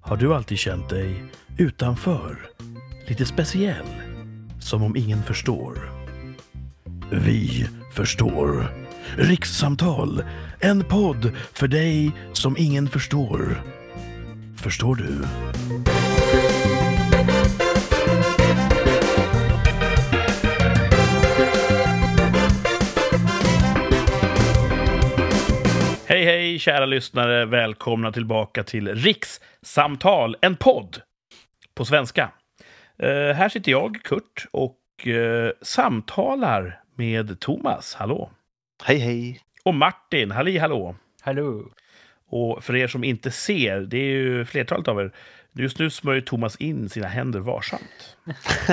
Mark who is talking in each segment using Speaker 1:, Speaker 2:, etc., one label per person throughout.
Speaker 1: har du alltid känt dig utanför, lite speciell, som om ingen förstår. Vi förstår. Rikssamtal, en podd för dig som ingen förstår. Förstår du? Hej, hej, kära lyssnare. Välkomna tillbaka till Rikssamtal, en podd på svenska. Eh, här sitter jag, Kurt, och eh, samtalar med Thomas, hallå,
Speaker 2: Hej hej!
Speaker 1: och Martin, halli hallå.
Speaker 3: Hallå!
Speaker 1: Och för er som inte ser, det är ju flertalet av er, just nu smörjer Thomas in sina händer varsamt.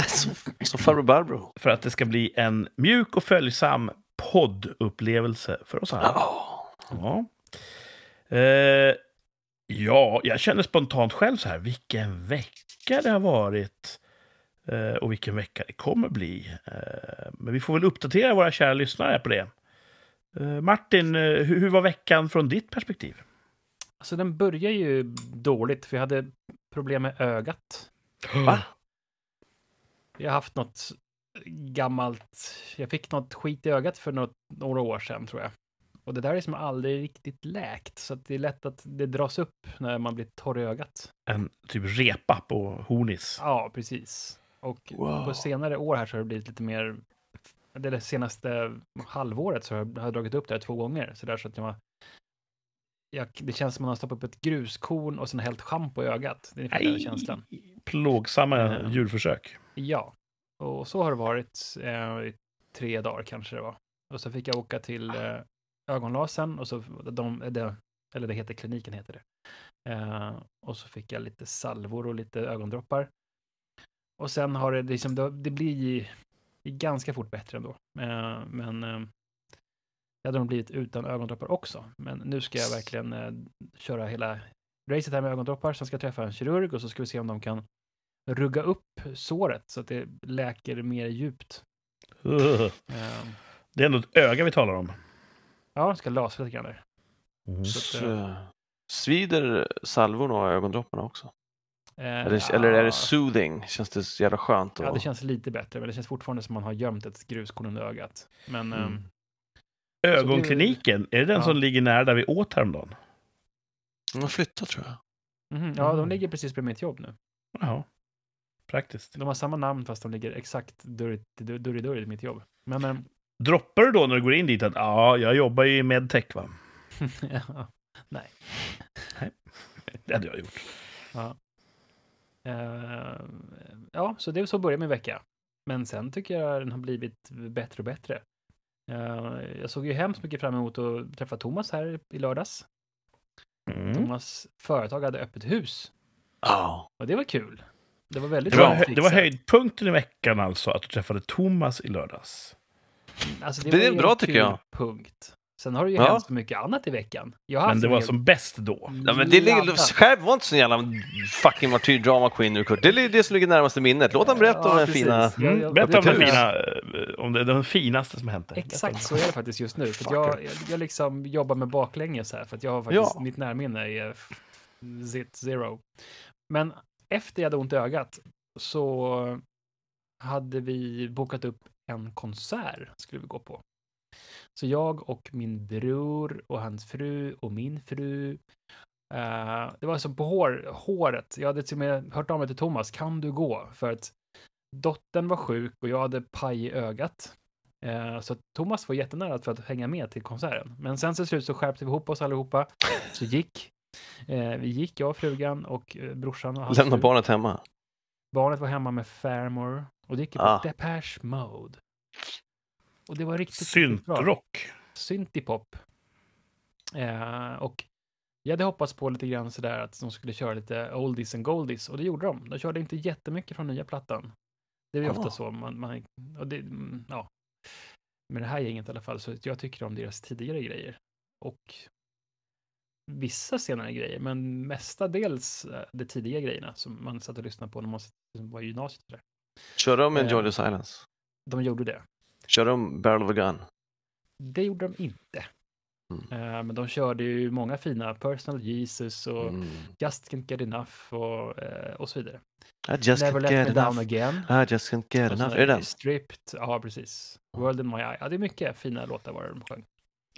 Speaker 2: Som, som farbror Barbro.
Speaker 1: För att det ska bli en mjuk och följsam poddupplevelse för oss alla.
Speaker 2: Ja.
Speaker 1: Ja. Eh, ja, jag känner spontant själv så här, vilken vecka det har varit eh, och vilken vecka det kommer bli. Eh, men vi får väl uppdatera våra kära lyssnare på det. Eh, Martin, eh, hur, hur var veckan från ditt perspektiv?
Speaker 3: Alltså den börjar ju dåligt, för jag hade problem med ögat.
Speaker 2: Va?
Speaker 3: Jag har haft något gammalt, jag fick något skit i ögat för något, några år sedan tror jag. Och det där är som aldrig riktigt läkt, så att det är lätt att det dras upp när man blir torr i ögat.
Speaker 1: En typ repa på Hornis.
Speaker 3: Ja, precis. Och
Speaker 2: Wow.
Speaker 3: på senare år här så har det blivit lite mer, eller det senaste halvåret så har jag har jag dragit upp det här två gånger. Så där så att jag, jag, det känns som att man har stoppat upp ett gruskorn och sen hällt schampo i ögat. Det är ungefär den
Speaker 1: Aj.
Speaker 3: känslan. Ehm.
Speaker 1: Plågsamma
Speaker 3: Ja.
Speaker 1: djurförsök.
Speaker 3: Ja, och så har det varit eh, i tre dagar kanske det var. Och så fick jag åka till eh, ögonlasern och så de, det, eller det heter kliniken heter det. Eh, och så fick jag lite salvor och lite ögondroppar. Och sen har det liksom, det, det blir ganska fort bättre ändå. Eh, men eh, det hade nog blivit utan ögondroppar också. Men nu ska jag verkligen eh, köra hela racet här med ögondroppar. Sen ska jag träffa en kirurg och så ska vi se om de kan rugga upp såret så att det läker mer djupt.
Speaker 1: Ugh.
Speaker 3: Eh,
Speaker 1: Det är ändå ett öga vi talar om.
Speaker 3: Ja, jag ska lasra lite grann där.
Speaker 2: S-
Speaker 3: Mm. Så att,
Speaker 2: eh, Svider salvorna och ögondropparna också?
Speaker 3: Eh,
Speaker 2: Eller, eller är
Speaker 3: ja,
Speaker 2: det soothing? Känns det så jävla skönt? Och...
Speaker 3: Ja, det känns lite bättre, men det känns fortfarande som man har gömt ett gruskorn under ögat. Men eh,
Speaker 2: Mm.
Speaker 1: Ögonkliniken, är det den
Speaker 3: Ja.
Speaker 1: som ligger nära där vi åt häromdagen?
Speaker 2: De har flyttat tror jag.
Speaker 3: mhm, ja,
Speaker 1: Mm.
Speaker 3: de ligger precis bredvid mitt jobb nu.
Speaker 1: Jaha. Praktiskt.
Speaker 3: De har samma namn fast de ligger exakt dörr i dörr, dörr, i dörr i mitt jobb. Men eh,
Speaker 1: Droppar du då när du går in dit att ja, jag jobbar ju i medtech va?
Speaker 3: ja,
Speaker 1: Det hade jag gjort.
Speaker 3: eh, ja, så det är så börjar min vecka. Men sen tycker jag den har blivit bättre och bättre. Eh, jag såg ju hemskt mycket fram emot att träffa Thomas här i lördags.
Speaker 1: Mm.
Speaker 3: Thomas företag hade öppet hus.
Speaker 2: Ja.
Speaker 3: Och det var kul. Det var väldigt
Speaker 1: Det, var,
Speaker 3: bra
Speaker 1: hö- det var
Speaker 3: fixat.
Speaker 1: höjdpunkten i veckan alltså, att du träffade Thomas i lördags.
Speaker 3: Alltså,
Speaker 2: Det är
Speaker 3: ju
Speaker 2: bra,
Speaker 3: en
Speaker 2: tycker
Speaker 3: kul
Speaker 2: jag.
Speaker 3: Punkt. Sen har det ju
Speaker 2: Ja.
Speaker 3: hänt så mycket annat i veckan. Jag har
Speaker 1: Men
Speaker 3: haft
Speaker 1: det
Speaker 3: en
Speaker 1: var
Speaker 3: hel
Speaker 1: som bäst då.
Speaker 3: Mm.
Speaker 2: ja men det ligger...
Speaker 3: ladda-
Speaker 2: Skärp var inte så jävla fucking martyr drama queen nu Kurt. Det är det som ligger närmast i minnet. Låt han berätta om
Speaker 3: Ja,
Speaker 2: den
Speaker 3: precis.
Speaker 2: fina...
Speaker 3: Jag- jag-
Speaker 1: Mm. Berätta om den
Speaker 2: jag-
Speaker 1: fina, eh, om det, den finaste som hänt dig.
Speaker 3: Exakt
Speaker 1: Berätta
Speaker 3: så
Speaker 1: om
Speaker 3: är det faktiskt just nu. För att jag, jag- jag liksom jobbar med baklänges här. För att jag har faktiskt,
Speaker 2: Ja.
Speaker 3: mitt närminne är f- zit zero. Men efter jag hade ont i ögat så hade vi bokat upp en konsert skulle vi gå på. Så jag och min bror och hans fru och min fru. eh, det var som på hår, håret. Jag hade till och med hört av mig till Thomas. Kan du gå? För att dottern var sjuk och jag hade paj i ögat. Eh, Så att Thomas var jättenära för att hänga med till konserten. Men sen till slut så skärpte vi ihop oss allihopa. Så gick eh, vi gick, jag och frugan och eh, brorsan och hans
Speaker 2: Lämna
Speaker 3: fru.
Speaker 2: barnet hemma.
Speaker 3: Barnet var hemma med farmor och det gick på
Speaker 2: Ah.
Speaker 3: Depeche Mode. Och det var
Speaker 1: det.
Speaker 3: riktigt, riktigt bra
Speaker 1: Syntrock.
Speaker 3: syntipop. Eh, och jag hade hoppats på lite grann sådär att de skulle köra lite oldies and goldies och det gjorde de. De körde inte jättemycket från nya plattan. Det är ju ofta
Speaker 2: Ah.
Speaker 3: så. Man, man, och det, mm, ja. Men det här gänget i alla fall, så jag tycker om deras tidigare grejer. Och vissa senare grejer, men mestadels eh, de tidiga grejerna som man satt och lyssnade på när man var i gymnasiet. och sådär.
Speaker 2: Kör de
Speaker 3: Eh.
Speaker 2: Enjoy the silence?
Speaker 3: De gjorde det.
Speaker 2: Kör de Barrel of a gun?
Speaker 3: Det gjorde de inte.
Speaker 2: Mm.
Speaker 3: Eh, Men de körde ju många fina Personal Jesus och
Speaker 2: Mm.
Speaker 3: Just Can't Get Enough och, eh, och så vidare.
Speaker 2: I just
Speaker 3: Never
Speaker 2: can't
Speaker 3: Let
Speaker 2: get
Speaker 3: Me Down
Speaker 2: enough.
Speaker 3: Again. Alltså,
Speaker 2: I just can't get
Speaker 3: Och sen
Speaker 2: enough. Är det den?
Speaker 3: Stripped, ja precis. World in My Eye. Ja, det är mycket fina låtar var det de sjöng.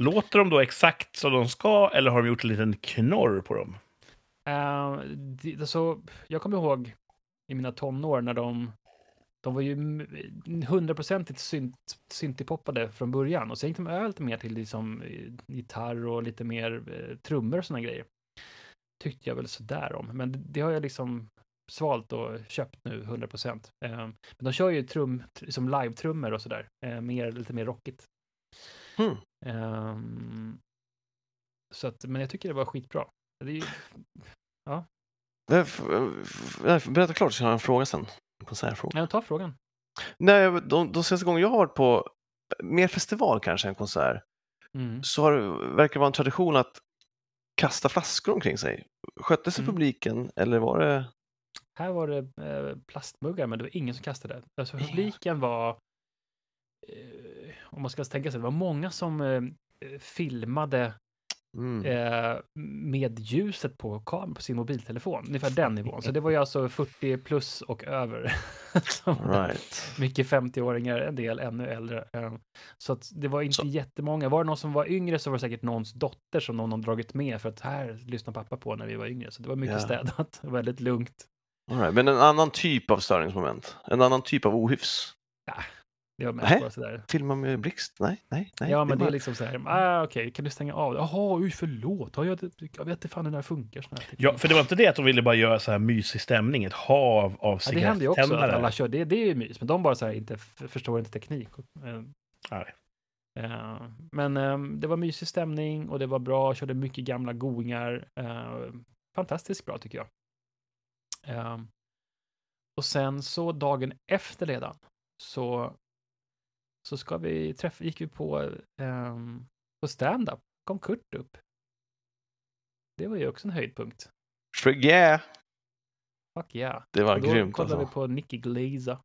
Speaker 1: Låter de då exakt som de ska eller har de gjort en liten knorr på dem?
Speaker 3: Eh, det, alltså, jag kommer ihåg i mina tonår när de, de var ju m- hundraprocentigt synt, syntipoppade från början och sen gick de över lite mer till liksom, eh, gitarr och lite mer eh, trummor och såna grejer. Tyckte jag väl sådär om, men det, det har jag liksom svalt och köpt nu 100 procent. men de kör ju trum, tr- som live-trummor och sådär, eh, mer, lite mer rockigt.
Speaker 2: Hmm.
Speaker 3: Ehm, så att, men jag tycker det var skitbra. Det är ju,
Speaker 2: Eh, f- f- eh, Berätta klart så har jag en fråga sen. En konsertfråga.
Speaker 3: ja, ta frågan.
Speaker 2: Nej, jag- de, de senaste gångerna jag har varit på mer festival kanske än konsert
Speaker 3: Mm.
Speaker 2: så har, det- verkar det vara en tradition att kasta flaskor omkring sig. Skötte sig
Speaker 3: Mm.
Speaker 2: publiken eller var det...
Speaker 3: Här var det eh, plastmuggar, men det var ingen som kastade. Alltså publiken var, eh, om man ska tänka sig, det var många som eh, filmade
Speaker 2: Mm.
Speaker 3: eh, med ljuset på kameran på sin mobiltelefon. Ungefär den nivån. Så det var ju alltså 40 plus och över. som var där.
Speaker 2: Right.
Speaker 3: Mycket 50-åringar, en del ännu äldre. eh, Så att det var inte
Speaker 2: Så-
Speaker 3: jättemånga. Var det någon som var yngre så var det säkert någons dotter som någon har dragit med för att här lyssnade pappa på när vi var yngre. Så det var mycket
Speaker 2: Ja.
Speaker 3: städat, väldigt lugnt.
Speaker 2: All right. Men en annan typ av störningsmoment. En annan typ av ohyfs.
Speaker 3: Det var
Speaker 2: Nähä.
Speaker 3: mest bara sådär.
Speaker 2: Filma med blixt? Nej, nej, nej.
Speaker 3: ja, men det
Speaker 2: bara-
Speaker 3: är liksom så här, ah, okej, kan du stänga av det? Jaha, oj, förlåt, har jag, jag vet inte fan hur det där funkar. Såna här
Speaker 1: Ja, för det var inte det att de ville bara göra så här mysig stämning, ett hav av
Speaker 3: Ja, det händer ju också att
Speaker 1: cigarettändare.
Speaker 3: alla kör, det, det är ju mys, men de bara så här inte, f- förstår inte teknik. Och, eh,
Speaker 1: Nej.
Speaker 3: eh, men eh, det var mysig stämning och det var bra, körde mycket gamla goingar. Eh, fantastiskt bra tycker jag. Eh, och sen så dagen efter redan så, så ska vi träffa, gick vi på, eh, på stand-up, kom Kurt upp. Det var ju också en höjdpunkt.
Speaker 2: Frig- yeah.
Speaker 3: Fuck yeah.
Speaker 2: Det var
Speaker 3: Och då
Speaker 2: grymt
Speaker 3: kollade
Speaker 2: alltså.
Speaker 3: vi på Nicky Glaza.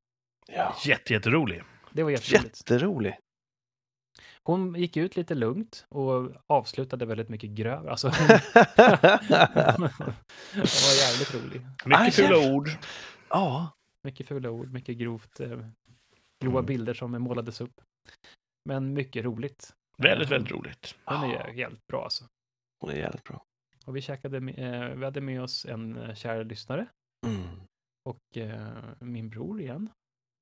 Speaker 2: Ja.
Speaker 1: Jätte, jätterolig.
Speaker 3: Det var jätteroligt.
Speaker 2: Jätterolig.
Speaker 3: Hon gick ut lite lugnt och avslutade väldigt mycket grövre. Alltså, Mm. det var jävligt rolig.
Speaker 1: Mycket
Speaker 2: Aj,
Speaker 1: fula ord.
Speaker 2: ja.
Speaker 3: Mycket fula ord, mycket grovt, eh, grova
Speaker 1: Mm.
Speaker 3: bilder som målades upp. Men mycket roligt.
Speaker 1: Väldigt, väldigt roligt.
Speaker 3: Den är ju jävligt bra alltså.
Speaker 2: Hon är jävligt bra.
Speaker 3: Och vi, käkade, med- eh, vi hade med oss en eh, kär lyssnare
Speaker 2: Mm.
Speaker 3: och eh, min bror igen.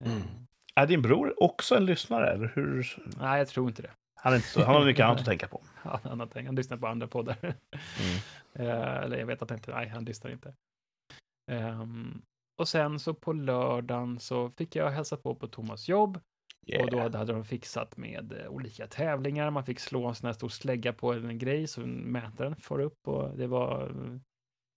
Speaker 3: Eh,
Speaker 2: Mm.
Speaker 1: Är din bror också en lyssnare? Eller hur?
Speaker 3: Nej, jag tror inte det.
Speaker 1: Han, är inte så, han har mycket annat att tänka på.
Speaker 3: Han, han, har tänkt- han lyssnar på andra poddar.
Speaker 2: Mm.
Speaker 3: Eh, eller jag vet att han inte, nej, han lyssnar inte. Ehm, och sen så på lördagen så fick jag hälsa på på Thomas jobb och då
Speaker 2: Yeah.
Speaker 3: hade, hade de fixat med eh, olika tävlingar. Man fick slå en sån här stor slägga på en grej så mätaren far upp och det var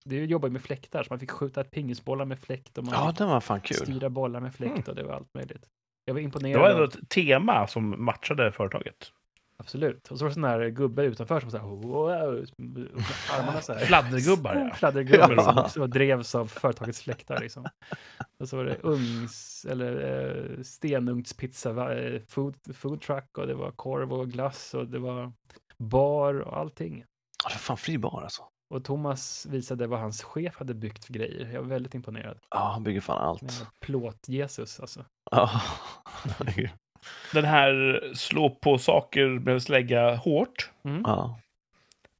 Speaker 3: det jobbar ju med fläktar, så man fick skjuta pingisbollar med fläkt och man
Speaker 2: Ja,
Speaker 3: fick
Speaker 2: den var fan kul.
Speaker 3: styra bollar med fläkt
Speaker 1: Mm.
Speaker 3: och det var allt möjligt.
Speaker 1: Det
Speaker 3: Jag var
Speaker 1: var
Speaker 3: imponerad.
Speaker 1: ändå
Speaker 3: av-
Speaker 1: ett tema som matchade företaget.
Speaker 3: Absolut. Och så var det sån här gubbe utanför som så här, wow, med armarna så här.
Speaker 1: Fladdergubbar, ja.
Speaker 3: Fladdergubbar
Speaker 1: Ja.
Speaker 3: som också drevs av företagets släktar. Liksom. Och så var det ungs, eller eh, stenugnspizza, va- eh, food, food truck och det var korv och glass och det var bar och allting.
Speaker 2: Ja, det var fan fri bar alltså.
Speaker 3: Och Thomas visade vad hans chef hade byggt för grejer. Jag var väldigt imponerad.
Speaker 2: Ja, han bygger fan
Speaker 3: Med
Speaker 2: allt.
Speaker 3: Plåt-Jesus alltså.
Speaker 2: Ja.
Speaker 1: Den här slå på saker med slägga hårt.
Speaker 3: Mm.
Speaker 2: ja.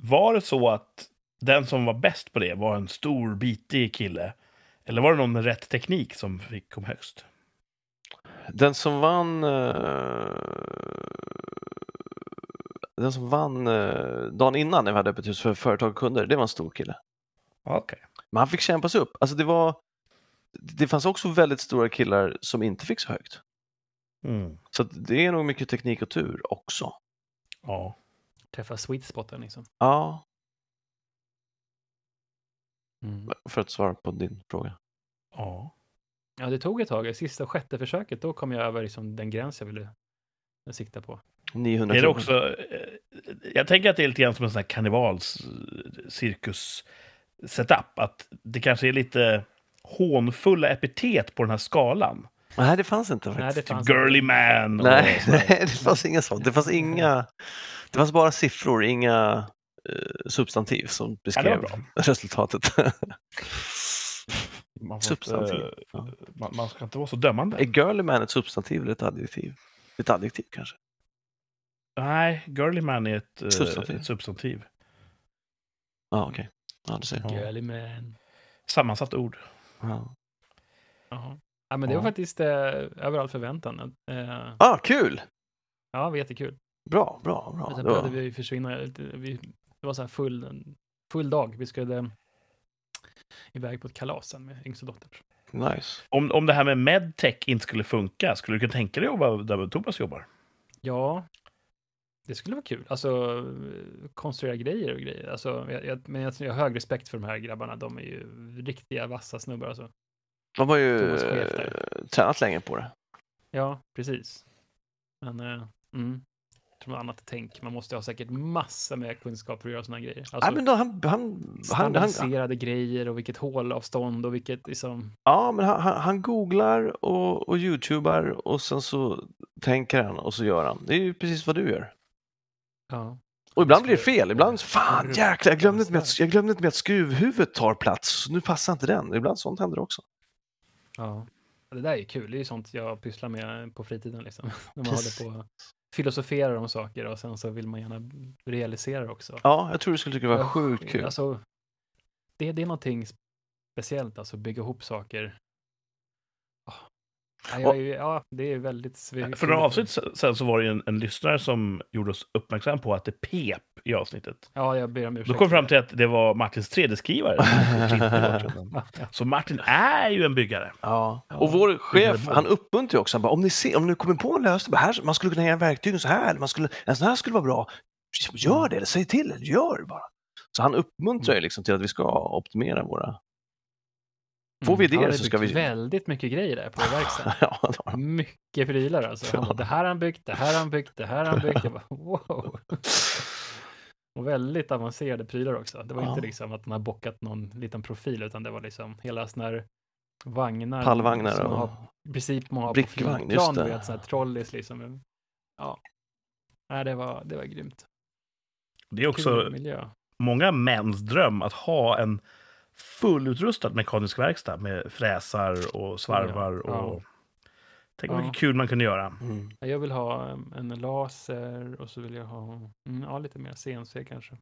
Speaker 1: Var det så att den som var bäst på det var en stor, bitig kille? Eller var det någon med rätt teknik som fick kom högst?
Speaker 2: Den som vann... eh, Den som vann eh, dagen innan när vi hade öppet hus för företag och kunder, det var en stor kille.
Speaker 1: Okej.
Speaker 2: Men han fick kämpa sig upp. Alltså det var... Det fanns också väldigt stora killar som inte fick så högt.
Speaker 1: Mm.
Speaker 2: Så att det är nog mycket teknik och tur också.
Speaker 1: Ja.
Speaker 3: Träffa sweet spoten liksom.
Speaker 2: Ja,
Speaker 3: Mm.
Speaker 2: för att svara på din fråga.
Speaker 1: ja.
Speaker 3: Ja, det tog ett tag. Sista sjätte försöket, då kom jag över liksom den gräns jag ville sikta på.
Speaker 2: 900
Speaker 1: Är det
Speaker 2: kronor.
Speaker 1: också, eh, jag tänker att det är lite grann som en sån här karnevalscirkus-setup. Att det kanske är lite hånfulla epitet på den här skalan.
Speaker 2: Nej, det fanns inte
Speaker 3: Nej,
Speaker 2: faktiskt.
Speaker 3: det fanns
Speaker 1: Girly man. och
Speaker 2: Nej,
Speaker 1: sådär.
Speaker 2: nej, det fanns inga sånt. Det fanns inga Det fanns bara siffror, inga eh, substantiv som
Speaker 1: Ja, det var
Speaker 2: beskrev
Speaker 1: bra.
Speaker 2: resultatet.
Speaker 1: Man, får
Speaker 2: substantiv.
Speaker 1: inte, eh,
Speaker 2: Ja.
Speaker 1: man, man ska inte vara så dömande.
Speaker 2: Är girly man ett substantiv eller ett adjektiv? Ett adjektiv kanske?
Speaker 1: Nej, girly man är ett eh,
Speaker 2: Substantiv.
Speaker 1: ett substantiv.
Speaker 2: Ja, okej. Ja, du ser.
Speaker 1: Ja.
Speaker 3: Girly man.
Speaker 1: Sammansatt ord.
Speaker 2: Ja.
Speaker 3: Jaha. Ja, men det var
Speaker 1: Ja.
Speaker 3: faktiskt eh, över all förväntan. Eh,
Speaker 2: Ah, kul!
Speaker 3: ja, det var jättekul.
Speaker 2: Bra, bra, bra.
Speaker 3: Men
Speaker 1: Alltså,
Speaker 2: Det
Speaker 3: sen
Speaker 2: var...
Speaker 3: började vi försvinna. lite. Vi, det var så här full, en full dag. Vi skulle eh, iväg på ett kalas sen med yngsta dottern.
Speaker 2: Nice.
Speaker 1: Om, om det här med medtech inte skulle funka, skulle du kunna tänka dig att jobba där Tobias jobbar?
Speaker 3: Ja, det skulle vara kul. Alltså, eh, konstruera grejer och grejer. Alltså, jag, jag, men jag, jag har hög respekt för de här grabbarna. De är ju riktiga vassa snubbar. Alltså.
Speaker 2: De har ju
Speaker 3: Thomas chef
Speaker 2: eh, tränat länge på
Speaker 1: Alltså,
Speaker 2: det.
Speaker 3: Ja, precis. Men, eh, mm. Jag tror något annat tänk. Man måste ha säkert massa med kunskap för att göra sådana grejer. Alltså,
Speaker 2: Nej, men då, han, han, han, han,
Speaker 3: standardiserade grejer och vilket hålavstånd och vilket liksom...
Speaker 2: ja, men han, han, han googlar och, och youtubar och sen så tänker han och så gör han. Det är ju precis vad du gör.
Speaker 3: Ja.
Speaker 2: Och ibland blir det
Speaker 3: skulle-
Speaker 2: fel. Ibland, fan
Speaker 3: Mm.
Speaker 2: jäklar, jag glömde, inte med att,
Speaker 3: Konstigt.
Speaker 2: jag glömde inte med att skruvhuvudet tar plats. Så nu passar inte den. Ibland sånt händer också.
Speaker 3: ja. Det där är ju kul. Det är ju sånt jag pysslar med på fritiden liksom. När man
Speaker 2: Precis.
Speaker 3: håller på och filosoferar om saker och sen så vill man gärna realisera det också.
Speaker 2: Ja, jag tror du skulle tycka det var sjukt kul.
Speaker 3: Alltså, det, det är någonting speciellt, alltså bygga ihop saker. Ah. Ja, jag,
Speaker 2: Och-
Speaker 3: är ju- ja, det är väldigt svårt.
Speaker 1: För några avsnitt sen så var det ju en, en lyssnare som gjorde oss uppmärksam på att det pep i avsnittet.
Speaker 3: Ja, jag ber om ursäkt.
Speaker 1: Då kom vi fram till att det var Martins 3D-skrivare. som klippte bort den. så Martin är ju en byggare.
Speaker 2: Ja.
Speaker 3: Ja,
Speaker 2: Och vår chef,
Speaker 1: underbart.
Speaker 2: han uppmuntrar ju också. Han bara, om ni, ser, om ni kommer på en lösning, bara, här, man skulle kunna göra verktygen så här, eller man skulle, en sån här skulle vara bra. Gör det, eller säg till, eller gör det bara. Så han uppmuntrar ju liksom till att vi ska optimera våra... Får vi
Speaker 3: Mm, han
Speaker 2: idéer
Speaker 3: hade
Speaker 2: så ska
Speaker 3: byggt
Speaker 2: vi...
Speaker 3: väldigt mycket grejer där på verkstaden.
Speaker 2: ja, det har han.
Speaker 3: Mycket prylar alltså. Han bara, det här har han byggt, det här har han byggt, det här har han byggt. Jag bara, wow. Och väldigt avancerade prylar också. Det var inte
Speaker 2: Ja.
Speaker 3: liksom att man har bockat någon liten profil, utan det var liksom hela sådana här vagnar.
Speaker 2: Pallvagnar
Speaker 3: som man
Speaker 2: och...
Speaker 3: har i princip man har på
Speaker 2: Brickvagn,
Speaker 3: flygplan,
Speaker 2: just
Speaker 3: du
Speaker 2: det.
Speaker 3: vet, sådana här trolleys liksom. Ja, Nej, det, var, det var grymt.
Speaker 1: Det är
Speaker 3: Kul
Speaker 1: också
Speaker 3: miljö.
Speaker 1: många mäns dröm att ha en fullutrustad mekanisk verkstad med fräsar och svarvar.
Speaker 3: Ja.
Speaker 1: Och... Tänk vad
Speaker 3: Ja.
Speaker 1: mycket kul man kunde göra.
Speaker 2: Mm.
Speaker 3: Ja, Jag vill ha um, en laser och så vill jag ha mm, ja, lite mer CNC kanske.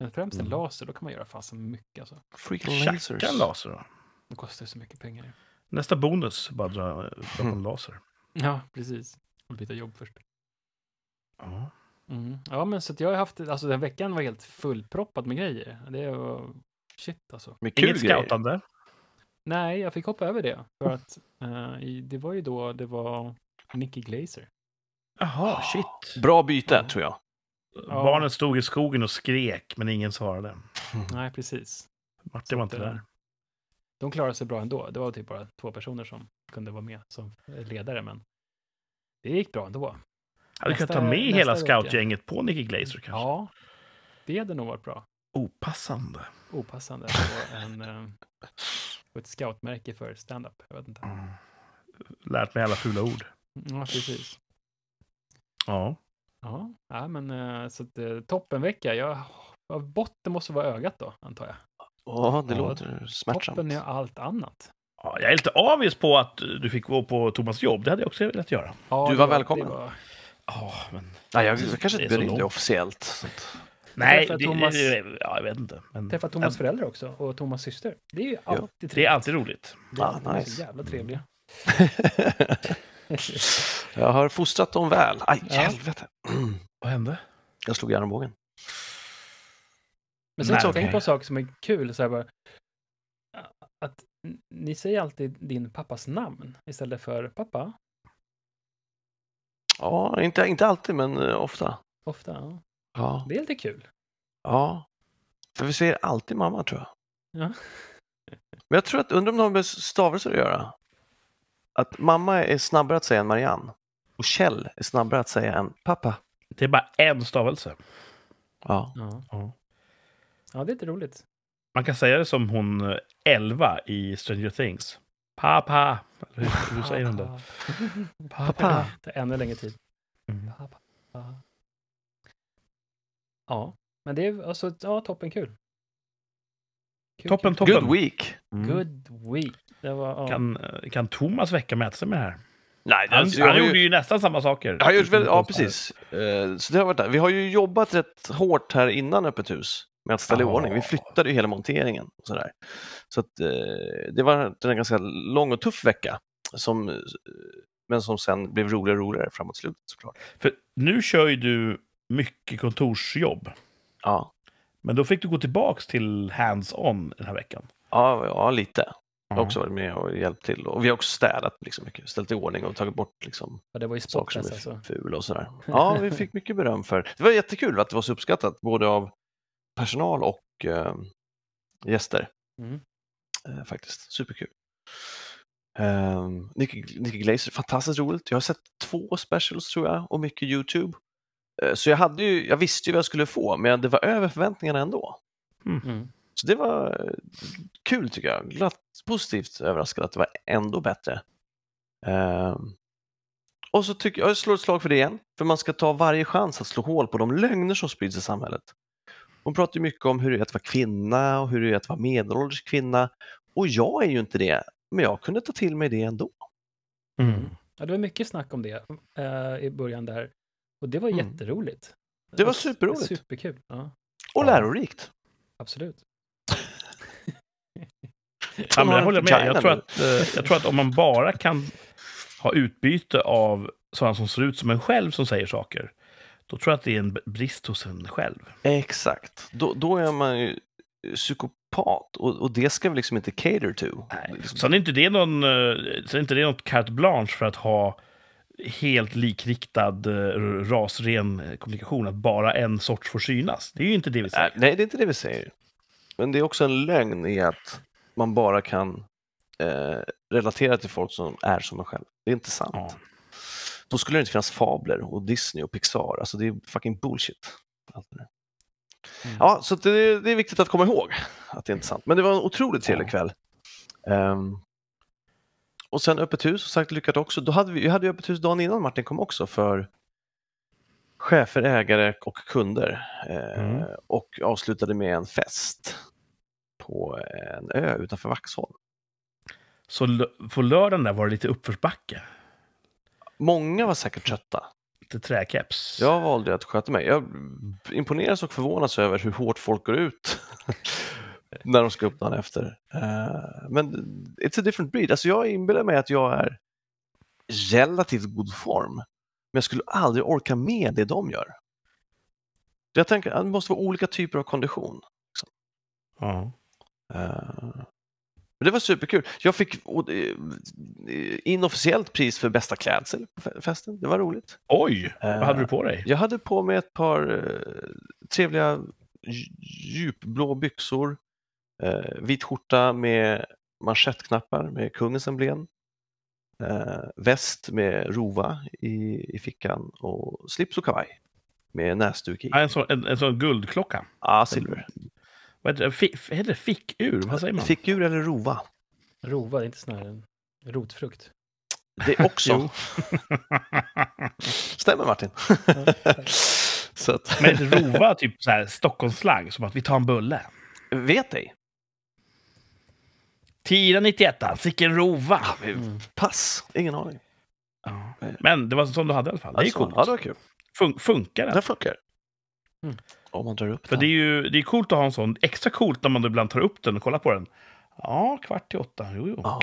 Speaker 3: Men främst en
Speaker 1: Mm.
Speaker 3: laser, då kan man göra fasen mycket alltså.
Speaker 2: Freak lasers.
Speaker 1: Tjacka en laser då.
Speaker 3: Det kostar ju så mycket pengar. det.
Speaker 1: Nästa bonus, bara dra, dra på en
Speaker 2: Mm.
Speaker 1: laser.
Speaker 3: Ja, precis. Och byta jobb först.
Speaker 1: Ja.
Speaker 3: Mm. Ja, men så att jag har haft, alltså den veckan var helt fullproppad med grejer. Det var shit alltså.
Speaker 2: Med kul
Speaker 1: Inget
Speaker 2: grejer.
Speaker 1: scoutande.
Speaker 3: Nej, jag fick hoppa över det. För att eh, i- det var ju då det var Nicky Glazer.
Speaker 1: Jaha, shit.
Speaker 2: Bra byte, tror jag.
Speaker 1: Barnen stod i skogen och skrek, men ingen svarade.
Speaker 3: Nej, precis.
Speaker 1: Martin var inte
Speaker 3: Så att, eh,
Speaker 1: där.
Speaker 3: De klarade sig bra ändå. Det var typ bara två personer som kunde vara med som ledare, men det gick bra ändå.
Speaker 1: Hade kunnat
Speaker 3: nästa-
Speaker 1: ta med
Speaker 3: nästa
Speaker 1: hela
Speaker 3: vecka.
Speaker 1: scoutgänget på Nicky Glazer kanske.
Speaker 3: Ja, det hade nog varit bra.
Speaker 1: Opassande.
Speaker 3: Opassande på, en, eh, på ett scoutmärke för stand-up. Jag vet inte.
Speaker 1: Lärt mig alla fula ord.
Speaker 3: Ja, precis.
Speaker 1: Ja.
Speaker 3: Ja, ja men eh, så att, eh, toppenvecka. Jag, ja, botten måste vara ögat då, antar jag.
Speaker 2: Ja, det
Speaker 1: Ja.
Speaker 2: låter smärtsamt.
Speaker 3: Toppen är allt annat.
Speaker 1: ja. Jag är lite avis på att du fick gå på Thomas jobb. Det hade jag också velat göra.
Speaker 3: Ja,
Speaker 2: Du
Speaker 3: det
Speaker 2: var
Speaker 3: det
Speaker 2: välkommen.
Speaker 3: var-
Speaker 1: Ja, men...
Speaker 2: Nej, jag, jag kanske
Speaker 1: Det är
Speaker 2: inte
Speaker 1: så
Speaker 2: bjöd in dig
Speaker 1: långt.
Speaker 2: officiellt. Så att...
Speaker 1: Nej,
Speaker 3: träffade
Speaker 1: det,
Speaker 3: Thomas-
Speaker 1: ja, jag vet inte. Men
Speaker 3: Träffa Thomas föräldrar också och Thomas syster. Det är ju alltid
Speaker 1: det är
Speaker 3: trevligt.
Speaker 1: alltid roligt.
Speaker 2: Ah,
Speaker 3: De är så
Speaker 2: nice. Mm.
Speaker 3: jävla trevliga.
Speaker 2: jag har fostrat dem väl. Aj,
Speaker 3: Ja.
Speaker 2: helvete.
Speaker 1: Vad hände?
Speaker 2: Jag slog i armbågen.
Speaker 3: Men sen
Speaker 1: Nej,
Speaker 3: så tänk
Speaker 1: okej.
Speaker 3: på en sak som är kul, så här bara, att n- ni säger alltid din pappas namn istället för pappa,
Speaker 2: Ja, inte, inte alltid, men eh, ofta.
Speaker 3: ofta. ja.
Speaker 2: Ja.
Speaker 3: Det är lite kul.
Speaker 2: ja. För vi säger alltid mamma, tror jag.
Speaker 3: Ja.
Speaker 2: Men jag tror att, undrar om det har med stavelser att göra. Att mamma är snabbare att säga än Marianne. Och Kjell är snabbare att säga än pappa.
Speaker 1: Det är bara en stavelse.
Speaker 2: Ja.
Speaker 3: Ja,
Speaker 1: Ja.
Speaker 3: ja det är lite roligt.
Speaker 1: Man kan säga det som hon eh, 11 i Stranger Things. Pappa! Eller hur, hur säger hon det?
Speaker 3: Ah. Pappa. Det tar ännu längre tid.
Speaker 1: Mm.
Speaker 3: Pappa. Ja, men det är alltså, ja, toppen kul. kul
Speaker 1: Toppen,
Speaker 3: kul.
Speaker 1: toppen.
Speaker 2: Good week!
Speaker 3: Good week. Det var, ja.
Speaker 1: Kan, eh, kan Thomas väcka mäta sig med det här?
Speaker 2: Nej,
Speaker 1: Han,
Speaker 2: alltså, jag
Speaker 1: han
Speaker 2: har ju-
Speaker 1: gjorde ju nästan samma saker.
Speaker 2: Jag har gjort väl, ja, precis. Eh, Så det har varit där. Vi har ju jobbat rätt hårt här innan öppet hus med att ställa i
Speaker 1: Ja.
Speaker 2: ordning. Vi flyttade ju hela monteringen. Och sådär. Så att, eh, det var en ganska lång och tuff vecka, som, eh, men som sen blev roligare och roligare framåt slutet såklart.
Speaker 1: För nu kör ju du mycket kontorsjobb.
Speaker 2: Ja,
Speaker 1: Men då fick du gå tillbaks till hands-on den här veckan.
Speaker 2: ja, ja lite. Jag har också varit med och hjälpt till. Och vi har också städat liksom mycket, ställt i ordning och tagit bort liksom,
Speaker 3: Ja, det var ju
Speaker 2: saker
Speaker 3: spotless
Speaker 2: som är
Speaker 3: alltså.
Speaker 2: fula och sådär. Ja, vi fick mycket beröm för. Det var jättekul att det var så uppskattat, både av personal och eh, gäster.
Speaker 3: Mm.
Speaker 2: eh, faktiskt. Superkul. Um, Nicky, Nicky Glazer, fantastiskt roligt. Jag har sett två specials tror jag och mycket YouTube. Eh, Så jag, hade ju, jag visste ju vad jag skulle få, men det var över förväntningarna ändå.
Speaker 3: Mm.
Speaker 2: Så det var eh, kul tycker jag. Glatt, positivt överraskad att det var ändå bättre. Ehm, och så tycker jag, jag slår ett slag för det igen, för man ska ta varje chans att slå hål på de lögner som sprids i samhället. Hon pratar ju mycket om hur det är att vara kvinna och hur det är att vara medelålders kvinna. Och jag är ju inte det, men jag kunde ta till mig det ändå.
Speaker 1: Mm.
Speaker 3: Ja, det var mycket snack om det eh, i början där. Och det var
Speaker 2: Mm.
Speaker 3: jätteroligt.
Speaker 2: Det var
Speaker 3: Alltså,
Speaker 2: superroligt.
Speaker 3: Superkul, ja.
Speaker 2: Och
Speaker 1: Ja.
Speaker 2: lärorikt.
Speaker 3: absolut.
Speaker 1: Ja, men jag håller med.
Speaker 2: China
Speaker 1: Jag tror,
Speaker 2: nu.
Speaker 1: att, eh, jag tror att om man bara kan ha utbyte av sådana som ser ut som en själv som säger saker, då tror jag att det är en b- brist hos en själv.
Speaker 2: Exakt. Då, då är man ju psykopat och, och det ska vi liksom inte cater to.
Speaker 1: Nej.
Speaker 2: Liksom.
Speaker 1: Sen är inte det, någon, eh, sen är inte det något carte blanche för att ha helt likriktad, eh, rasren eh, kommunikation, att bara en sorts får synas. Det är ju inte det vi säger.
Speaker 2: Nej, Äh, nej, det är inte det vi säger. Men det är också en lögn i att man bara kan eh, relatera till folk som är som en själv. Det är inte sant.
Speaker 1: Ja.
Speaker 2: Då skulle det inte finnas fabler och Disney och Pixar. Alltså det är fucking bullshit. Allt det där.
Speaker 3: Mm.
Speaker 2: Ja, så att det, det är viktigt att komma ihåg att det är inte sant. Men det var en otroligt trevlig
Speaker 1: Ja.
Speaker 2: kväll. Ehm, och sen öppet hus, som sagt lyckat också. Då hade vi, vi hade ju öppet hus dagen innan Martin kom också för chefer, ägare och kunder. Eh,
Speaker 1: Mm.
Speaker 2: Och avslutade med en fest på en ö utanför Vaxholm.
Speaker 1: Så l- på lördagen där var det lite uppförsbacke,
Speaker 2: Många var säkert trötta.
Speaker 1: lite träkeps.
Speaker 2: Jag valde att sköta mig. Jag imponeras och förvånas över hur hårt folk går ut när de ska upp dagen efter. Eh, Men it's a different breed. Alltså jag inbillar mig att jag är relativt god form, men jag skulle aldrig orka med det de gör. Jag tänker att det måste vara olika typer av kondition.
Speaker 1: Ja.
Speaker 2: Eh, Men det var superkul. Jag fick o- eh, inofficiellt pris för bästa klädsel på fe- festen. Det var roligt.
Speaker 1: Oj,
Speaker 2: Eh,
Speaker 1: vad hade du på dig?
Speaker 2: jag hade på mig ett par eh, trevliga dj- djupblå byxor, eh, vit skjorta med manschettknappar med kungens emblem, eh, väst med rova i, i fickan och slips och kavaj med näsduk i.
Speaker 1: Ja, En sån, en, en sån guldklocka.
Speaker 2: Ah, silver.
Speaker 1: Vad heter det? Fi- f- heter det fickur? Vad säger man?
Speaker 2: Fickur eller rova?
Speaker 3: Rova, det är inte sån här en rotfrukt.
Speaker 2: Det också. Stämmer Martin?
Speaker 3: Ja, tack.
Speaker 2: Så att,
Speaker 1: Men inte rova typ så här Stockholmsslang, som att vi tar en bulle.
Speaker 2: vet ej.
Speaker 1: 1091, sicken rova!
Speaker 2: Ah, vi-
Speaker 3: Mm.
Speaker 2: Pass, ingen aning.
Speaker 1: Ja. Men det var som du hade i alla fall. Det är
Speaker 2: Alltså,
Speaker 1: coolt.
Speaker 2: Ja, det var kul.
Speaker 1: Fun- funkar
Speaker 2: Det
Speaker 1: det?
Speaker 2: funkar.
Speaker 3: Mm.
Speaker 2: Om man drar upp
Speaker 1: För
Speaker 2: den.
Speaker 1: det är ju det är coolt att ha en sån. Extra coolt när man ibland tar upp den och kollar på den. Ja, kvart i åtta. Jo, jo.
Speaker 2: Ja.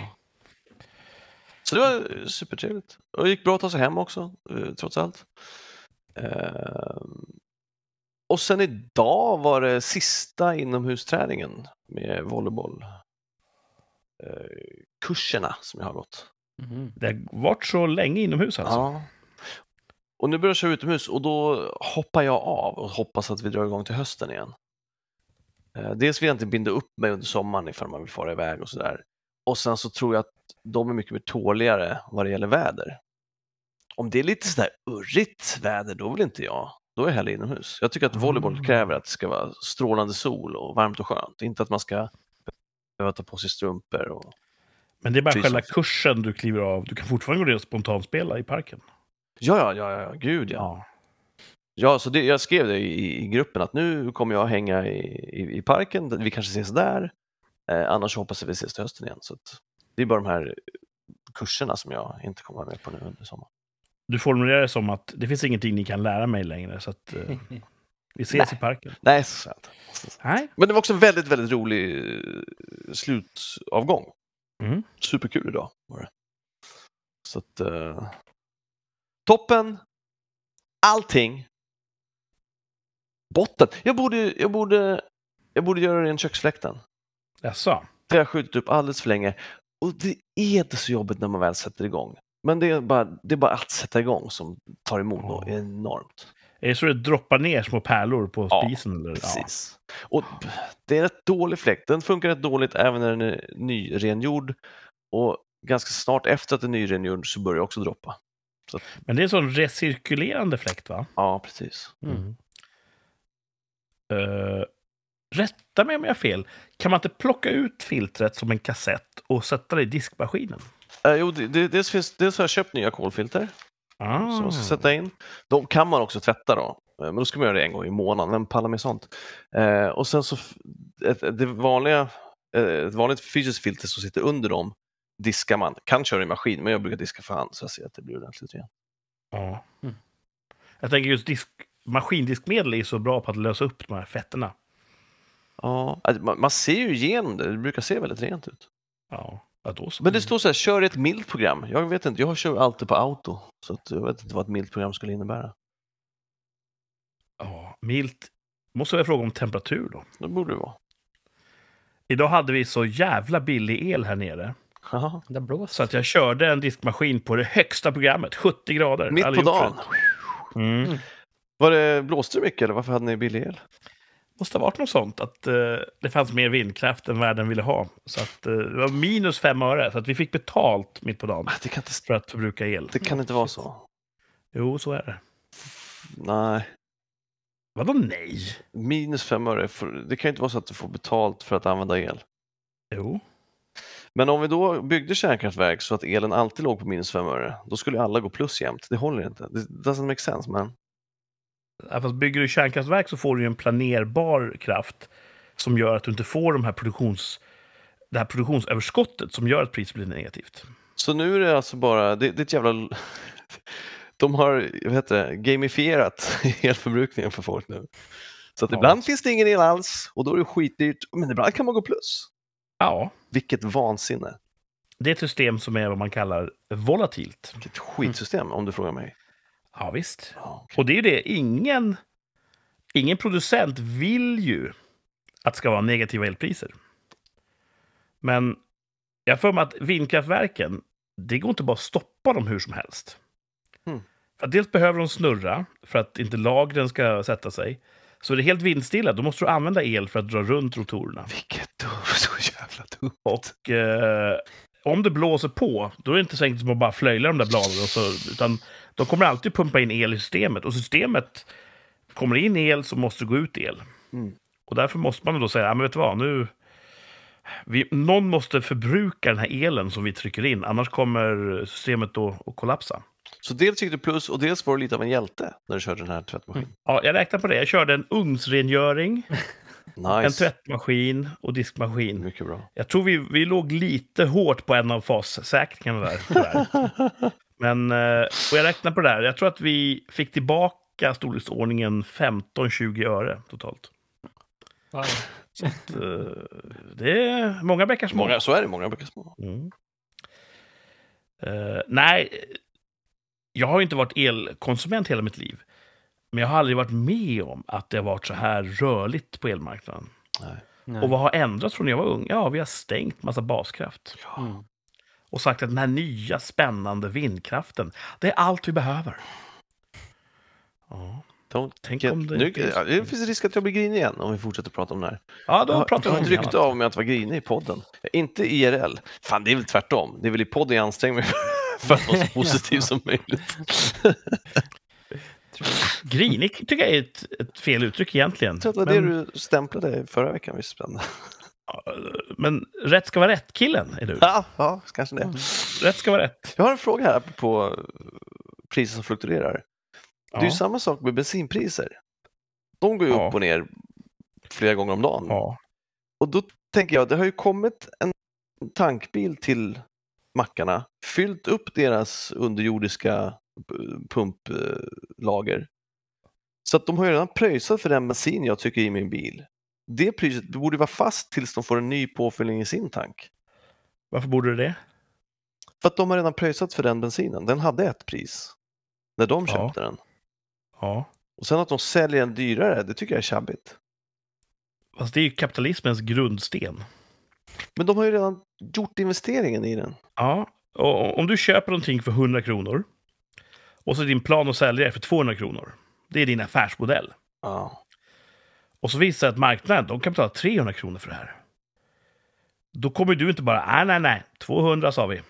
Speaker 2: Så det var supertrevligt. Och det gick bra att ta sig hem också, eh, trots allt. Ehm, Och sen idag var det sista inomhusträningen med volleyboll. Eh, Kurserna som jag har gått.
Speaker 3: Mhm.
Speaker 1: Det har varit så länge inomhus alltså.
Speaker 2: Ja. Och nu börjar jag köra utomhus och då hoppar jag av och hoppas att vi drar igång till hösten igen. Eh, Dels vill jag inte binda upp mig under sommaren ifall man vill fara iväg och sådär. Och sen så tror jag att de är mycket mer tåligare vad det gäller väder. Om det är lite sådär urrigt väder, då vill inte jag. Då är jag hellre inomhus. Jag tycker att volleyboll
Speaker 1: Mm.
Speaker 2: kräver att det ska vara strålande sol och varmt och skönt. Inte att man ska behöva ta på sig strumpor. Och...
Speaker 1: Men det är bara
Speaker 2: Precis.
Speaker 1: själva kursen du kliver av. Du kan fortfarande gå ner och spontanspela i parken.
Speaker 2: Ja, ja, ja, ja, gud ja. Ja, så det, jag skrev det i, i gruppen att nu kommer jag hänga i, i, i parken, vi kanske ses där. Eh, annars hoppas jag vi ses till hösten igen. Så att, det är bara de här kurserna som jag inte kommer vara med på nu under sommaren.
Speaker 1: Du formulerar det som att det finns ingenting ni kan lära mig längre, så att eh, vi ses i parken.
Speaker 2: Nej, så sant.
Speaker 1: Nej.
Speaker 2: Men det var också en väldigt, väldigt rolig eh, slutavgång.
Speaker 1: Mm.
Speaker 2: Superkul idag var det. Så att, eh, toppen, allting, botten. Jag borde, jag borde, jag borde göra ren köksfläkten.
Speaker 1: Jaså?
Speaker 2: Det har jag skjutit upp alldeles för länge. Och det är inte så jobbigt när man väl sätter igång. Men det är bara, det är bara att sätta igång som tar emot något enormt.
Speaker 1: Är det så det droppar ner små pärlor på
Speaker 2: Ja,
Speaker 1: spisen? Eller? Ja.
Speaker 2: Precis. Och p- det är en rätt dålig fläkt. Den funkar rätt dåligt även när den är nyrengjord. Och ganska snart efter att den är nyrengjord så börjar jag också droppa.
Speaker 1: Men det är en sån recirkulerande fläkt, va?
Speaker 2: Ja, precis.
Speaker 3: Mm.
Speaker 1: Eh, rätta mig om jag har fel. Kan man inte plocka ut filtret som en kassett och sätta det i diskmaskinen?
Speaker 2: Eh, jo, det, det, dels, finns, dels har jag köpt nya kolfilter
Speaker 1: Ah.
Speaker 2: som man ska sätta in. De kan man också tvätta då. Eh, Men då ska man göra det en gång i månaden. Vem pallar med sånt? Eh, och sen så f- ett, ett- det vanliga, eh, ett vanligt fysiskt filter som sitter under dem diskar man. Kan köra i maskin, men jag brukar diska för hand så jag ser att det blir ordentligt igen.
Speaker 1: Ja.
Speaker 3: Mm.
Speaker 1: Jag tänker just disk, maskindiskmedel är så bra på att lösa upp de här fetterna.
Speaker 2: Ja, att man, man ser ju igenom det, det brukar se väldigt rent ut.
Speaker 1: Ja, ja då så.
Speaker 2: Men det står så här, kör ett milt program. Jag vet inte, jag kör alltid på auto, så att jag vet inte vad ett milt program skulle innebära.
Speaker 1: Ja, milt. Måste jag fråga om temperatur då?
Speaker 2: Det borde det vara.
Speaker 1: Idag hade vi så jävla billig el här nere.
Speaker 2: Jaha.
Speaker 3: Där blåser
Speaker 1: Så att jag körde en diskmaskin på det högsta programmet, 70 grader.
Speaker 2: Mitt
Speaker 1: Aldrig
Speaker 2: på
Speaker 1: gjort
Speaker 2: dagen.
Speaker 1: förut. Mm.
Speaker 2: Var det, blåste det mycket eller varför hade ni billig el?
Speaker 1: måste ha varit något sånt, att eh, det fanns mer vindkraft än världen ville ha. Så att, eh, det var minus fem öre, så att vi fick betalt mitt på dagen
Speaker 2: Ah, Det kan inte,
Speaker 1: för att förbruka el.
Speaker 2: det kan inte vara så.
Speaker 1: Jo, så är det.
Speaker 2: Nej,
Speaker 1: Vadå nej?
Speaker 2: minus fem öre, för, det kan ju inte vara så att du får betalt för att använda el.
Speaker 1: Jo.
Speaker 2: Men om vi då byggde kärnkraftverk så att elen alltid låg på minus fem öre, då skulle alla gå plus jämt. Det håller inte. Det doesn't make sense, man.
Speaker 1: Ja, Fast bygger du kärnkraftverk så får du ju en planerbar kraft som gör att du inte får de här produktions, det här produktionsöverskottet som gör att priset blir negativt.
Speaker 2: Så nu är det alltså bara, det, det är ett jävla... De har vad heter det, gamifierat elförbrukningen för folk nu. Så att
Speaker 1: Ja.
Speaker 2: ibland finns det ingen el alls och då är det skitdyrt, men ibland kan man gå plus.
Speaker 1: Ja,
Speaker 2: Vilket vansinne,
Speaker 1: det är ett system som är vad man kallar volatilt.
Speaker 2: vilket skitsystem om du frågar mig.
Speaker 1: Ja, visst.
Speaker 2: Ja,
Speaker 1: Och det är ju det, ingen, ingen producent vill ju att det ska vara negativa elpriser. Men jag har för mig att vindkraftverken, det går inte bara att stoppa dem hur som helst.
Speaker 2: Mm.
Speaker 1: För att dels behöver de snurra för att inte lagren ska sätta sig. Så är det helt vindstilla, då måste du använda el för att dra runt rotorerna.
Speaker 2: vilket dumt, så jävla dumt.
Speaker 1: Och eh, om det blåser på, då är det inte så enkelt som att bara flöjla de där bladen. Och så, utan de kommer alltid pumpa in el i systemet. Och systemet, kommer det in el så måste det gå ut el.
Speaker 2: Mm.
Speaker 1: Och därför måste man då säga, ja men vet du vad, nu... Vi, någon måste förbruka den här elen som vi trycker in, annars kommer systemet då att kollapsa.
Speaker 2: Så dels gick du plus och dels var du lite av en hjälte när du körde den här tvättmaskinen.
Speaker 1: Ja, jag räknar på det. Jag körde en ugnsrengöring, Mm. en
Speaker 2: Nice,
Speaker 1: tvättmaskin och diskmaskin.
Speaker 2: mycket bra.
Speaker 1: Jag tror vi, vi låg lite hårt på en av fassäkringarna där. tyvärr. Men, eh, och jag räknar på det här. Jag tror att vi fick tillbaka storleksordningen 15-20 öre totalt.
Speaker 3: Wow.
Speaker 1: Eh, Det är många bäckar små.
Speaker 2: Många, så är det, många brukar små.
Speaker 1: Mm. Eh, nej, jag har ju inte varit elkonsument hela mitt liv. Men jag har aldrig varit med om att det har varit så här rörligt på elmarknaden.
Speaker 3: Nej.
Speaker 1: Och vad har ändrats från när jag var ung? Ja, vi har stängt massa baskraft.
Speaker 3: Mm.
Speaker 1: och sagt att den här nya spännande vindkraften, det är allt vi behöver. Ja,
Speaker 2: Don't
Speaker 1: Tänk
Speaker 2: get,
Speaker 1: om det
Speaker 2: nu,
Speaker 1: inte är så.
Speaker 2: ja, det finns risk att jag blir grinig igen om vi fortsätter prata om det här.
Speaker 1: ja då
Speaker 2: jag har,
Speaker 1: pratar vi om
Speaker 2: jag har ett
Speaker 1: något
Speaker 2: rykte
Speaker 1: annat.
Speaker 2: om mig att vara grinig i podden. Inte IRL. Fan, det är väl tvärtom. Det är väl i podden jag anstränger mig för att vara så positiv som möjligt.
Speaker 3: Tror jag.
Speaker 1: Grinig tycker jag är ett, ett fel uttryck egentligen.
Speaker 2: Jag tror att det
Speaker 1: Men,
Speaker 2: du stämplade förra veckan visst spännande.
Speaker 1: eh, men rätt ska vara rätt-killen är du.
Speaker 2: Ja, ja, kanske det.
Speaker 1: Rätt ska vara rätt.
Speaker 2: Jag har en fråga här på priser som fluktuerar. Det är ju samma sak med bensinpriser. De går ju
Speaker 1: Ja.
Speaker 2: upp och ner flera gånger om dagen.
Speaker 1: ja.
Speaker 2: Och då tänker jag, det har ju kommit en tankbil till mackarna, fyllt upp deras underjordiska p- pumplager. Så att de har ju redan pröjsat för den bensin jag tycker i min bil. Det priset borde vara fast tills de får en ny påfyllning i sin tank.
Speaker 1: Varför borde det det?
Speaker 2: För att de har redan pröjsat för den bensinen. Den hade ett pris när de
Speaker 1: Ja.
Speaker 2: köpte den.
Speaker 1: Ja.
Speaker 2: Och sen att de säljer den dyrare, det tycker jag är tjabbigt.
Speaker 1: Fast det är ju kapitalismens grundsten.
Speaker 2: Men de har ju redan gjort investeringen i den.
Speaker 1: Ja. Och om du köper någonting för 100 kronor och så är din plan att sälja det för 200 kronor. Det är din affärsmodell.
Speaker 2: Ja,
Speaker 1: Och så visar det att marknaden, de kan betala 300 kronor för det här. Då kommer du inte bara, "Ah, nej, nej, nej, 200 sa vi.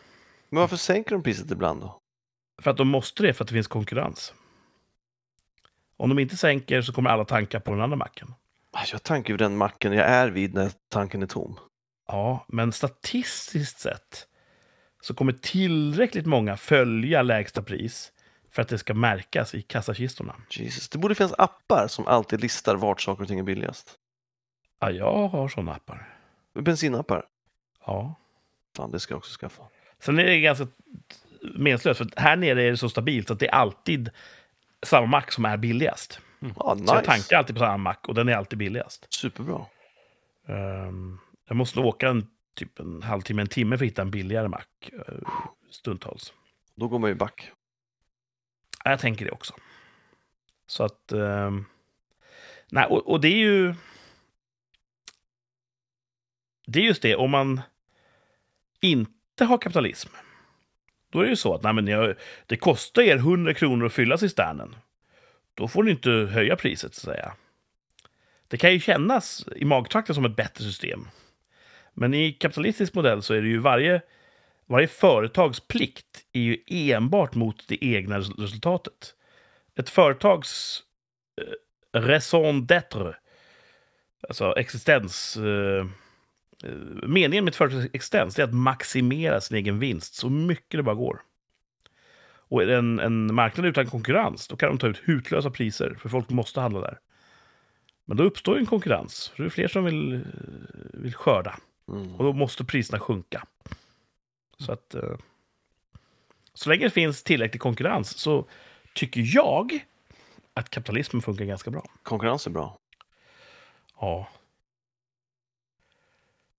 Speaker 2: Men varför sänker de priset ibland då?
Speaker 1: För att de måste det för att det finns konkurrens. Om de inte sänker så kommer alla tanka på den andra macken.
Speaker 2: Ah, Jag tankar ju den macken jag är vid när tanken är tom.
Speaker 1: Ja, men statistiskt sett så kommer tillräckligt många följa lägsta pris för att det ska märkas i kassakistorna.
Speaker 2: Jesus, det borde finnas appar som alltid listar vart saker och ting är billigast.
Speaker 1: Ja, jag har sådana appar.
Speaker 2: Bensinappar.
Speaker 1: Ja.
Speaker 2: Fan, det ska jag också skaffa. Ah,
Speaker 1: Sen är det ganska meningslöst, för att här nere är det så stabilt så att det är alltid samma mack som är billigast.
Speaker 2: Ah,
Speaker 1: Så jag
Speaker 2: nice.
Speaker 1: tankar alltid på samma mack och den är alltid billigast.
Speaker 2: Superbra.
Speaker 1: Ehm, jag måste nog åka en, typ en halvtimme, en timme för att hitta en billigare mack eh, stundtals.
Speaker 2: Då går man ju back.
Speaker 1: Ja, Jag tänker det också. Så att... ehm, nej, och, och det är ju... Det är just det, om man inte har kapitalism, då är det ju så att nej, men jag, det kostar er 100 kronor att fylla cisternen. Då får ni inte höja priset, så att säga. Det kan ju kännas i magtrakten som ett bättre system. Men i kapitalistisk modell så är det ju varje varje företags plikt är ju enbart mot det egna res- resultatet. Ett företags eh, raison d'être, alltså existens, eh, eh, meningen med ett företags existens det är att maximera sin egen vinst så mycket det bara går. Och är det en, en marknad utan konkurrens, då kan de ta ut hutlösa priser, för folk måste handla där. Men då uppstår ju en konkurrens, för det är fler som vill, eh, vill skörda.
Speaker 2: Mm.
Speaker 1: Och då måste priserna sjunka. Så att... eh, Så länge det finns tillräcklig konkurrens så tycker jag att kapitalismen funkar ganska bra.
Speaker 2: Konkurrens är bra.
Speaker 1: Ja.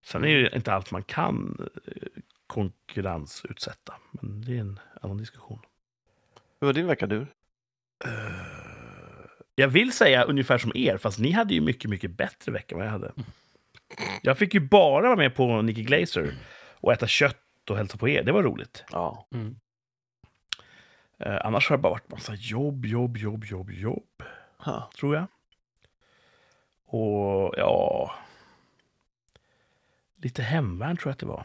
Speaker 1: Sen är ju inte allt man kan eh, konkurrensutsätta. Men det är en annan diskussion.
Speaker 2: Hur var din vecka du?
Speaker 1: Jag vill säga ungefär som er, fast ni hade ju mycket, mycket bättre vecka än vad jag hade. Jag fick ju bara vara med på Nicky Glazer och äta kött och hälsa på er. Det var roligt.
Speaker 2: Ja,
Speaker 3: Mm.
Speaker 1: Eh, annars har det bara varit massa jobb, jobb, jobb, jobb, jobb,
Speaker 2: ha.
Speaker 1: tror jag. Och ja... Lite hemvärn tror jag att det var.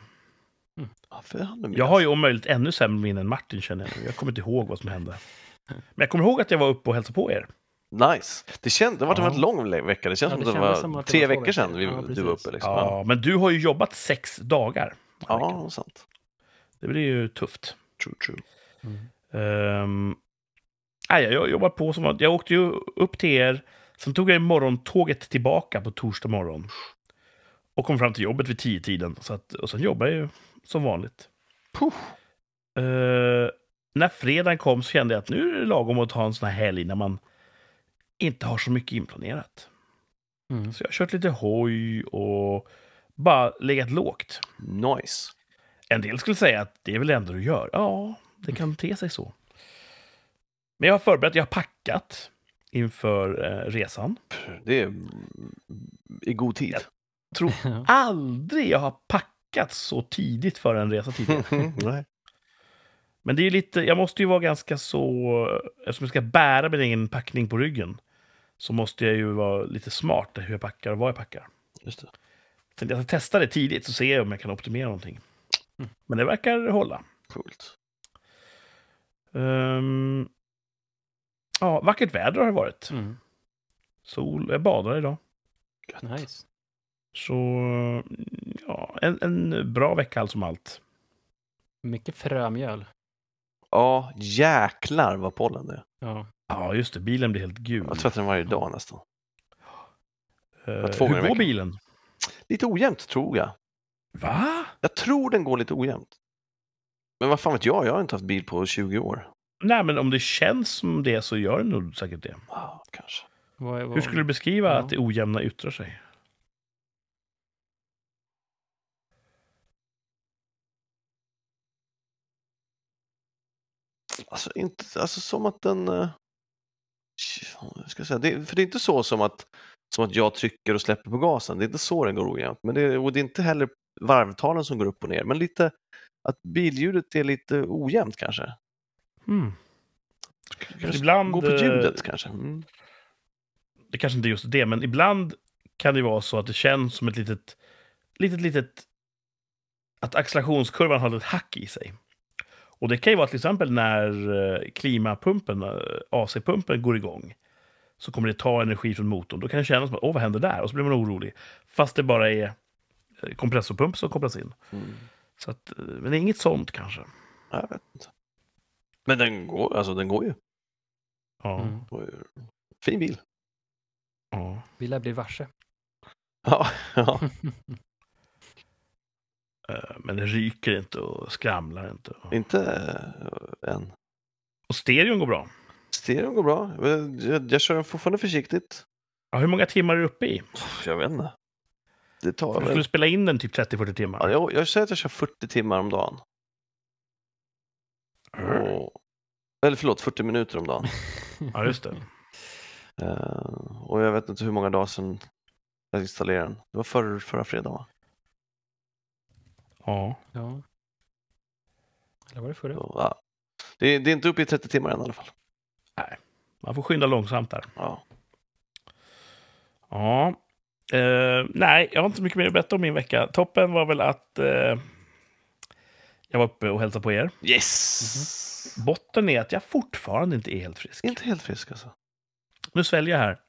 Speaker 2: varför hann du med?
Speaker 1: Jag har ju om möjligt ännu sämre minne än Martin känner jag nu. Jag kommer inte ihåg vad som hände. Men jag kommer ihåg att jag var uppe och hälsade på er.
Speaker 2: Nice. Det, kändes, det har varit en
Speaker 1: Ja.
Speaker 2: väldigt lång le- vecka. Det känns
Speaker 3: Ja,
Speaker 2: som
Speaker 3: det
Speaker 2: att det
Speaker 3: kändes
Speaker 2: var
Speaker 3: som att det
Speaker 2: tre
Speaker 3: var två
Speaker 2: veckor sedan vi,
Speaker 3: veckor. Ja,
Speaker 2: du var
Speaker 3: precis.
Speaker 2: uppe. Liksom.
Speaker 1: Ja, men du har ju jobbat sex dagar. Annika.
Speaker 2: ja sant.
Speaker 1: Det blir ju tufft.
Speaker 2: True, true.
Speaker 3: Mm.
Speaker 1: Ehm, nej, jag- jag jobbar på som vanligt. Jag åkte ju upp till er, sen tog jag morgontåget tillbaka på torsdag morgon. Och kom fram till jobbet vid tio tiden. Så att, och sen jobbar jag ju som vanligt.
Speaker 2: Puff.
Speaker 1: Ehm, när fredagen kom så kände jag att nu är det lagom att ta en sån här helg när man inte har så mycket inplanerat.
Speaker 3: Mm.
Speaker 1: Så jag har kört lite hoj och bara legat lågt.
Speaker 2: Nice.
Speaker 1: En del skulle säga att det är väl det enda du gör. Ja, det kan te sig så. Men jag har förberett, jag har packat inför eh, resan.
Speaker 2: Det är i god tid.
Speaker 1: Jag tror aldrig jag har packat så tidigt för en resa tidigare.
Speaker 2: Nej.
Speaker 1: Men det är ju lite, jag måste ju vara ganska så... Eftersom jag ska bära min egen packning på ryggen så måste jag ju vara lite smart i hur jag packar och vad jag packar.
Speaker 2: Just det.
Speaker 1: Så jag ska testa det tidigt så ser jag om jag kan optimera någonting. Men det verkar hålla.
Speaker 2: Coolt.
Speaker 1: Ehm, ja, vackert väder har det varit.
Speaker 3: Mm.
Speaker 1: sol. Jag badar idag.
Speaker 2: Gött.
Speaker 3: Nice.
Speaker 1: Så ja, en, en bra vecka allt som allt.
Speaker 3: Mycket frömjöl.
Speaker 2: Ja, jäklar vad pollen det är.
Speaker 3: Ja.
Speaker 1: Ja, just det. Bilen blir helt gul.
Speaker 2: Jag tvättar den varje dag nästan.
Speaker 1: Eh,
Speaker 2: två gånger
Speaker 1: hur går
Speaker 2: i veckan.
Speaker 1: bilen?
Speaker 2: Lite ojämnt tror jag.
Speaker 1: Va?
Speaker 2: Jag tror den går lite ojämnt. Men vad fan vet jag? Jag har inte haft bil på 20 år.
Speaker 1: Nej, men om det känns som det så gör den nog säkert det.
Speaker 2: Ah, kanske.
Speaker 3: Vad är, vad...
Speaker 1: Hur skulle du beskriva
Speaker 3: Ja.
Speaker 1: att det ojämna yttrar sig?
Speaker 2: Alltså, inte, alltså som att den... eh, vad Ska jag säga? Det, för det är inte så som att, som att jag trycker och släpper på gasen. Det är inte så den går ojämnt. Men det, och det är inte heller varvtalen som går upp och ner. Men lite att billjudet är lite ojämnt kanske.
Speaker 3: Mm.
Speaker 2: kanske
Speaker 1: Ibland,
Speaker 2: Gå på
Speaker 1: eh,
Speaker 2: ljudet kanske. Mm.
Speaker 1: Det kanske inte är just det, men ibland kan det vara så att det känns som ett litet, litet, litet... Att accelerationskurvan har ett hack i sig. Och det kan ju vara till exempel när eh, klimapumpen, eh, AC-pumpen, går igång. Så kommer det ta energi från motorn. Då kan det kännas som att åh, vad händer där? Och så blir man orolig. Fast det bara är eh, kompressorpump som kopplas in.
Speaker 2: Mm.
Speaker 1: Så att, eh, men det är inget sånt kanske.
Speaker 2: Ja, Jag vet inte. Men den går, alltså, den går ju.
Speaker 1: Ja.
Speaker 3: Mm.
Speaker 2: Den går ju. Fin bil.
Speaker 1: ja.
Speaker 3: Vi lär bli varse.
Speaker 2: Ja, ja.
Speaker 1: Eh, Men det ryker inte och skramlar inte.
Speaker 2: inte eh, än.
Speaker 1: Och stereon går bra.
Speaker 2: Stereon går bra. Jag, jag, jag kör den fortfarande försiktigt.
Speaker 1: Ja, hur många timmar är du uppe i?
Speaker 2: Jag vet inte. Det tar
Speaker 1: Du skulle
Speaker 2: väl...
Speaker 1: spela in den typ 30-40 timmar.
Speaker 2: Ja, jag, jag säger att jag kör 40 timmar om dagen.
Speaker 1: Mm.
Speaker 2: Och, eller förlåt, 40 minuter om dagen.
Speaker 1: ja just det.
Speaker 2: Eh, och jag vet inte hur många dagar sedan jag installerade den. Det var förra, förra fredagen va?
Speaker 1: Ja.
Speaker 3: Ja. Eller var det förra?
Speaker 2: Så, ja. det, det är inte uppe i 30 timmar än i alla fall.
Speaker 1: Man får skynda långsamt där.
Speaker 2: Ja.
Speaker 1: Ja. Eh, nej, jag har inte så mycket mer att berätta om min vecka. Toppen var väl att eh, jag var uppe och hälsade på er.
Speaker 2: Yes!
Speaker 1: Botten är att jag fortfarande inte är helt frisk.
Speaker 2: Inte helt frisk alltså.
Speaker 1: Nu sväljer jag här.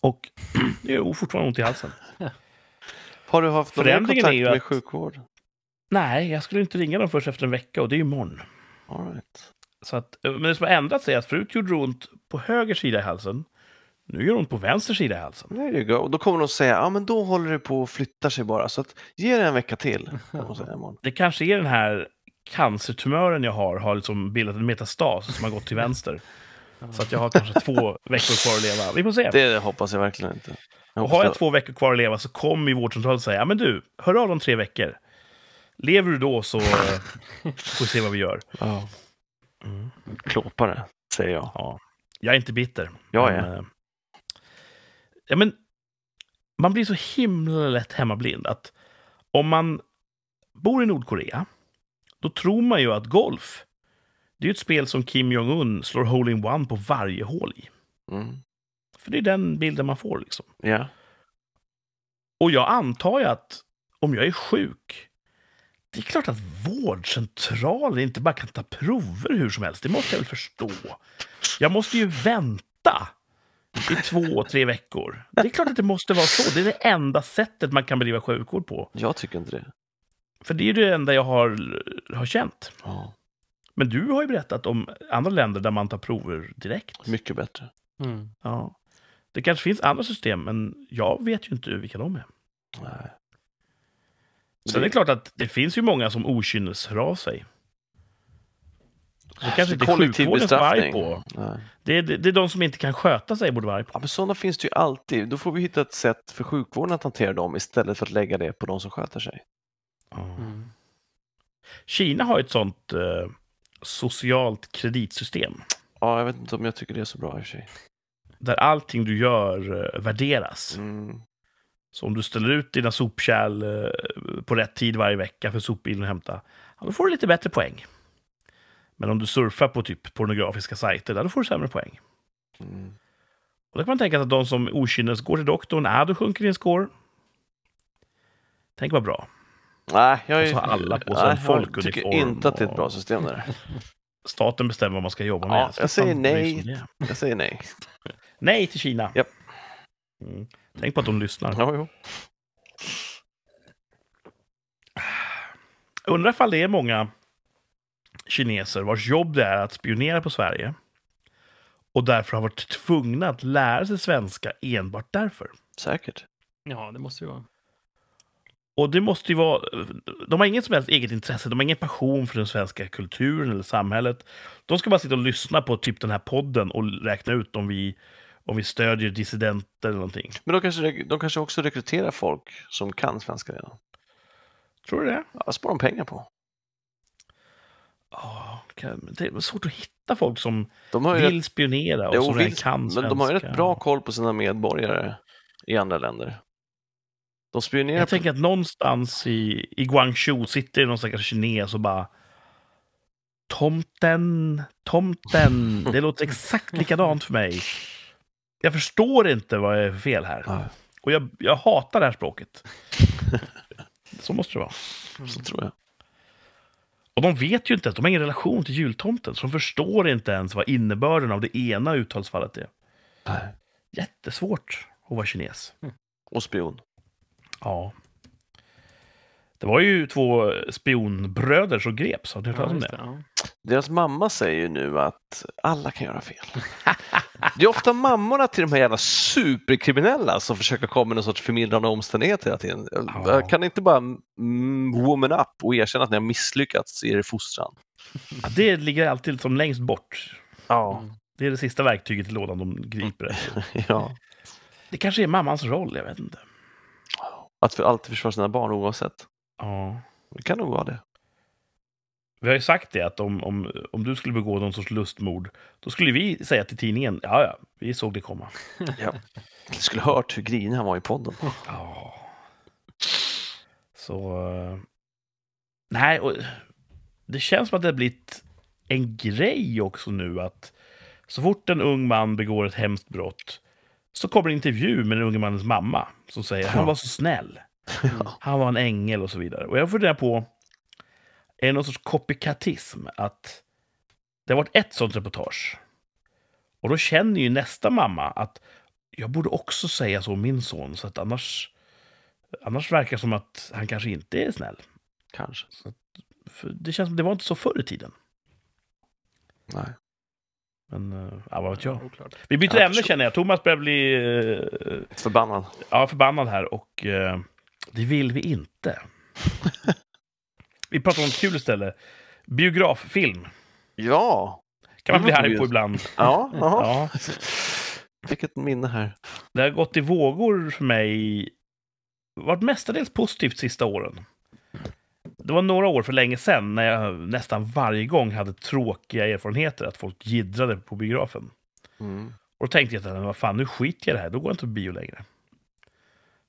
Speaker 1: Och det är fortfarande ont i halsen.
Speaker 2: Har du haft någon mer
Speaker 1: Förändringen är
Speaker 2: kontakt
Speaker 1: ju
Speaker 2: med
Speaker 1: att-
Speaker 2: sjukvården?
Speaker 1: Nej, jag skulle inte ringa dem först efter en vecka och det är ju imorgon.
Speaker 2: All right.
Speaker 1: Så att, eh, men det som har ändrats är att förut gjorde det ont på höger sida i halsen. Nu gör det ont på vänster sida i halsen.
Speaker 2: There you go. Och då kommer de säga, ja men då håller det på att flytta sig bara. Så att ge det en vecka till. kommer de säga imorgon.
Speaker 1: Det kanske är den här cancertumören jag har, har liksom bildat en metastas som har gått till vänster. Så att jag har kanske två veckor kvar att leva. Vi får se.
Speaker 2: Det hoppas jag verkligen inte. Jag
Speaker 1: Och
Speaker 2: hoppas
Speaker 1: har jag
Speaker 2: det-
Speaker 1: två veckor kvar att leva så kommer ju vårdcentralen säga, ja men du, hör av om tre veckor. Lever du då så eh, får vi se vad vi gör.
Speaker 2: Ja. Klåpare, säger jag.
Speaker 1: Ja, jag är inte bitter.
Speaker 2: Jag
Speaker 1: men, eh, ja, men man blir så himla lätt hemmablind att om man bor i Nordkorea, då tror man ju att golf, det är ju ett spel som Kim Jong-Un slår hole-in-one på varje hål i.
Speaker 2: Mm.
Speaker 1: För det är den bilden man får liksom.
Speaker 2: Ja.
Speaker 1: Och jag antar ju att om jag är sjuk, det är klart att vårdcentralen inte bara kan ta prover hur som helst. Det måste jag väl förstå. Jag måste ju vänta i två, tre veckor. Det är klart att det måste vara så. Det är det enda sättet man kan bedriva sjukvård på.
Speaker 2: Jag tycker inte det.
Speaker 1: För det är ju det enda jag har, har känt.
Speaker 2: Ja.
Speaker 1: Men du har ju berättat om andra länder där man tar prover direkt.
Speaker 2: Mycket bättre.
Speaker 3: Mm.
Speaker 1: Ja. Det kanske finns andra system, men jag vet ju inte vilka de är.
Speaker 2: Nej.
Speaker 1: Sen är det klart att det finns ju många som okynnes av sig. Det kanske inte är
Speaker 2: Kollektiv
Speaker 1: sjukvården som är arg
Speaker 2: bestraffning.
Speaker 1: på.
Speaker 2: Nej.
Speaker 1: Det är, det, det är de som inte kan sköta sig borde vara arg på.
Speaker 2: Ja, men sådana finns det ju alltid. Då får vi hitta ett sätt för sjukvården att hantera dem istället för att lägga det på de som sköter sig.
Speaker 3: Mm.
Speaker 1: Kina har ju ett sånt eh, socialt kreditsystem
Speaker 2: Ja, jag vet inte om jag tycker det är så bra i och för sig.
Speaker 1: där allting du gör eh, värderas.
Speaker 2: Mm.
Speaker 1: Så om du ställer ut dina sopkärl eh, på rätt tid varje vecka för sopbilen att hämta, ja, då får du lite bättre poäng. Men om du surfar på typ pornografiska sajter, där, då får du sämre poäng.
Speaker 2: Mm.
Speaker 1: Och då kan man tänka sig att de som okynnes går till doktorn, är du sjunker din score. Tänk vad bra.
Speaker 2: Nej, jag
Speaker 1: Och
Speaker 2: är...
Speaker 1: så har Alltså, alla på sig
Speaker 2: Nej,
Speaker 1: en
Speaker 2: Jag tycker
Speaker 1: folkuniform
Speaker 2: inte att det är ett
Speaker 1: och-
Speaker 2: bra system det där.
Speaker 1: Staten bestämmer vad man ska jobba
Speaker 2: Ja,
Speaker 1: med.
Speaker 2: jag
Speaker 1: Staten
Speaker 2: säger
Speaker 1: bryr sig
Speaker 2: nej.
Speaker 1: om det.
Speaker 2: Jag säger nej.
Speaker 1: Nej till Kina.
Speaker 2: Japp.
Speaker 1: Mm. Tänk på att de lyssnar.
Speaker 2: Ja, jo.
Speaker 1: Undrar ifall det är många kineser vars jobb det är att spionera på Sverige och därför har varit tvungna att lära sig svenska enbart därför.
Speaker 2: Säkert.
Speaker 3: Ja, det måste ju vara.
Speaker 1: Och det måste ju vara... De har inget som helst eget intresse, de har ingen passion för den svenska kulturen eller samhället. De ska bara sitta och lyssna på typ den här podden och räkna ut om vi, om vi stödjer dissidenter eller någonting.
Speaker 2: Men de kanske, de kanske också rekryterar folk som kan svenska redan.
Speaker 1: Tror du det?
Speaker 2: Ja, sparar de pengar på.
Speaker 1: Ja, kan- det är svårt att hitta folk som
Speaker 2: De har ju
Speaker 1: vill
Speaker 2: rätt,
Speaker 1: spionera och
Speaker 2: jo,
Speaker 1: som redan
Speaker 2: visst,
Speaker 1: kan svenska.
Speaker 2: men de har ju rätt bra koll på sina medborgare i andra länder. De spionerar
Speaker 1: Jag
Speaker 2: på...
Speaker 1: tänker att någonstans i, i Guangzhou sitter det någon stackars kines och bara Tomten, tomten, det låter exakt likadant för mig. Jag förstår inte vad jag är för fel här.
Speaker 2: Ja,
Speaker 1: Och jag, jag hatar det här språket. Så måste det vara.
Speaker 2: så tror jag.
Speaker 1: Och de vet ju inte ens, de har ingen relation till jultomten, så de förstår inte ens vad innebörden av det ena uttalsfallet är.
Speaker 2: Nej.
Speaker 1: Jättesvårt att vara kines.
Speaker 2: Och spion.
Speaker 1: Ja. Det var ju två spionbröder som greps, har ni hört talas om
Speaker 3: just
Speaker 1: det?
Speaker 3: det, ja.
Speaker 2: Deras mamma säger ju nu att alla kan göra fel. Det är ofta mammorna till de här jävla superkriminella som försöker komma med någon sorts förmildrande omständighet hela tiden.
Speaker 1: Ja.
Speaker 2: Kan ni inte bara mm, woman up och erkänna att ni har misslyckats i er fostran?
Speaker 1: Ja, det ligger alltid som längst bort.
Speaker 2: Ja.
Speaker 1: Det är det sista verktyget i lådan de griper efter.
Speaker 2: ja.
Speaker 1: Det kanske är mammans roll, jag vet inte.
Speaker 2: Att för alltid försvara sina barn oavsett.
Speaker 1: Ja.
Speaker 2: Det kan nog vara det.
Speaker 1: Vi har ju sagt det, att om, om, om du skulle begå någon sorts lustmord, då skulle vi säga till tidningen, ja, ja, vi såg det komma.
Speaker 2: Jag skulle hört hur grinig han var i podden.
Speaker 1: Ja. Så... eh, Nej, och det känns som att det har blivit en grej också nu att så fort en ung man begår ett hemskt brott så kommer en intervju med den unge mannens mamma som säger han var så snäll. Han var en ängel och så vidare. Och jag funderar på, är det någon sorts copycatism? Att det har varit ett sånt reportage. Och då känner ju nästa mamma att jag borde också säga så om min son, så att annars, annars verkar det som att han kanske inte är snäll.
Speaker 2: Kanske.
Speaker 1: För det känns som det var inte så förr i tiden.
Speaker 2: Nej.
Speaker 1: Men eh, ja, vad vet jag.
Speaker 3: Oklart.
Speaker 1: Vi byter
Speaker 2: Jag
Speaker 1: ämne
Speaker 2: förstår.
Speaker 1: känner jag. Thomas börjar bli eh,
Speaker 2: Förbannad.
Speaker 1: ja, förbannad här och eh, det vill vi inte. vi pratar om kul istället. Biograffilm
Speaker 2: Ja.
Speaker 1: kan man
Speaker 2: Det
Speaker 1: bli
Speaker 2: låter
Speaker 1: arg
Speaker 2: ju-
Speaker 1: på ibland.
Speaker 2: Ja. ja.
Speaker 1: Ja,
Speaker 2: Vilket minne här.
Speaker 1: det har gått i vågor för mig. Varit mestadels positivt sista åren. Det var några år för länge sedan när jag nästan varje gång hade tråkiga erfarenheter att folk jiddrade på biografen.
Speaker 2: Mm.
Speaker 1: Och då tänkte jag att vad fan, nu skiter jag i det här, då går jag inte på bio längre.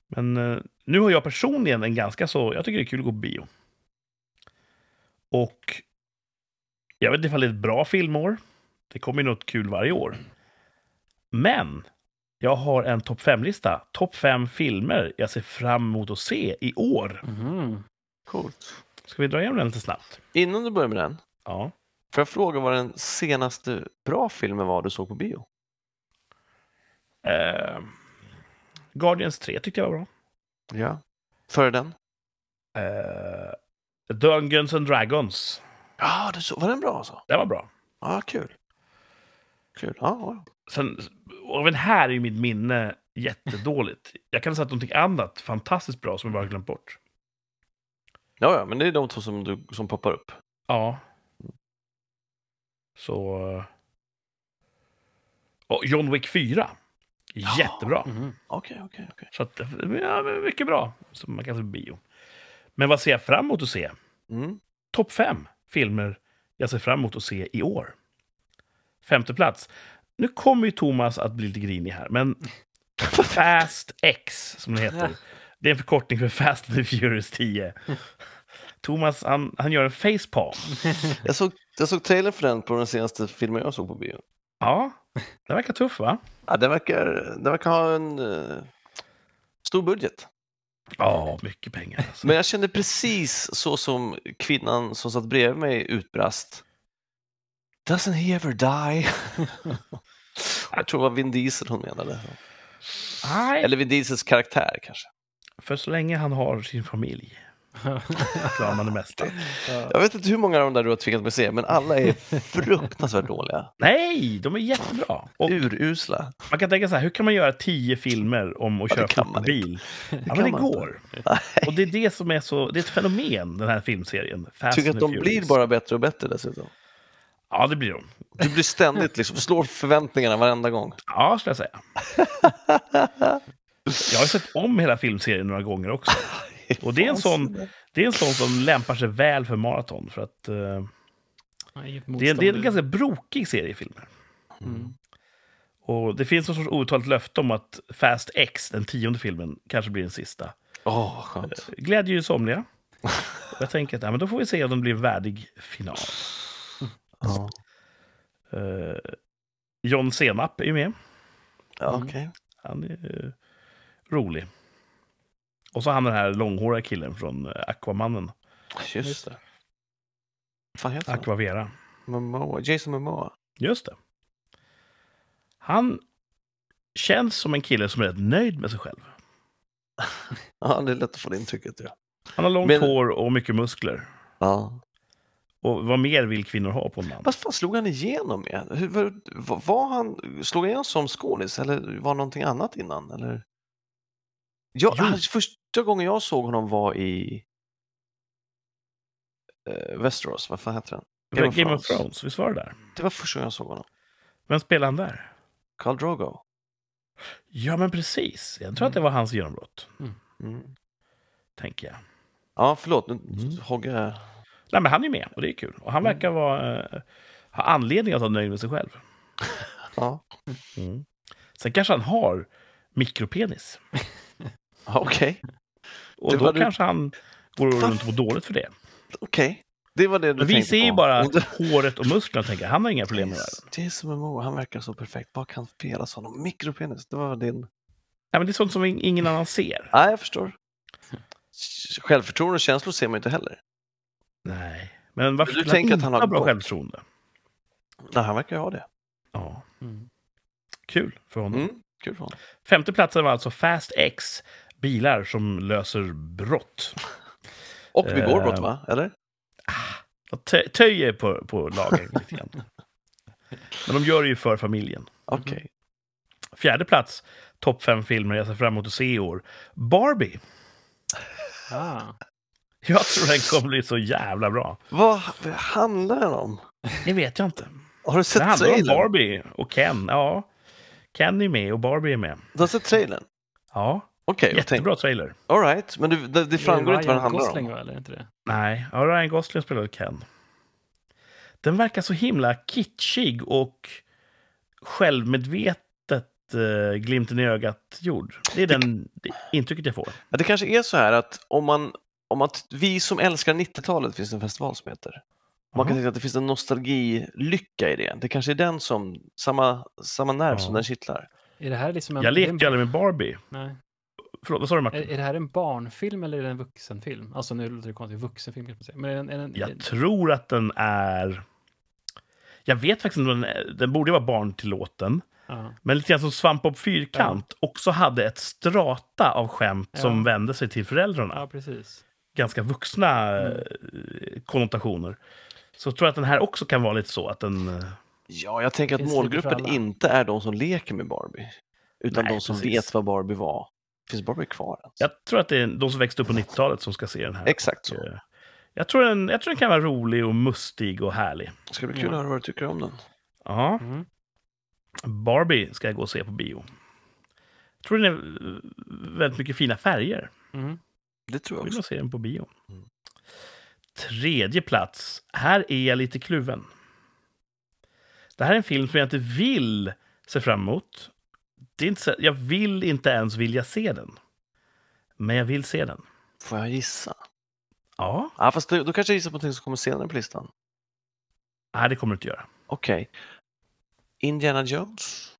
Speaker 1: Men eh, nu har jag personligen en ganska så, jag tycker det är kul att gå på bio. Och jag vet inte ifall det är ett bra filmår. Det kommer ju något kul varje år. Men jag har en topp 5-lista. Topp 5 filmer jag ser fram emot att se i år.
Speaker 3: Mhm.
Speaker 2: Coolt.
Speaker 1: Ska vi dra igenom den lite snabbt?
Speaker 2: Innan du börjar med den,
Speaker 1: Ja.
Speaker 2: får jag fråga vad den senaste bra filmen var du såg på bio?
Speaker 1: Eh, Guardians 3 tyckte jag var bra.
Speaker 2: Ja. Före den?
Speaker 1: Eh, Dungeons and Dragons.
Speaker 2: Ja, du såg, var den bra alltså?
Speaker 1: Den var bra.
Speaker 2: Ja, kul. Kul. Ja, ja.
Speaker 1: Sen, och även här är mitt minne jättedåligt. Jag kan säga att någonting annat fantastiskt bra som jag bara glömt bort.
Speaker 2: ja, ja, men det är de två som, du, som poppar upp.
Speaker 1: Ja. Så... eh, Och John Wick 4. Jättebra.
Speaker 3: Mhm.
Speaker 2: Okej, okej, okej.
Speaker 1: Så att, ja, men mycket bra. Som man kan se på bio. Men vad ser jag fram emot att se?
Speaker 2: Mm.
Speaker 1: Topp fem filmer jag ser fram emot att se i år. Femte plats. Nu kommer ju Thomas att bli lite grinig här, men Fast X, som det heter. Det är en förkortning för Fast and the Furious 10. Thomas, han, han gör en facepalm.
Speaker 2: Jag, såg, jag såg trailern för den på den senaste filmen jag såg på bio.
Speaker 1: Ja, det verkar tuff, va?
Speaker 2: Ja, den verkar, den verkar ha en eh, stor budget.
Speaker 1: Ja, mycket pengar. Alltså.
Speaker 2: Men jag kände precis så som kvinnan som satt bredvid mig utbrast. Doesn't he ever die? jag tror det var Vin Diesel hon menade.
Speaker 1: Nej,
Speaker 2: Eller Vin Diesels karaktär kanske.
Speaker 1: för så länge han har sin familj. klarar man det mesta.
Speaker 2: Jag vet inte hur många av de där du har tvingat mig se, men alla är fruktansvärt dåliga.
Speaker 1: Nej, de är jättebra. Och
Speaker 2: Urusla.
Speaker 1: man kan tänka så här, hur kan man göra tio filmer om att
Speaker 2: Ja, det
Speaker 1: köra
Speaker 2: kan man
Speaker 1: fotbollsbil? Ja,
Speaker 2: kan
Speaker 1: men det
Speaker 2: man inte.
Speaker 1: går. Och det är det som är så, det är ett fenomen, den här filmserien. Fast
Speaker 2: Tycker att
Speaker 1: and
Speaker 2: de
Speaker 1: the
Speaker 2: blir
Speaker 1: Furious.
Speaker 2: bara bättre och bättre dessutom.
Speaker 1: Ja, det blir de.
Speaker 2: Du blir ständigt liksom, slår förväntningarna varenda gång.
Speaker 1: Ja, skulle jag säga. Jag har sett om hela filmserien några gånger också. Och det är en sån, det är en sån som lämpar sig väl för maraton. För att eh, det, är, det är en ganska brokig serie filmer.
Speaker 3: Mm.
Speaker 1: Och det finns någon sorts outtalat löfte om att Fast X, den tionde filmen, kanske blir den sista.
Speaker 2: Åh, vad skönt.
Speaker 1: Glädjer ju somliga. Och jag tänker att ja, men då får vi se om den blir en värdig final.
Speaker 2: Ja.
Speaker 1: Eh, John Senap är ju med.
Speaker 2: Ja,
Speaker 3: Mm.
Speaker 2: okej.
Speaker 1: Han är eh, rolig. Och så han den här långhåriga killen från eh, Aquamannen.
Speaker 2: Just det. Fan heter han?
Speaker 1: Aquavera.
Speaker 2: Momoa. Jason Momoa.
Speaker 1: Just det. Han känns som en kille som är rätt nöjd med sig själv.
Speaker 2: Ja, det är lätt att få det intrycket. Ja.
Speaker 1: Han har långt
Speaker 2: Men-
Speaker 1: hår och mycket muskler.
Speaker 2: Ja.
Speaker 1: Och vad mer vill kvinnor ha på en man?
Speaker 2: Vad fan slog han igenom med? Hur, var, var han, slog han igenom som skådis eller var någonting annat innan? Eller? Ja,
Speaker 1: Jo.
Speaker 2: han- första gången jag såg honom var i eh, Westeros, vad fan heter den?
Speaker 1: Game, of, Game of Thrones, visst var det där?
Speaker 2: Det var första gången jag såg honom.
Speaker 1: Vem spelade han där?
Speaker 2: Khal Drogo.
Speaker 1: Ja, men precis. Jag tror att det var hans genombrott,
Speaker 2: Mm.
Speaker 1: tänker jag.
Speaker 2: Ja, förlåt, nu
Speaker 1: Mm.
Speaker 2: hoggar jag.
Speaker 1: Nej, men han är med och det är kul. Och han
Speaker 2: Mm.
Speaker 1: verkar vara, eh, ha anledning att vara nöjd med sig själv.
Speaker 2: Ja.
Speaker 1: Mm. Sen kanske han har mikropenis.
Speaker 2: Ja, Okej,
Speaker 1: Och
Speaker 2: Det
Speaker 1: då
Speaker 2: var du-
Speaker 1: kanske han går
Speaker 2: Fan.
Speaker 1: runt och mår dåligt för det.
Speaker 2: okej. Det var det du
Speaker 1: Men vi
Speaker 2: tänkte
Speaker 1: ser ju
Speaker 2: på.
Speaker 1: bara
Speaker 2: Om du-
Speaker 1: håret och musklerna och tänker han har inga problem med det. här.
Speaker 2: Jason Momoa, han verkar så perfekt. Vad kan felas honom? Mikropenis, det var din...
Speaker 1: Nej, men det är sånt som in- ingen annan ser.
Speaker 2: Nej, jag förstår. Självförtroende och känslor ser man ju inte heller.
Speaker 1: Nej. Men varför
Speaker 2: Du
Speaker 1: skulle han
Speaker 2: tänker
Speaker 1: inte
Speaker 2: att han har
Speaker 1: ha bra
Speaker 2: gått?
Speaker 1: självförtroende?
Speaker 2: Nej, han verkar ju ha det.
Speaker 1: Ja,
Speaker 3: Mm.
Speaker 1: kul för honom.
Speaker 2: Mm. Kul för honom.
Speaker 1: Femte platsen var alltså Fast X, bilar som löser brott.
Speaker 2: Och begår
Speaker 1: Eh.
Speaker 2: brott, va? Eller?
Speaker 1: Jag tö- töjer på, på lagen lite grann. Men de gör det ju för familjen.
Speaker 2: Okej.
Speaker 1: Fjärde plats, topp fem filmer jag ser fram emot att se i år. Barbie.
Speaker 3: Ah.
Speaker 1: Jag tror den kommer bli så jävla bra.
Speaker 2: Vad vad handlar den om?
Speaker 1: Det vet jag inte.
Speaker 2: Har du
Speaker 1: Det
Speaker 2: sett
Speaker 1: handlar om
Speaker 2: trailern?
Speaker 1: Barbie och Ken. Ja, Ken är med och Barbie är med.
Speaker 2: Du har sett trailern?
Speaker 1: Ja,
Speaker 2: Okej, jag tänkte...
Speaker 1: jättebra trailer.
Speaker 2: All right, men du, det, det framgår inte vad den handlar
Speaker 3: Gosling,
Speaker 2: om.
Speaker 3: va, eller inte det?
Speaker 1: Nej, ja, Ryan Gosling spelade Ken. Den verkar så himla kitschig och självmedvetet eh, glimten i ögat gjord. Det är den det intrycket jag får.
Speaker 2: Ja, det kanske är så här att om man, om att vi som älskar 90-talet finns det en festival som heter. Man
Speaker 1: Jaha.
Speaker 2: kan tänka att det finns en nostalgilycka i det. Det kanske är den som, samma, samma nerv
Speaker 1: Ja.
Speaker 2: som den kittlar.
Speaker 3: Är det här liksom en...
Speaker 1: Jag
Speaker 3: det är Eh,
Speaker 1: lekte
Speaker 3: en-
Speaker 1: ju aldrig med Barbie.
Speaker 3: Nej.
Speaker 1: Förlåt, vad sa du
Speaker 3: Är,
Speaker 1: Martin?
Speaker 3: är det här en barnfilm eller är det en vuxenfilm? Alltså nu låter det konstigt, vuxenfilm kan man säga. Men är den, är den,
Speaker 1: Jag tror att den är... Jag vet faktiskt inte om den är... Den borde ju vara barntillåten.
Speaker 3: ja.
Speaker 1: Men lite grann som Svamp och fyrkant också hade ett strata av skämt som
Speaker 3: Ja.
Speaker 1: vände sig till föräldrarna.
Speaker 3: ja, Mm. precis.
Speaker 1: Ganska vuxna eh, konnotationer. Så jag tror att den här också kan vara lite så att den... eh,
Speaker 2: Ja, jag tänker att
Speaker 3: Finns lite för
Speaker 2: målgruppen
Speaker 3: alla.
Speaker 2: inte är de som leker med Barbie, utan
Speaker 1: Nej,
Speaker 2: de som
Speaker 1: precis.
Speaker 2: vet vad Barbie var. Finns Barbie kvar ens?
Speaker 1: Jag tror att det är de som växte upp på 90-talet som ska se den här.
Speaker 2: Exakt så.
Speaker 1: Och, eh, Jag tror, den, jag tror den kan vara rolig och mustig och härlig.
Speaker 2: Det ska bli kul
Speaker 3: Ja.
Speaker 2: att höra vad du tycker om den.
Speaker 1: Ja,
Speaker 3: Mm.
Speaker 1: Barbie ska jag gå och se på bio. Jag tror den är eh, väldigt mycket fina färger.
Speaker 3: Mm.
Speaker 2: Det tror jag
Speaker 1: vill
Speaker 2: också.
Speaker 1: man se den på bio.
Speaker 2: Mm.
Speaker 1: Tredje plats. Här är jag lite kluven. Det här är en film som jag inte vill se fram emot. Det är inte så, jag vill inte ens vilja se den. Men jag vill se den.
Speaker 2: Får jag gissa?
Speaker 1: Ja,
Speaker 2: Ja, fast då, då kanske jag gissar på någonting som kommer senare på listan.
Speaker 1: nej, det kommer du inte göra.
Speaker 2: Okej. Indiana Jones?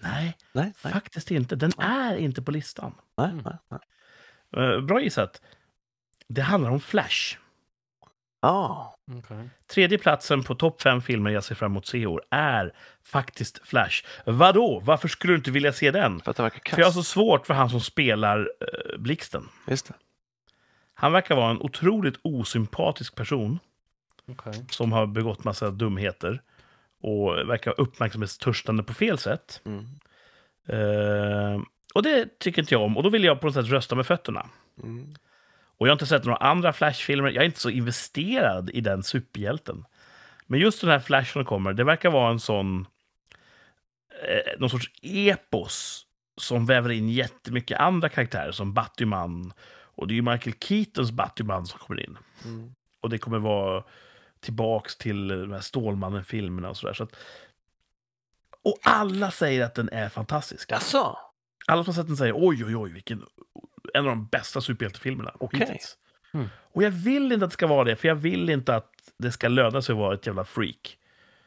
Speaker 1: Nej,
Speaker 2: Nej, nej,
Speaker 1: faktiskt inte. Den är inte på listan.
Speaker 2: nej.
Speaker 3: Mm.
Speaker 2: nej, nej.
Speaker 1: Eh, bra gissat. Det handlar om Flash.
Speaker 2: Ah,
Speaker 3: okej.
Speaker 1: Tredje platsen på topp fem filmer jag ser fram emot se i år är faktiskt Flash. Vadå? Varför skulle du inte vilja se den?
Speaker 2: för att det verkar kass.
Speaker 1: För jag har så svårt för han som spelar eh, Blixten.
Speaker 2: Just det.
Speaker 1: Han verkar vara en otroligt osympatisk person
Speaker 3: Okej.
Speaker 1: som har begått massa dumheter och verkar vara uppmärksamhetstörstande på fel sätt.
Speaker 2: Mm.
Speaker 1: Eh, och det tycker inte jag om. Och då vill jag på något sätt rösta med fötterna.
Speaker 2: Mm.
Speaker 1: Och jag har inte sett några andra Flash-filmer. Jag är inte så investerad i den superhjälten. Men just den här Flash som kommer, det verkar vara en sån... Eh, någon sorts epos som väver in jättemycket andra karaktärer som Batman. Och det är ju Michael Keatons Batman som kommer in.
Speaker 2: Mm.
Speaker 1: Och det kommer vara tillbaks till de här Stålmannen-filmerna och sådär. Så att... Och alla säger att den är fantastisk.
Speaker 2: Jaså?
Speaker 1: Alla som sett den säger oj, oj, oj, vilken... En av de bästa superhjältefilmerna
Speaker 2: Okej.
Speaker 1: hittills.
Speaker 3: Mm.
Speaker 1: Och jag vill inte att det ska vara det, för jag vill inte att det ska löna sig att vara ett jävla freak.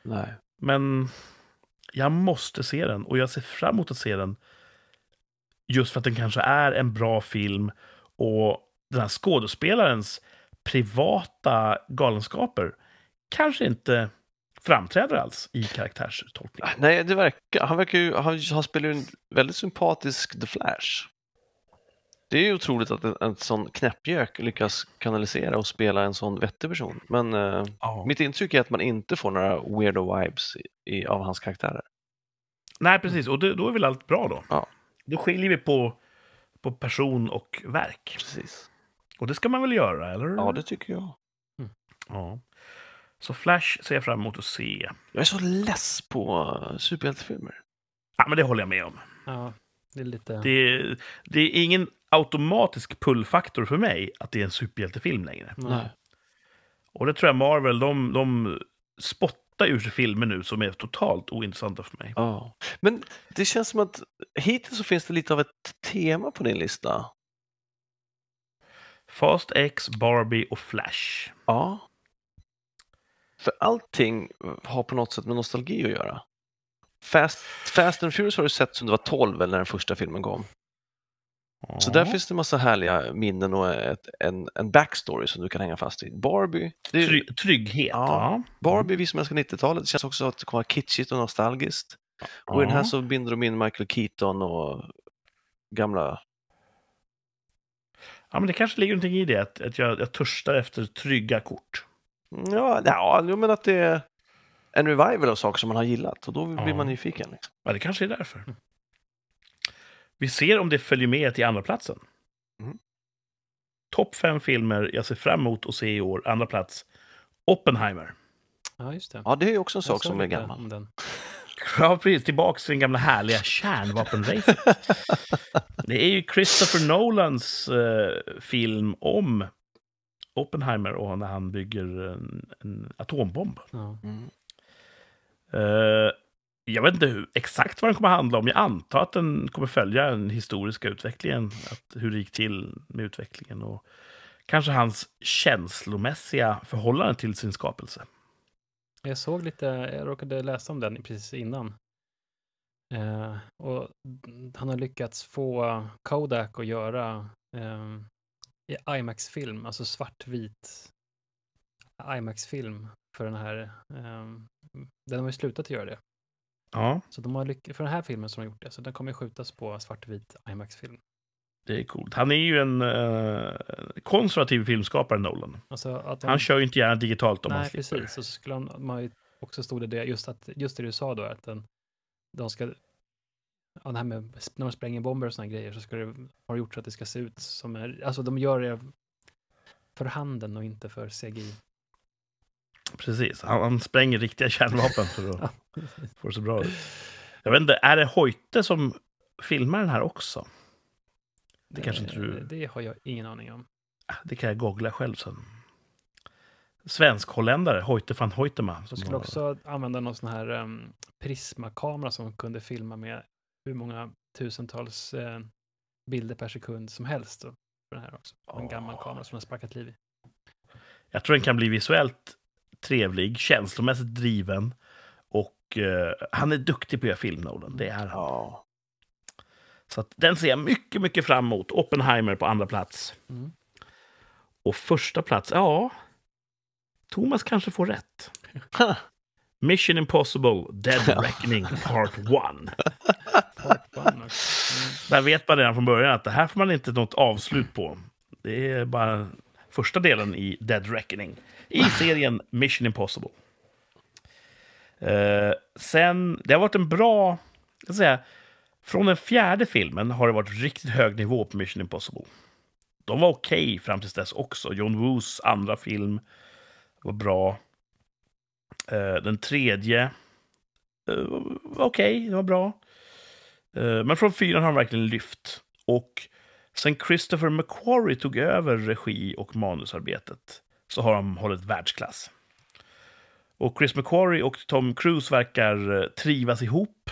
Speaker 2: Nej.
Speaker 1: Men jag måste se den och jag ser fram emot att se den. Just för att den kanske är en bra film och den här skådespelarens privata galenskaper kanske inte framträder alls i karaktärstolkningen.
Speaker 2: Ah, Nej, det verkar. Han, verkar ju, han, han spelar ju en väldigt sympatisk The Flash. Det är ju otroligt att en, en sån knäppjök lyckas kanalisera och spela en sån vettig person. Men eh, mitt intryck är att man inte får några weirdo vibes i, i, av hans karaktärer.
Speaker 1: Nej, precis. Och då, då är väl allt bra då?
Speaker 2: Ja.
Speaker 1: Då skiljer vi på, på person och verk.
Speaker 2: Precis.
Speaker 1: Och det ska man väl göra, eller?
Speaker 2: Ja, det tycker jag.
Speaker 1: Ja. Så Flash ser jag fram emot att se.
Speaker 2: Jag är så less på eh, superhjältefilmer.
Speaker 1: Ja, men det håller jag med om.
Speaker 3: Ja, det är lite...
Speaker 1: Det, det är ingen automatisk pullfaktor för mig att det är en superhjältefilm längre.
Speaker 2: Nej.
Speaker 1: Och det tror jag Marvel, de, de spottar ur sig filmer nu som är totalt ointressanta för mig.
Speaker 2: Ja. Men det känns som att hittills så finns det lite av ett tema på din lista.
Speaker 1: Fast X, Barbie och Flash.
Speaker 2: Ja. För allting har på något sätt med nostalgi att göra. Fast, Fast and Furious har du sett sedan du var 12 eller när den första filmen kom. Så där
Speaker 1: Ja.
Speaker 2: finns det en massa härliga minnen och ett, en, en backstory som du kan hänga fast i. Barbie, det är,
Speaker 1: Try- trygghet,
Speaker 2: Ja.
Speaker 1: ja.
Speaker 2: Barbie vi som älskar 90-talet, det känns också att det kommer vara kitschigt och nostalgiskt. Och i den här så binder de in Michael Keaton och gamla...
Speaker 1: Ja, men det kanske ligger någonting i det, att, att jag, jag törstar efter trygga kort.
Speaker 2: Ja, ja, jag menar att det är en revival av saker som man har gillat och då blir
Speaker 1: Ja.
Speaker 2: man nyfiken. Liksom.
Speaker 1: Ja, det kanske är därför. Vi ser om det följer med till andra platsen.
Speaker 2: Mm.
Speaker 1: Topp fem filmer jag ser fram emot att se i år, andra plats, Oppenheimer.
Speaker 3: Ja, just det.
Speaker 2: Ja, det är också en
Speaker 3: Jag
Speaker 2: sak
Speaker 3: såg
Speaker 2: som är
Speaker 3: lite
Speaker 2: gammal.
Speaker 3: om den.
Speaker 1: Ja, precis. Tillbaks till den gamla härliga kärnvapenracet. det är ju Christopher Nolans eh, film om Oppenheimer och när han bygger en, en atombomb.
Speaker 3: Ja.
Speaker 2: Mm.
Speaker 1: Eh, jag vet inte hur, exakt vad den kommer handla om. Jag antar att den kommer följa den historiska utvecklingen. Att hur det gick till med utvecklingen och kanske hans känslomässiga förhållande till sin skapelse.
Speaker 3: Jag såg lite, jag råkade läsa om den precis innan. Eh, och han har lyckats få Kodak att göra eh, i IMAX-film, alltså svartvit IMAX-film för den här. Eh, den har ju slutat göra det.
Speaker 1: Ja,
Speaker 3: Så de har lyck- för den här filmen som de har gjort det, så den kommer ju skjutas på svartvit IMAX-film.
Speaker 1: det är coolt. Han är ju en eh, konservativ filmskapare, Nolan.
Speaker 3: Alltså att de,
Speaker 1: Han kör ju inte gärna digitalt om han
Speaker 3: Nej,
Speaker 1: slipper.
Speaker 3: precis. Och så skulle han, man har ju också stod det det, just, att, just det du sa då, att den, de ska, ja, det här med sp- när de spränger bomber och sådana grejer, så ska det, har det gjort så att det ska se ut som är, alltså de gör det för handen och inte för CGI.
Speaker 1: Precis. Han, han spränger riktiga kärnvapen för att få det så bra ut. Jag vet inte, är det Hoyte som filmar den här också? Det kanske inte du...
Speaker 3: Eh, Det har jag ingen aning om.
Speaker 1: Ah, Det kan jag googla själv sen. Svensk-holländare, Hoyte van Hoytema.
Speaker 3: De
Speaker 1: Som
Speaker 3: skulle
Speaker 1: var-
Speaker 3: också använda någon sån här um, prismakamera som kunde filma med hur många tusentals eh, bilder per sekund som helst. då, För den här också. En gammal
Speaker 1: Åh.
Speaker 3: kamera som har sparkat liv i.
Speaker 1: Jag tror den kan bli visuellt trevlig, känslomässigt driven. Och eh, han är duktig på att göra film, Nolan. Det är han.
Speaker 2: Ja.
Speaker 1: Så att den ser jag mycket, mycket fram emot. Oppenheimer på andra plats.
Speaker 3: Mm.
Speaker 1: Och första plats, ja... Thomas kanske får rätt.
Speaker 2: Ha.
Speaker 1: Mission Impossible, Dead Reckoning Part 1.
Speaker 3: Part one också. Mm.
Speaker 1: Där vet man redan från början att det här får man inte något avslut på. Det är bara första delen i Dead Reckoning i serien Mission Impossible. Eh, sen, det har varit en bra... Jag ska säga, från den fjärde filmen har det varit riktigt hög nivå på Mission Impossible. De var okej fram tills dess också. John Woos andra film var bra. Eh, den tredje eh, var okej, det var bra. Eh, men från fyran har han verkligen lyft. Och sen Christopher McQuarrie tog över regi och manusarbetet så har de hållit världsklass. Och Chris McQuarrie och Tom Cruise verkar eh, trivas ihop.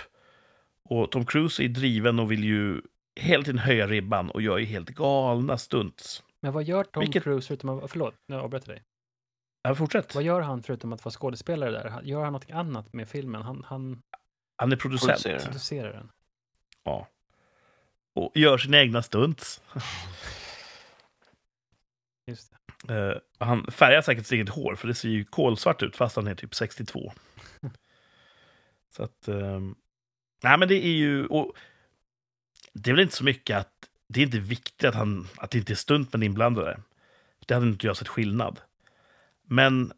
Speaker 1: Och Tom Cruise är driven och vill ju hela tiden höja ribban och gör ju helt galna stunts.
Speaker 3: Men vad gör Tom
Speaker 1: Vilket-
Speaker 3: Cruise förutom att... Förlåt, nu avbröt jag dig.
Speaker 1: Ja, fortsätt.
Speaker 3: Vad gör han förutom att vara skådespelare där? Han- Gör han något annat med filmen? Han, han
Speaker 1: Han är producent.
Speaker 2: Producerar.
Speaker 3: producerar den.
Speaker 1: Ja. Och gör sina egna stunts.
Speaker 3: Just det.
Speaker 1: Eh, han färgar säkert sitt eget hår, för det ser ju kolsvart ut fast han är typ 62. så att... ehm, nej, men det är ju... Och, det är väl inte så mycket att... Det är inte viktigt att, han, att det inte är stuntmän inblandade. Det hade inte jag sett skillnad. Men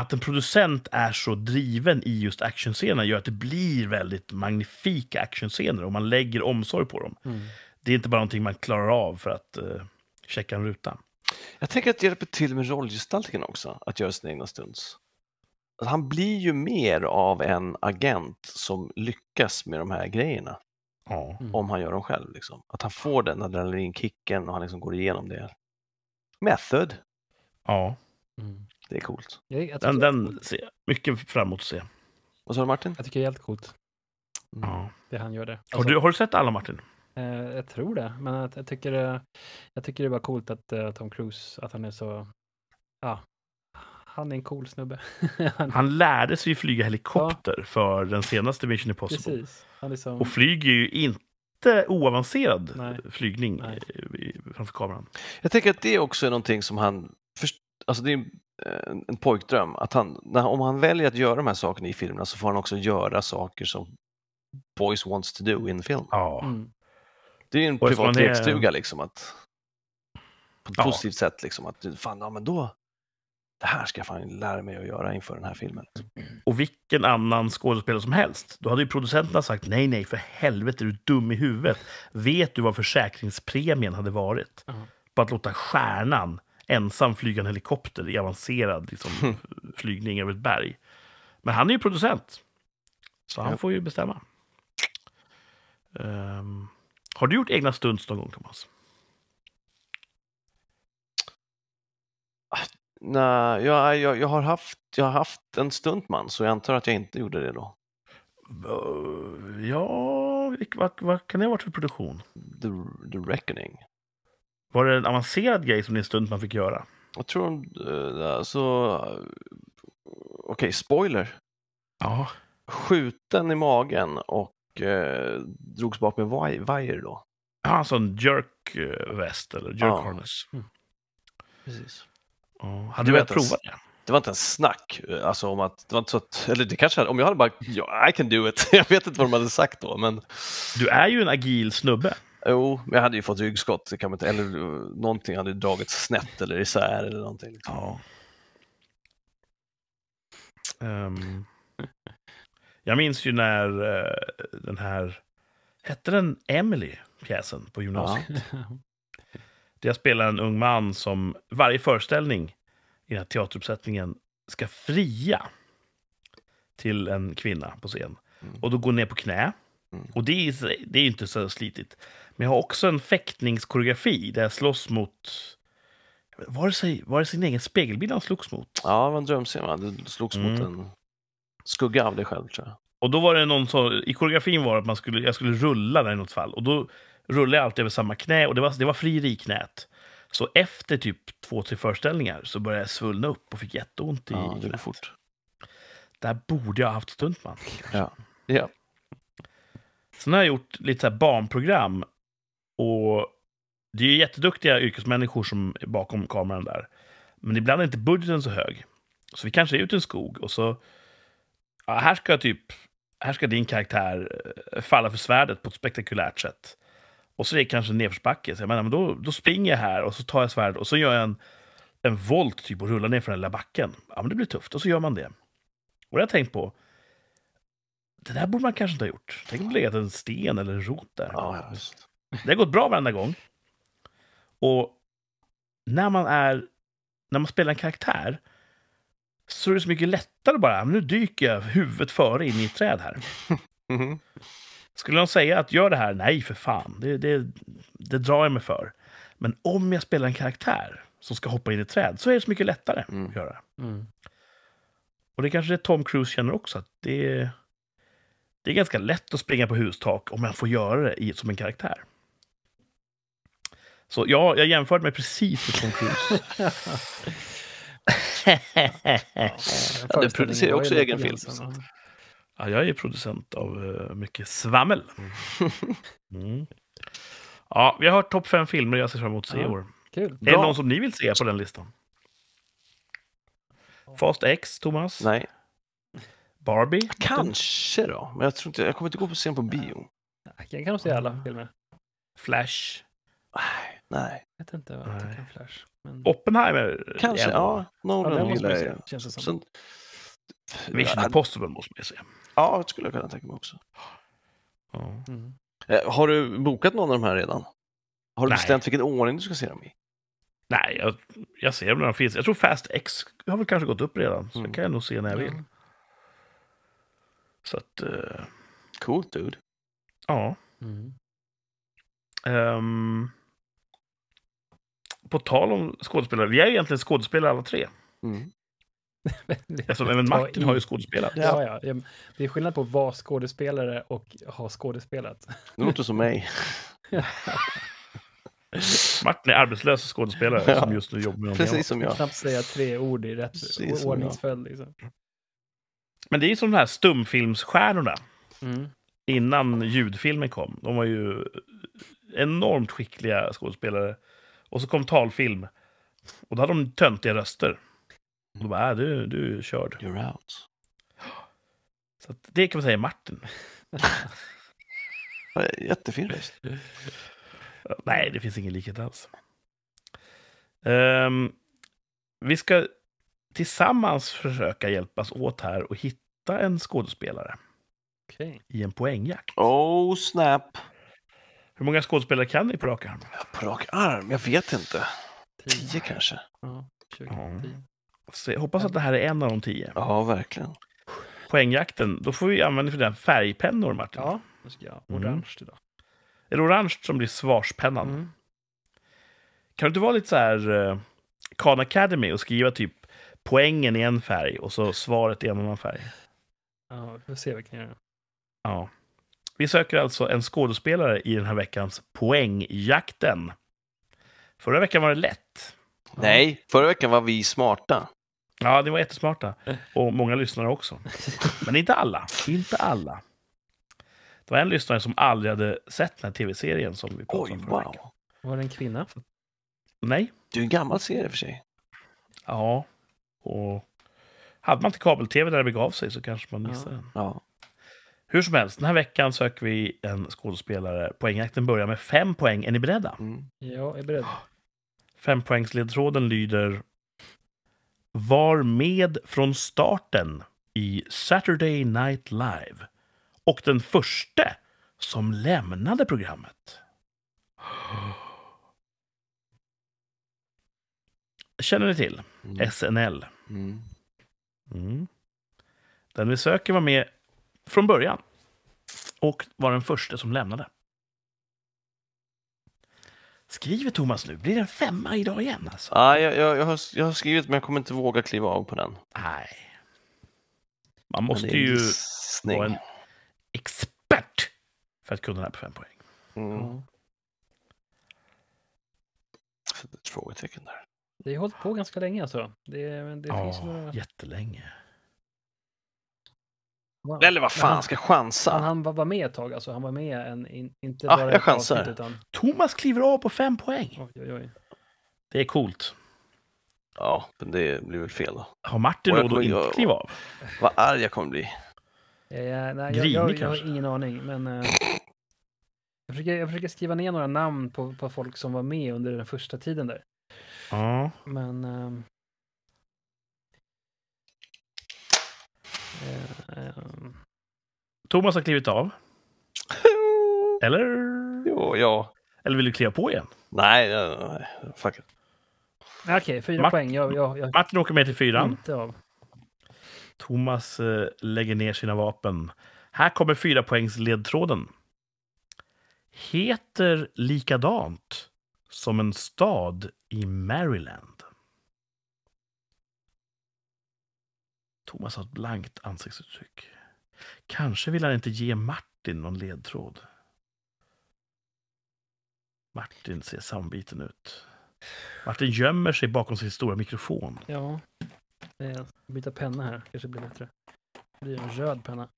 Speaker 1: att en producent är så driven i just actionscener gör att det blir väldigt magnifika actionscener och man lägger omsorg på dem.
Speaker 3: Mm.
Speaker 1: Det är inte bara någonting man klarar av för att eh, checka en ruta.
Speaker 2: Jag tänker att det hjälper till med rollgestaltningen också, att göra sina egna stunts. Att han blir ju mer av en agent som lyckas med de här grejerna
Speaker 1: Ja.
Speaker 3: Mm.
Speaker 2: om han gör dem själv. Liksom. Att han får den adrenalinkicken och han liksom går igenom det. Method,
Speaker 1: ja.
Speaker 3: Mm.
Speaker 2: det är coolt.
Speaker 3: Jag, jag, tycker,
Speaker 1: Den, den ser jag mycket fram emot att se.
Speaker 2: Vad sa du Martin?
Speaker 3: jag tycker det är helt coolt,
Speaker 2: Mm.
Speaker 3: det han gör där.
Speaker 1: Har, du, har du sett alla, Martin?
Speaker 3: Eh, jag tror det, men jag, jag, tycker, det- jag tycker det är bara coolt att eh, Tom Cruise, att han är så, ja, han är en cool snubbe. han,
Speaker 1: Han lärde sig ju flyga helikopter för den senaste Mission Impossible.
Speaker 3: precis, han är som,
Speaker 1: Och flyger ju inte oavancerad
Speaker 3: Nej.
Speaker 1: flygning
Speaker 3: Nej.
Speaker 1: i- i- framför kameran.
Speaker 2: Jag tänker att det också är någonting som han, först, alltså det är en, en pojkdröm, att han, när, om han väljer att göra de här sakerna i filmerna så får han också göra saker som boys wants to do in film.
Speaker 1: Ja.
Speaker 3: mm,
Speaker 2: Det är ju en
Speaker 1: Och eftersom
Speaker 2: privat
Speaker 1: han är-
Speaker 2: lekstuga liksom att på ett
Speaker 1: Ja.
Speaker 2: positivt sätt liksom att du, fan, ja men då det här ska jag fan lära mig att göra inför den här filmen.
Speaker 1: Och vilken annan skådespelare som helst. Då hade ju producenterna sagt nej, nej, för helvete, är du dum i huvudet? Vet du vad försäkringspremien hade varit?
Speaker 3: Ja.
Speaker 1: På att låta stjärnan ensam flyga en helikopter i avancerad liksom, flygning över ett berg. Men han är ju producent. Så han
Speaker 2: Ja.
Speaker 1: får ju bestämma. Ehm, har du gjort egna stunts någon gång, Thomas?
Speaker 2: Nej, jag, jag, jag, har haft, jag har haft en stuntman så jag antar att jag inte gjorde det då.
Speaker 1: Eh, Ja, vilk- vad, vad kan det ha varit för produktion?
Speaker 2: The, the Reckoning.
Speaker 1: Var det en avancerad grej som din stunt man fick göra?
Speaker 2: Jag tror de, eh, alltså, eh, okej, spoiler.
Speaker 1: Ja.
Speaker 2: Skjuten i magen och eh, drogs bak med vaj- vajer då.
Speaker 1: Ja, alltså en jerk eh, vest eller jerk
Speaker 2: Ja.
Speaker 1: harness.
Speaker 2: Precis.
Speaker 1: Ja.
Speaker 2: Du
Speaker 1: Hade du velat
Speaker 2: vet ens-
Speaker 1: prova det?
Speaker 2: Det var inte en snack, eh, alltså om att, det var inte så att, eller det kanske, hade- om jag hade bara, ja, I can do it, jag vet inte vad de hade sagt då, men
Speaker 1: Du är ju en agil snubbe.
Speaker 2: jo, jag hade ju fått ryggskott, det kan man inte, eller eh, någonting hade ju dragits snett eller isär eller någonting. Liksom.
Speaker 1: Ja. Ehm, jag minns ju när eh, den här... Hette den Emily, pjäsen på gymnasiet? Där jag spelar en ung man som varje föreställning i den här teateruppsättningen ska fria till en kvinna på scen.
Speaker 2: Mm.
Speaker 1: Och då går ner på knä.
Speaker 2: Mm.
Speaker 1: Och det är, i sig- det är ju inte så slitigt. Men jag har också en fäktningskoreografi där jag slåss mot... Var det, sig, var det sin egen spegelbild han slogs mot?
Speaker 2: Ja, det var en drömscen va? Du slogs mot
Speaker 1: Mm.
Speaker 2: en skugga av dig själv tror jag.
Speaker 1: Och då var det någon som, i koreografin var det att man skulle, jag skulle rulla där i något fall. Och då rullade jag alltid över samma knä och det var, det var frieri i knät. Så efter typ två, tre föreställningar så började jag svullna upp och fick jätteont i
Speaker 2: Ja, det går
Speaker 1: knät.
Speaker 2: fort.
Speaker 1: Där borde jag ha haft stuntman.
Speaker 2: Ja.
Speaker 1: Sen har jag gjort lite så här barnprogram. Och det är ju jätteduktiga yrkesmänniskor som är bakom kameran där. Men ibland är inte budgeten så hög. Så vi kanske är ute i en skog och så... Ja, här ska typ... Här ska din karaktär eh, falla för svärdet på ett spektakulärt sätt. Och så är det kanske en nedförsbacke. Så jag menar, men då, då springer jag här och så tar jag svärd och så gör jag en, en volt typ och rullar ner för den lilla backen. Ja, men det blir tufft. Och så gör man det. Och jag har tänkt på, det där borde man kanske inte ha gjort. Tänk om det legat en sten eller en rot där.
Speaker 2: Ja, ja, visst.
Speaker 1: Det har gått bra varenda gång. Och när man är... När man spelar en karaktär så är det så mycket lättare bara. Nu dyker jag huvudet före in i ett träd här.
Speaker 2: Mhm.
Speaker 1: Skulle de säga att gör det här? Nej, för fan. Det, det, det drar jag mig för. Men om jag spelar en karaktär som ska hoppa in i ett träd så är det så mycket lättare
Speaker 2: Mm.
Speaker 1: att göra.
Speaker 3: Mm.
Speaker 1: Och det är kanske det Tom Cruise känner också, att det är, det är ganska lätt att springa på hustak om man får göra det i, som en karaktär. Så ja, jag jämförde mig precis med Tom Cruise.
Speaker 2: Ja, du producerar också egen film. så att-
Speaker 1: Ja, jag är producent av eh, mycket svammel. Mm. Ja, vi har hört topp fem filmer jag ser fram emot att se i
Speaker 3: Ja,
Speaker 1: år.
Speaker 3: Kul.
Speaker 1: Är det
Speaker 2: bra.
Speaker 1: någon som ni vill se på den listan? Fast X, Thomas?
Speaker 2: Nej,
Speaker 1: Barbie?
Speaker 2: kanske då. Men jag tror inte, jag kommer inte gå på scen på bio.
Speaker 3: Jag kan nog se
Speaker 1: Ah.
Speaker 3: alla filmer.
Speaker 1: Flash?
Speaker 2: Nej, Nej,
Speaker 3: Jag vet inte vad jag
Speaker 1: Nej.
Speaker 3: tycker om Flash. Men...
Speaker 1: Oppenheimer?
Speaker 2: kanske.
Speaker 1: igen.
Speaker 2: Ja,
Speaker 3: ja,
Speaker 2: Nolan
Speaker 3: den måste
Speaker 2: gillar
Speaker 3: man
Speaker 2: jag. ju.
Speaker 3: se, känns det som.
Speaker 2: Sen,
Speaker 1: Mission Impossible måste man ju se.
Speaker 2: ja, det skulle jag kunna tänka mig också.
Speaker 1: Ja.
Speaker 3: Mm.
Speaker 2: Eh, Har du bokat någon av de här redan? Har du
Speaker 1: Nej.
Speaker 2: bestämt vilken ordning du ska se dem i?
Speaker 1: Nej, jag, jag ser när de finns. Jag tror Fast X har väl kanske gått upp redan, så
Speaker 2: Mm.
Speaker 1: det kan jag nog se när jag vill.
Speaker 3: Ja.
Speaker 1: Så att, eh,
Speaker 2: Coolt dude.
Speaker 1: ja.
Speaker 3: Mm.
Speaker 1: Ehm, på tal om skådespelare, vi är ju egentligen skådespelare alla tre.
Speaker 2: Mm.
Speaker 1: Eftersom även
Speaker 3: Ta
Speaker 1: Martin
Speaker 3: i.
Speaker 1: har ju skådespelat.
Speaker 3: Ja, ja. ja. men Det är skillnad på att vara skådespelare och ha skådespelat.
Speaker 2: Det låter som mig.
Speaker 1: Martin är arbetslös skådespelare
Speaker 2: Ja.
Speaker 1: som just nu jobbar med någonting
Speaker 2: Precis som jag.
Speaker 3: Knappt säga tre ord i rätt
Speaker 2: Precis som jag.
Speaker 3: ordningsföljd. Liksom.
Speaker 1: annat. Men det är ju som de här stumfilmsstjärnorna
Speaker 3: Mm.
Speaker 1: innan ljudfilmen kom. De var ju enormt skickliga skådespelare. Och så kom talfilm. Och då hade de töntiga röster. Och då bara, äh, du, du är körd.
Speaker 2: You're out.
Speaker 1: Så att det kan man säga är Martin.
Speaker 2: Ja, Jättefin röst.
Speaker 1: Nej, det finns ingen likhet alls. Ehm, vi ska tillsammans försöka hjälpas åt här och hitta en skådespelare
Speaker 3: Okej.
Speaker 1: i en poängjakt.
Speaker 2: Oh snap.
Speaker 1: Hur många skådespelare kan ni på rak arm?
Speaker 2: På rak arm? Jag vet inte.
Speaker 3: Tio.
Speaker 2: Tio kanske?
Speaker 3: Ja, 20.
Speaker 1: Ja.
Speaker 3: tio.
Speaker 1: Så jag hoppas att det här är en av de tio.
Speaker 2: Ja, verkligen.
Speaker 1: Poängjakten, då får vi använda för den färgpennor, Martin.
Speaker 3: Ja, nu ska jag ha
Speaker 1: Mm.
Speaker 3: orange idag.
Speaker 1: Är det orange som blir svarspennan?
Speaker 3: Mm.
Speaker 1: Kan du inte vara lite så här eh, Khan Academy och skriva typ poängen i en färg och så svaret i en annan färg?
Speaker 3: Ja, vi får se vad jag kan göra.
Speaker 1: Ja. Vi söker alltså en skådespelare i den här veckans poängjakten. Förra veckan var det lätt.
Speaker 2: Nej, förra veckan var vi smarta.
Speaker 1: Ja, ni var jättesmarta. Och många lyssnare också. Men inte alla. Inte alla. Det var en lyssnare som aldrig hade sett den här tv-serien som vi pratade
Speaker 2: Oj,
Speaker 1: om förra
Speaker 2: wow.
Speaker 1: veckan.
Speaker 3: Var det en kvinna?
Speaker 1: Nej.
Speaker 2: Du är en gammal serie för sig.
Speaker 1: Ja. Och hade man inte kabel-tv där det begav sig så kanske man missade
Speaker 3: Ja.
Speaker 1: den.
Speaker 2: Ja.
Speaker 1: Hur som helst, den här veckan söker vi en skådespelare. Poängjakten börjar med fem poäng. Är ni beredda?
Speaker 2: Mm.
Speaker 3: Jag är beredd.
Speaker 1: Fempoängsledtråden lyder Var med från starten i Saturday Night Live och den första som lämnade programmet. Känner ni till
Speaker 2: Mm.
Speaker 1: SNL?
Speaker 2: Mm.
Speaker 1: Mm. Den vi söker var med från början och var den första som lämnade. Skriver Thomas nu? Blir det en femma idag igen? Alltså?
Speaker 2: Ja, Ah, jag, jag, jag, har, jag har skrivit men jag kommer inte våga kliva av på den. Men
Speaker 1: Nej. Man
Speaker 2: det
Speaker 1: måste
Speaker 2: är en
Speaker 1: ju
Speaker 2: gissning.
Speaker 1: vara en expert för att kunna det här på fem poäng.
Speaker 2: Mm.
Speaker 3: Ja.
Speaker 2: Så det är Ett frågetecken där.
Speaker 3: Det har hållit på ganska länge alltså. Det, men det finns ju några...
Speaker 1: jättelänge.
Speaker 3: Wow.
Speaker 2: Eller vad
Speaker 3: Men
Speaker 2: fan,
Speaker 3: han-
Speaker 2: ska jag
Speaker 3: Han,
Speaker 2: chansa?
Speaker 3: han var var med ett tag alltså. Han var med en, in, inte
Speaker 2: Ah,
Speaker 3: bara
Speaker 2: jag
Speaker 3: ett
Speaker 2: chansar.
Speaker 3: avsnitt, utan...
Speaker 1: Thomas kliver av på fem poäng.
Speaker 3: Oj, oj, oj.
Speaker 1: Det är coolt.
Speaker 2: Ja, men det blir väl fel då.
Speaker 1: Har Martin
Speaker 2: Och jag
Speaker 1: råd att
Speaker 2: kommer-
Speaker 1: inte
Speaker 2: jag-
Speaker 1: kliva av?
Speaker 2: Vad arg jag kommer bli.
Speaker 3: Eh, nej, jag,
Speaker 1: Grinig
Speaker 3: jag, jag
Speaker 1: kanske.
Speaker 3: har ingen aning, men... eh, Jag försöker, jag försöker skriva ner några namn på, på folk som var med under den första tiden där.
Speaker 1: Ja.
Speaker 3: Men... ehm, eh, ehm,
Speaker 1: Thomas har klivit av. Eller?
Speaker 2: jo, ja.
Speaker 1: Eller vill du kliva på igen?
Speaker 2: Nej, nej, nej. Fuck it.
Speaker 3: Okej, fyra
Speaker 1: Mart-
Speaker 3: poäng. Jag, jag, jag
Speaker 1: Martin åker med till
Speaker 2: Mm.
Speaker 1: fyran.
Speaker 3: inte av.
Speaker 1: Thomas eh, lägger ner sina vapen. Här kommer fyra poängs ledtråden. Heter likadant som en stad i Maryland. Thomas har ett blankt ansiktsuttryck. Kanske vill han inte ge Martin någon ledtråd. Martin ser sambiten ut. Martin gömmer sig bakom sin stora mikrofon.
Speaker 3: Ja. Eh, Jag ska byta penna här, kanske blir bättre. Det blir en röd penna.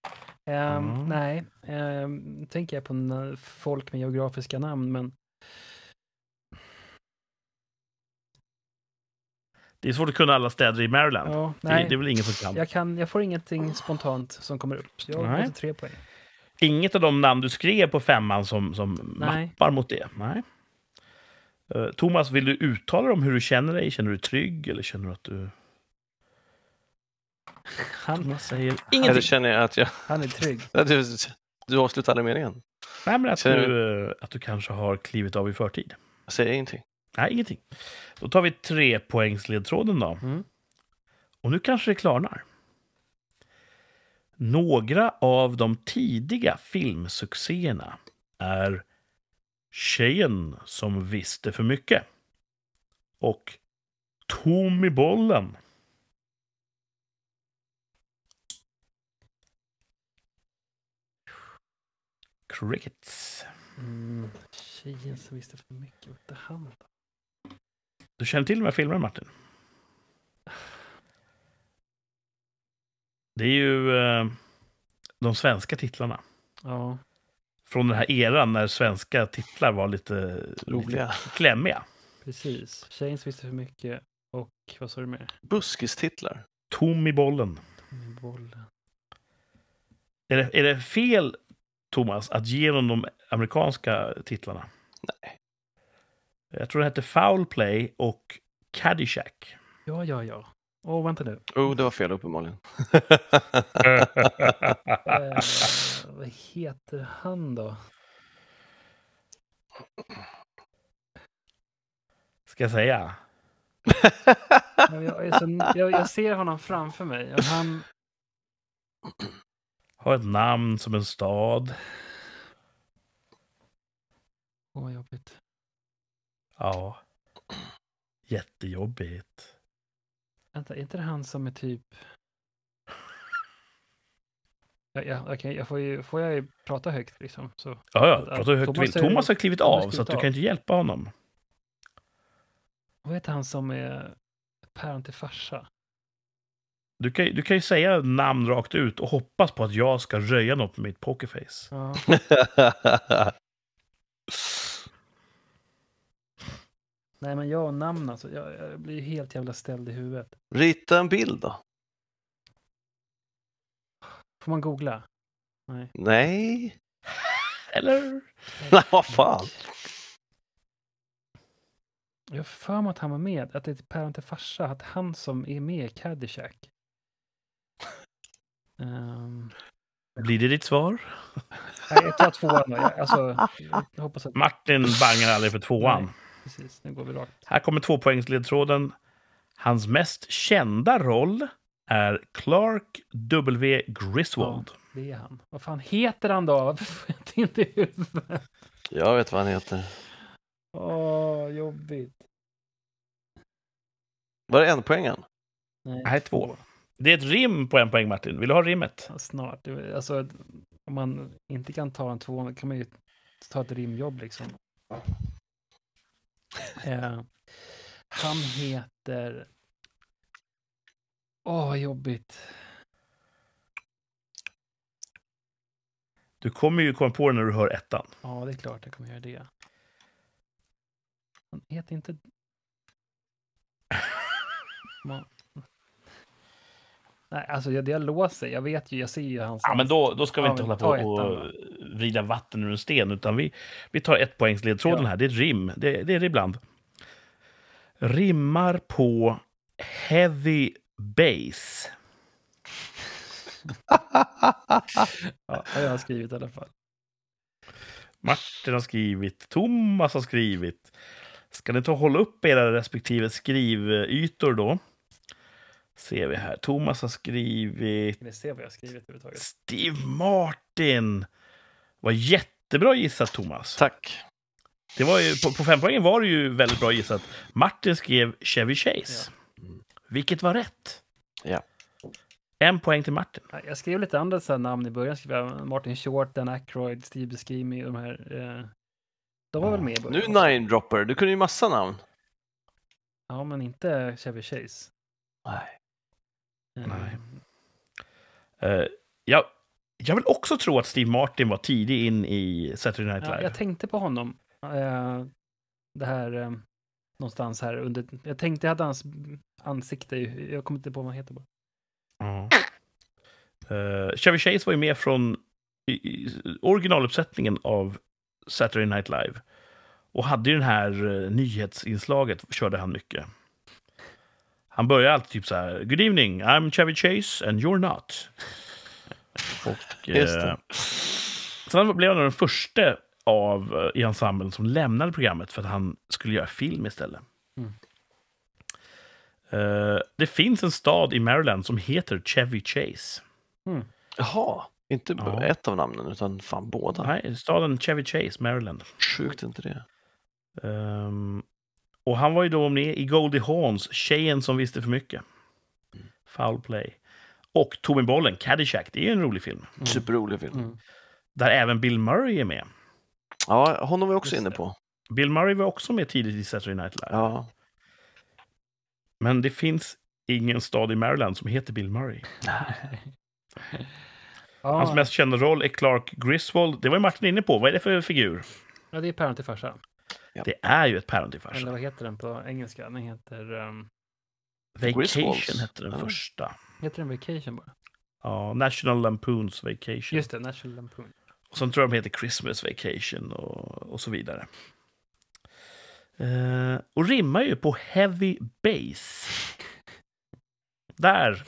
Speaker 3: Ehm,
Speaker 1: Mm.
Speaker 3: Nej, ehm, nu tänker jag på na- folk med geografiska namn, men
Speaker 1: Det är svårt att kunna alla städer i Maryland.
Speaker 3: ja,
Speaker 1: Det-
Speaker 3: nej.
Speaker 1: Det är väl ingen som kan.
Speaker 3: Jag, kan, jag får ingenting spontant som kommer upp, så jag
Speaker 1: Nej.
Speaker 3: har tre poäng.
Speaker 1: Inget av de namn du skrev på femman som, som
Speaker 3: Nej.
Speaker 1: mappar mot det? Nej. Eh, Thomas, vill du uttala dig om hur du känner dig? Känner du dig trygg eller känner du att du...
Speaker 3: Han,
Speaker 1: Thomas säger
Speaker 2: Eller
Speaker 1: ingenting.
Speaker 2: känner jag att jag...
Speaker 3: han är trygg.
Speaker 2: Du, du avslutar aldrig meningen.
Speaker 1: Nej, men att
Speaker 2: Känner
Speaker 1: du, eh, att du kanske har klivit av i förtid.
Speaker 2: Jag säger ingenting.
Speaker 1: Nej, ingenting. Då tar vi tre poängsledtråden då.
Speaker 3: Mm.
Speaker 1: Och nu kanske det klarnar. Några av de tidiga filmsuccéerna är Tjejen som visste för mycket och Tom i bollen. Crickets.
Speaker 3: Mm. Tjejen som visste för mycket, vad hette han då?
Speaker 1: Du känner till de här filmerna, Martin? Det är ju eh, de svenska titlarna.
Speaker 3: Ja,
Speaker 1: Från den här eran när svenska titlar var lite, lite
Speaker 2: Roliga.
Speaker 1: klämmiga.
Speaker 3: precis. Tjejen som visste för mycket och vad sa du mer?
Speaker 2: Buskistitlar.
Speaker 1: Tom i bollen.
Speaker 3: Med Mm, bollen.
Speaker 1: Är det, är det fel, Thomas, att ge honom de amerikanska titlarna?
Speaker 2: Nej.
Speaker 1: Jag tror den hette Foul Play och Caddyshack.
Speaker 3: Ja, ja, ja. Åh, vänta nu.
Speaker 2: Oh, det var fel uppenbarligen.
Speaker 3: Eh, vad heter han då?
Speaker 1: Ska jag säga?
Speaker 3: Men Jag, är så, jag, jag ser honom framför mig. Och han,
Speaker 1: Har ett namn som en stad.
Speaker 3: åh, vad jobbigt.
Speaker 1: Ja. Jättejobbigt.
Speaker 3: Vänta, är inte det han som är typ... Ja, ja, okej, jag får, ju, får jag ju prata högt liksom? Så.
Speaker 1: Ja, ja.
Speaker 3: Att- att
Speaker 1: Prata hur högt du
Speaker 3: Thomas
Speaker 1: vill.
Speaker 3: är-
Speaker 1: Thomas har klivit
Speaker 3: Thomas
Speaker 1: av, så
Speaker 3: klivit
Speaker 1: att du
Speaker 3: av.
Speaker 1: kan inte hjälpa honom.
Speaker 3: Vad heter han som är päron till farsa?
Speaker 1: Du kan, ju- du kan ju säga namn rakt ut och hoppas på att jag ska röja något med mitt pokerface.
Speaker 3: Ja, nej, men jag och namn alltså. Jag, jag blir ju helt jävla ställd i huvudet.
Speaker 2: Rita en bild då.
Speaker 3: Får man googla?
Speaker 2: Nej.
Speaker 1: Eller?
Speaker 2: Nej, vad fan.
Speaker 3: Jag har för mig att han var med. Att det är till päron till farsa. Att han som är med i Caddyshack. Ehm,
Speaker 1: Blir det ditt svar?
Speaker 3: nej, jag tar tvåan då. Jag, alltså, jag hoppas att...
Speaker 1: Martin bangar aldrig för tvåan.
Speaker 3: Nej. Precis, nu går vi rakt.
Speaker 1: Här kommer tvåpoängsledtråden. Hans mest kända roll är Clark W. Griswold.
Speaker 3: Det är han. Vad fan heter han då? Varför får jag inte in det i huvudet?
Speaker 2: Jag vet vad han heter.
Speaker 3: Åh, jobbigt.
Speaker 2: Var det en poängen?
Speaker 3: Nej,
Speaker 1: Det här är två. Det är ett rim på en poäng, Martin. Vill du ha rimmet?
Speaker 3: Ja, Snart. Det- Alltså, om man inte kan ta en tvåa då kan man ju ta ett rimjobb liksom. Eh, han heter... Åh, vad jobbigt.
Speaker 1: Du kommer ju komma på det när du hör ettan.
Speaker 3: Ja, det är klart jag kommer göra det. Han heter inte... Ma- Nej, alltså jag, det jag låser. Jag vet ju, jag ser ju hans...
Speaker 1: Ja, men då, då ska vi
Speaker 3: Ja,
Speaker 1: inte
Speaker 3: men
Speaker 1: hålla på
Speaker 3: ta
Speaker 1: och
Speaker 3: ettan
Speaker 1: vrida vatten ur en sten, utan vi, vi tar ett poängs ledtråden
Speaker 3: Ja.
Speaker 1: här. Det är ett rim, det, det är det ibland. Rimmar på heavy bass.
Speaker 3: Ja, jag har skrivit i alla fall.
Speaker 1: Martin har skrivit, Thomas har skrivit. Ska ni ta och hålla upp era respektive skrivytor då? Ser vi här. Thomas har skrivit
Speaker 3: Ska ni se vad jag har skrivit överhuvudtaget?
Speaker 1: Steve Martin. Vad jättebra gissat Thomas.
Speaker 2: Tack.
Speaker 1: Det var ju, på, på fempoängen var det ju väldigt bra gissat. Martin skrev Chevy Chase. Vilket var rätt.
Speaker 2: Ja.
Speaker 1: En poäng till Martin.
Speaker 3: Nej, Jag skrev lite andra så här namn i början. Skrev jag Martin Short, Dan Aykroyd, Steve Buscemi, de här. Eh, de var väl med i början?
Speaker 2: Nu
Speaker 3: också?
Speaker 2: nine dropper, du kunde ju massa namn.
Speaker 3: Ja, men inte Chevy Chase.
Speaker 2: Nej.
Speaker 3: Eh,
Speaker 1: Nej. Eh, jag, jag vill också tro att Steve Martin var tidig in i Saturday Night
Speaker 3: Ja,
Speaker 1: Live.
Speaker 3: jag tänkte på honom. Eh, det här eh, någonstans här under. Jag tänkte jag hade hans ansikte. i- Jag kommer inte på vad han heter bara.
Speaker 1: Ja. Eh, Chevy Chase var ju med från i, i, originaluppsättningen av Saturday Night Live. Och hade ju den här eh, nyhetsinslaget, körde han mycket. Han börjar alltid typ så här, Good evening, I'm Chevy Chase and you're not. Och,
Speaker 2: Just
Speaker 1: eh,
Speaker 2: det.
Speaker 1: sen blev han den första av, eh, i ensemblen som lämnade programmet för att han skulle göra film istället.
Speaker 3: Mm.
Speaker 1: Eh, det finns en stad i Maryland som heter Chevy Chase.
Speaker 2: Jaha, inte
Speaker 1: Ja.
Speaker 2: ett av namnen utan fan båda.
Speaker 1: Nej, staden Chevy Chase, Maryland.
Speaker 2: Sjukt inte det.
Speaker 1: Ehm, och han var ju då med i Goldie Hawns, Tjejen som visste för mycket. Foul play. Och Tommy Bollen, Caddyshack, det är ju en rolig film.
Speaker 3: Mm.
Speaker 2: Superrolig film.
Speaker 3: Mm.
Speaker 1: Där även Bill Murray är med.
Speaker 2: Ja, honom var jag också
Speaker 3: Just
Speaker 2: inne
Speaker 3: det.
Speaker 2: på.
Speaker 1: Bill Murray var också med tidigt i Saturday Night Live.
Speaker 2: Ja.
Speaker 1: Men det finns ingen stad i Maryland som heter Bill Murray.
Speaker 3: Ja,
Speaker 1: Hans mest kända roll är Clark Griswold. Det var ju Martin inne på. Vad är det för figur?
Speaker 3: ja, det är Päron till farsa.
Speaker 1: Det är ju ett päron till
Speaker 3: Eller
Speaker 1: farsa.
Speaker 3: vad heter den på engelska? Den heter... ehm,
Speaker 1: Vacation
Speaker 2: Griswolds. Ah.
Speaker 1: hette den
Speaker 2: Ja.
Speaker 1: första.
Speaker 3: heter den Vacation bara?
Speaker 1: Ja, National Lampoons Vacation.
Speaker 3: Just det, National Lampoon.
Speaker 1: Och sen tror jag de heter Christmas Vacation och, och så vidare. Eh, och rimmar ju på Heavy Bass. Där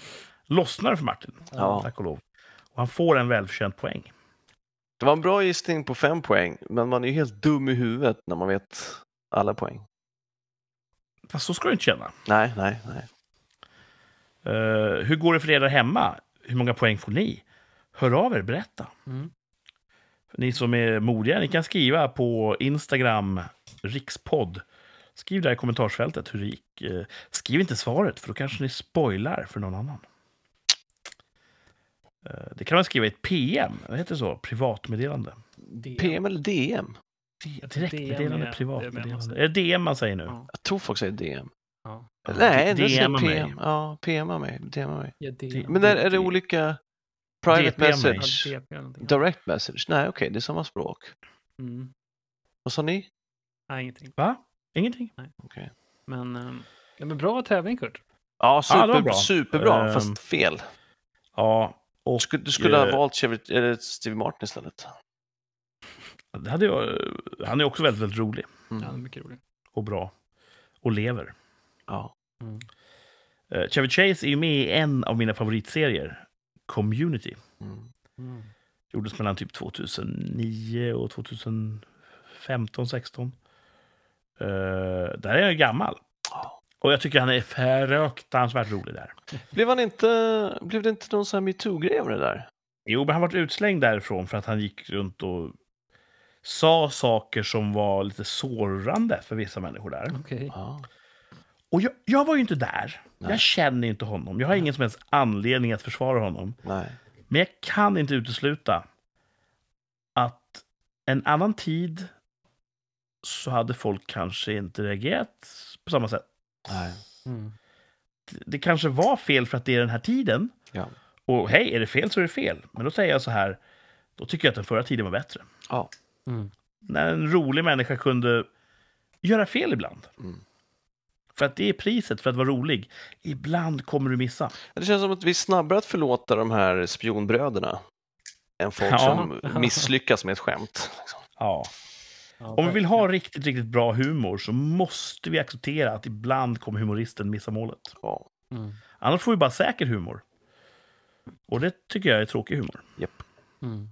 Speaker 1: lossnar det för Martin,
Speaker 2: Ja.
Speaker 1: tack och lov. Och han får en välförtjänt poäng.
Speaker 2: Det var en bra gissning på fem poäng, men man är ju helt dum i huvudet när man vet alla poäng.
Speaker 1: Fast så ska du inte känna.
Speaker 2: Nej, nej, nej.
Speaker 1: Eh, hur går det för er där hemma? Hur många poäng får ni? Hör av er, berätta.
Speaker 3: Mm.
Speaker 1: Ni som är modiga, ni kan skriva på Instagram, rikspodd. Skriv där i kommentarsfältet hur det gick. Eh, Skriv inte svaret, för då kanske ni spoilar för någon annan. Eh, Det kan man skriva i ett PM, vad heter det så? Privatmeddelande.
Speaker 3: DM.
Speaker 2: PM eller DM?
Speaker 3: Jag tror DM är-
Speaker 1: Direktmeddelande,
Speaker 3: det är med man
Speaker 1: privatmeddelande.
Speaker 3: säger.
Speaker 1: Är det DM man säger nu?
Speaker 3: Ja.
Speaker 2: Jag tror folk säger DM.
Speaker 3: Ja.
Speaker 2: Nej, det
Speaker 1: DMa
Speaker 2: säger
Speaker 1: mig.
Speaker 2: PM. Ja, PMa mig. DMa mig.
Speaker 3: Ja, DM.
Speaker 1: Det-
Speaker 2: Men där är det olika private
Speaker 1: DPMa.
Speaker 3: Ja,
Speaker 2: message,
Speaker 3: DP eller någonting.
Speaker 2: direct message. Nej, okej, det är samma språk.
Speaker 3: Mm.
Speaker 2: Vad sa ni?
Speaker 3: Nej, ingenting.
Speaker 1: Va? Ingenting?
Speaker 3: Men, ehm, ja, men bra tävling, Kurt.
Speaker 2: Ja,
Speaker 1: Ja, det var
Speaker 2: super,
Speaker 1: bra.
Speaker 2: superbra,
Speaker 1: Ehm,
Speaker 2: fast fel.
Speaker 1: Ja, och
Speaker 2: Du skulle, du skulle ha
Speaker 1: eh,
Speaker 2: valt Chevy, eller Steve Martin istället.
Speaker 1: det hade jag, han är också väldigt, väldigt rolig
Speaker 3: Ja, det är
Speaker 2: Mm.
Speaker 3: mycket roligt.
Speaker 1: och bra. Och lever.
Speaker 2: Ja.
Speaker 1: Eh, Chevy Chase är ju med i en av mina favoritserier, Community.
Speaker 2: Mm.
Speaker 3: Mm.
Speaker 1: Gjordes mellan typ 2009 och 2015, 16. Eh, där är jag gammal.
Speaker 2: Ja.
Speaker 1: Och jag tycker han är fruktansvärt rolig där.
Speaker 2: Blev, han inte, blev det inte någon sån här metoo-grej av det där?
Speaker 1: Jo, men han vart utslängd därifrån för att han gick runt och sa saker som var lite sårande för vissa människor där.
Speaker 3: Okej.
Speaker 2: Ja.
Speaker 1: Och jag, jag var ju inte där.
Speaker 2: Nej.
Speaker 1: Jag känner ju inte honom. Jag har ingen som helst anledning att försvara honom.
Speaker 2: Nej.
Speaker 1: Men jag kan inte utesluta att en annan tid så hade folk kanske inte reagerat på samma sätt.
Speaker 2: Nej.
Speaker 3: Mm.
Speaker 1: Det kanske var fel för att det är den här tiden.
Speaker 2: Ja.
Speaker 1: Och hej, är det fel så är det fel. Men då säger jag så här, då tycker jag att den förra tiden var bättre.
Speaker 2: Ja.
Speaker 3: Mm.
Speaker 1: När en rolig människa kunde göra fel ibland.
Speaker 2: Mm.
Speaker 1: För att det är priset för att vara rolig. Ibland kommer du missa.
Speaker 2: Det känns som att vi är snabbare att förlåta de här spionbröderna än folk
Speaker 1: Ja.
Speaker 2: som misslyckas med ett skämt. Liksom.
Speaker 1: Ja.
Speaker 3: Ja,
Speaker 1: Om vi vill
Speaker 3: verkligen.
Speaker 1: ha riktigt, riktigt bra humor så måste vi acceptera att ibland kommer humoristen missa målet.
Speaker 2: Ja.
Speaker 3: Mm.
Speaker 1: Annars får vi bara säker humor. Och det tycker jag är tråkig humor.
Speaker 3: Mm.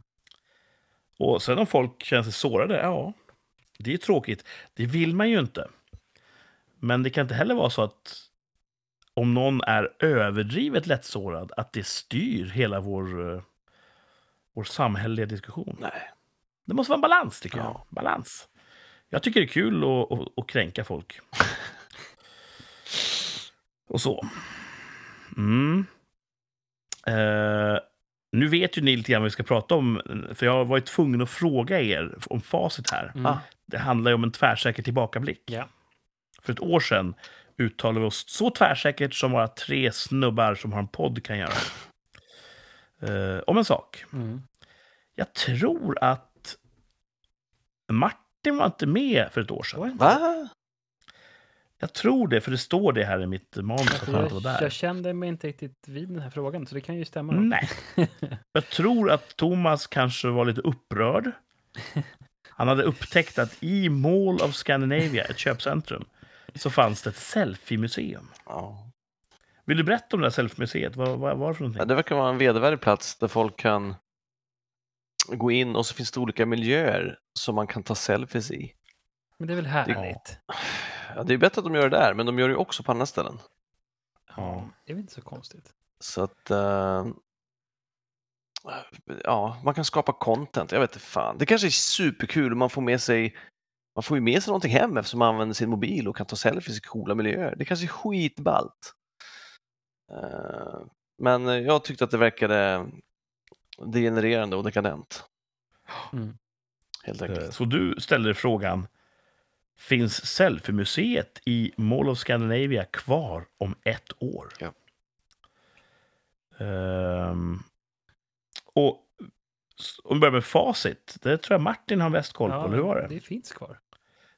Speaker 1: Och sen om folk känner sig sårade, ja, det är tråkigt. Det vill man ju inte. Men det kan inte heller vara så att om någon är överdrivet lättsårad, att det styr hela vår, eh, vår samhälleliga diskussion.
Speaker 2: Nej.
Speaker 1: Det måste vara en balans, tycker jag.
Speaker 2: Ja.
Speaker 1: Balans. Jag tycker det är kul att, att, att kränka folk. Och så. Mm. Eh, nu vet ju ni lite grann vad vi ska prata om, för jag var ju tvungen att fråga er om facit här.
Speaker 3: Mm.
Speaker 2: Ah.
Speaker 1: Det handlar ju om en tvärsäker tillbakablick.
Speaker 3: Ja.
Speaker 1: För ett år sedan uttalade vi oss så tvärsäkert som bara tre snubbar som har en podd kan göra. Eh, om en sak.
Speaker 3: Mm.
Speaker 1: Jag tror att Martin var inte med för ett år sedan.
Speaker 2: Va?
Speaker 1: Jag tror det, för det står det här i mitt manus att han inte var
Speaker 3: Jag, jag
Speaker 1: där. Mm.
Speaker 3: kände mig inte riktigt vid den här frågan, så det kan ju stämma. då.
Speaker 1: Nej. Jag tror att Thomas kanske var lite upprörd. Han hade upptäckt att i Mall of Scandinavia, ett köpcentrum, så fanns det ett selfie-museum.
Speaker 2: Ja.
Speaker 1: Vill du berätta om det här selfie-museet? Vad, vad var det för
Speaker 2: Ja,
Speaker 1: någonting?
Speaker 2: det verkar vara en vedervärdig plats där folk kan gå in och så finns det olika miljöer som man kan ta selfies i.
Speaker 3: Men det är väl härligt?
Speaker 2: Ja, det är bättre att de gör det där, men de gör det ju också på andra ställen.
Speaker 1: Ja.
Speaker 3: Det är väl inte så konstigt?
Speaker 2: Så att... eh, ja, man kan skapa content. Jag vet inte fan. Det kanske är superkul och man får med sig... Man får ju med sig någonting hem eftersom man använder sin mobil och kan ta selfies i coola miljöer. Det kanske är skitballt. Eh, men jag tyckte att det verkade degenererande och dekadent.
Speaker 3: Mm.
Speaker 2: Helt
Speaker 1: Eh,
Speaker 2: enkelt.
Speaker 1: Så du ställde dig frågan, finns selfie-museet i Mall of Scandinavia kvar om ett år?
Speaker 2: Ja.
Speaker 1: Ehm, och s- om vi börjar med facit, det tror jag Martin har mest koll på, eller hur var det?
Speaker 3: det finns kvar.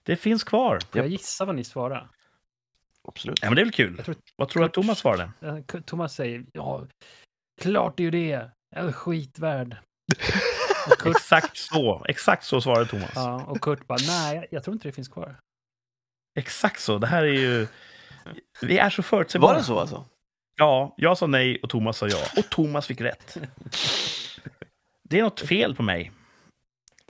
Speaker 1: Det finns kvar.
Speaker 3: Får
Speaker 2: Japp.
Speaker 3: jag gissa vad ni svarar?
Speaker 2: Absolut.
Speaker 1: Ja, men det är väl kul.
Speaker 3: Jag tror-
Speaker 1: Vad tror du att Thomas svarade?
Speaker 3: Eh, K- Thomas säger, ja, klart det är ju det. En skitvärld. Och Kurt,
Speaker 1: Exakt så, exakt så svarade Thomas.
Speaker 3: ja, och Kurt bara, nej, jag, jag tror inte det finns kvar.
Speaker 1: Exakt så, det här är ju... Vi är så förutsägbara.
Speaker 2: Var det så alltså?
Speaker 1: Ja, jag sa nej och Thomas sa ja. Och Thomas fick rätt. Det är något fel på mig.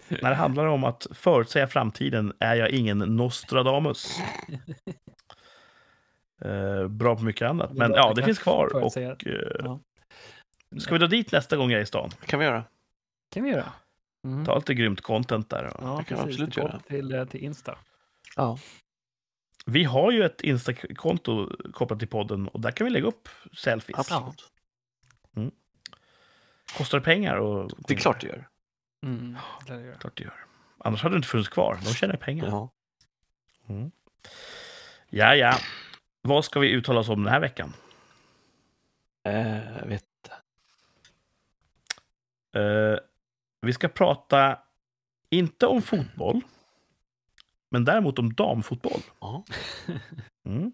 Speaker 1: När det handlar om att förutsäga framtiden är jag ingen Nostradamus. Eh, bra på mycket annat. Men ja, det finns kvar. Och,
Speaker 3: Förutsäga.
Speaker 1: eh,
Speaker 3: Ja.
Speaker 1: ska vi dra dit nästa gång jag är i stan?
Speaker 2: Det kan vi göra.
Speaker 3: kan vi göra. Mm.
Speaker 1: Ta lite grymt content där.
Speaker 3: Ja,
Speaker 2: det kan vi
Speaker 3: precis.
Speaker 2: absolut
Speaker 3: Det går
Speaker 2: göra.
Speaker 3: Till, eh, till Insta.
Speaker 2: Ja.
Speaker 1: Vi har ju ett Insta-konto kopplat till podden och där kan vi lägga upp selfies.
Speaker 2: Absolut.
Speaker 1: Kostar det pengar? Och,
Speaker 2: Det är klart det gör.
Speaker 3: Mm. det lär jag göra.
Speaker 1: klart det gör. Annars hade det inte funnits kvar. De tjänar pengar.
Speaker 2: Ja.
Speaker 1: Ja, ja. Vad ska vi uttala oss om den här veckan?
Speaker 2: Eh, vet.
Speaker 1: Eh, vi ska prata, inte om fotboll, men däremot om damfotboll.
Speaker 2: Ja.
Speaker 1: Mm.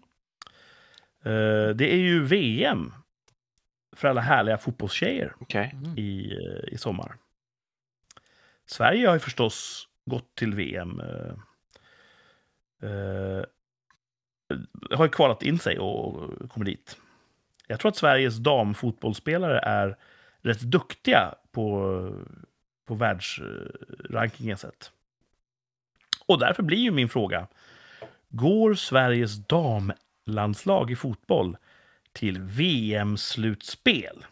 Speaker 1: Eh, det är ju VM för alla härliga fotbollstjejer
Speaker 2: Okej.
Speaker 3: Mm.
Speaker 1: i, eh, i sommar. Sverige har ju förstås gått till VM. eh, eh, har ju kvalat in sig och kommer dit. Jag tror att Sveriges damfotbollsspelare är rätt duktiga på, på världsrankingen sett. Och därför blir ju min fråga. Går Sveriges damlandslag i fotboll till VM-slutspel?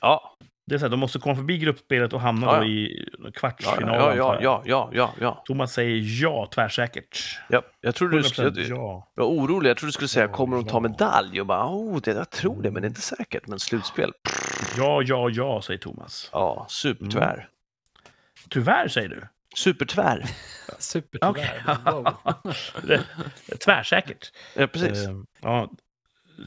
Speaker 2: Ja.
Speaker 1: Det är så här, de måste komma förbi gruppspelet och hamna
Speaker 2: Ja, ja.
Speaker 1: då i
Speaker 2: Ja,
Speaker 1: kvartsfinalen.
Speaker 2: ja,
Speaker 1: antar jag.
Speaker 2: ja, ja, ja, ja, ja.
Speaker 1: Thomas säger ja tvärsäkert.
Speaker 2: ja. Jag trodde du
Speaker 1: 100%
Speaker 2: skulle, jag,
Speaker 1: ja.
Speaker 2: jag var orolig, jag trodde du skulle säga
Speaker 1: Ja,
Speaker 2: kommer de ta
Speaker 1: ja.
Speaker 2: medalj? Och bara, oh, det, jag tror det, men det är inte säkert. Men slutspel, pff,
Speaker 1: Ja, ja, ja, säger Thomas.
Speaker 2: ja, supertvär.
Speaker 1: Mm. Tyvärr, säger du.
Speaker 2: Supertvär,
Speaker 3: Supertyvärr.
Speaker 1: Okej.
Speaker 3: Wow.
Speaker 1: Det- Tvärsäkert.
Speaker 2: ja precis.
Speaker 1: Eh, ja,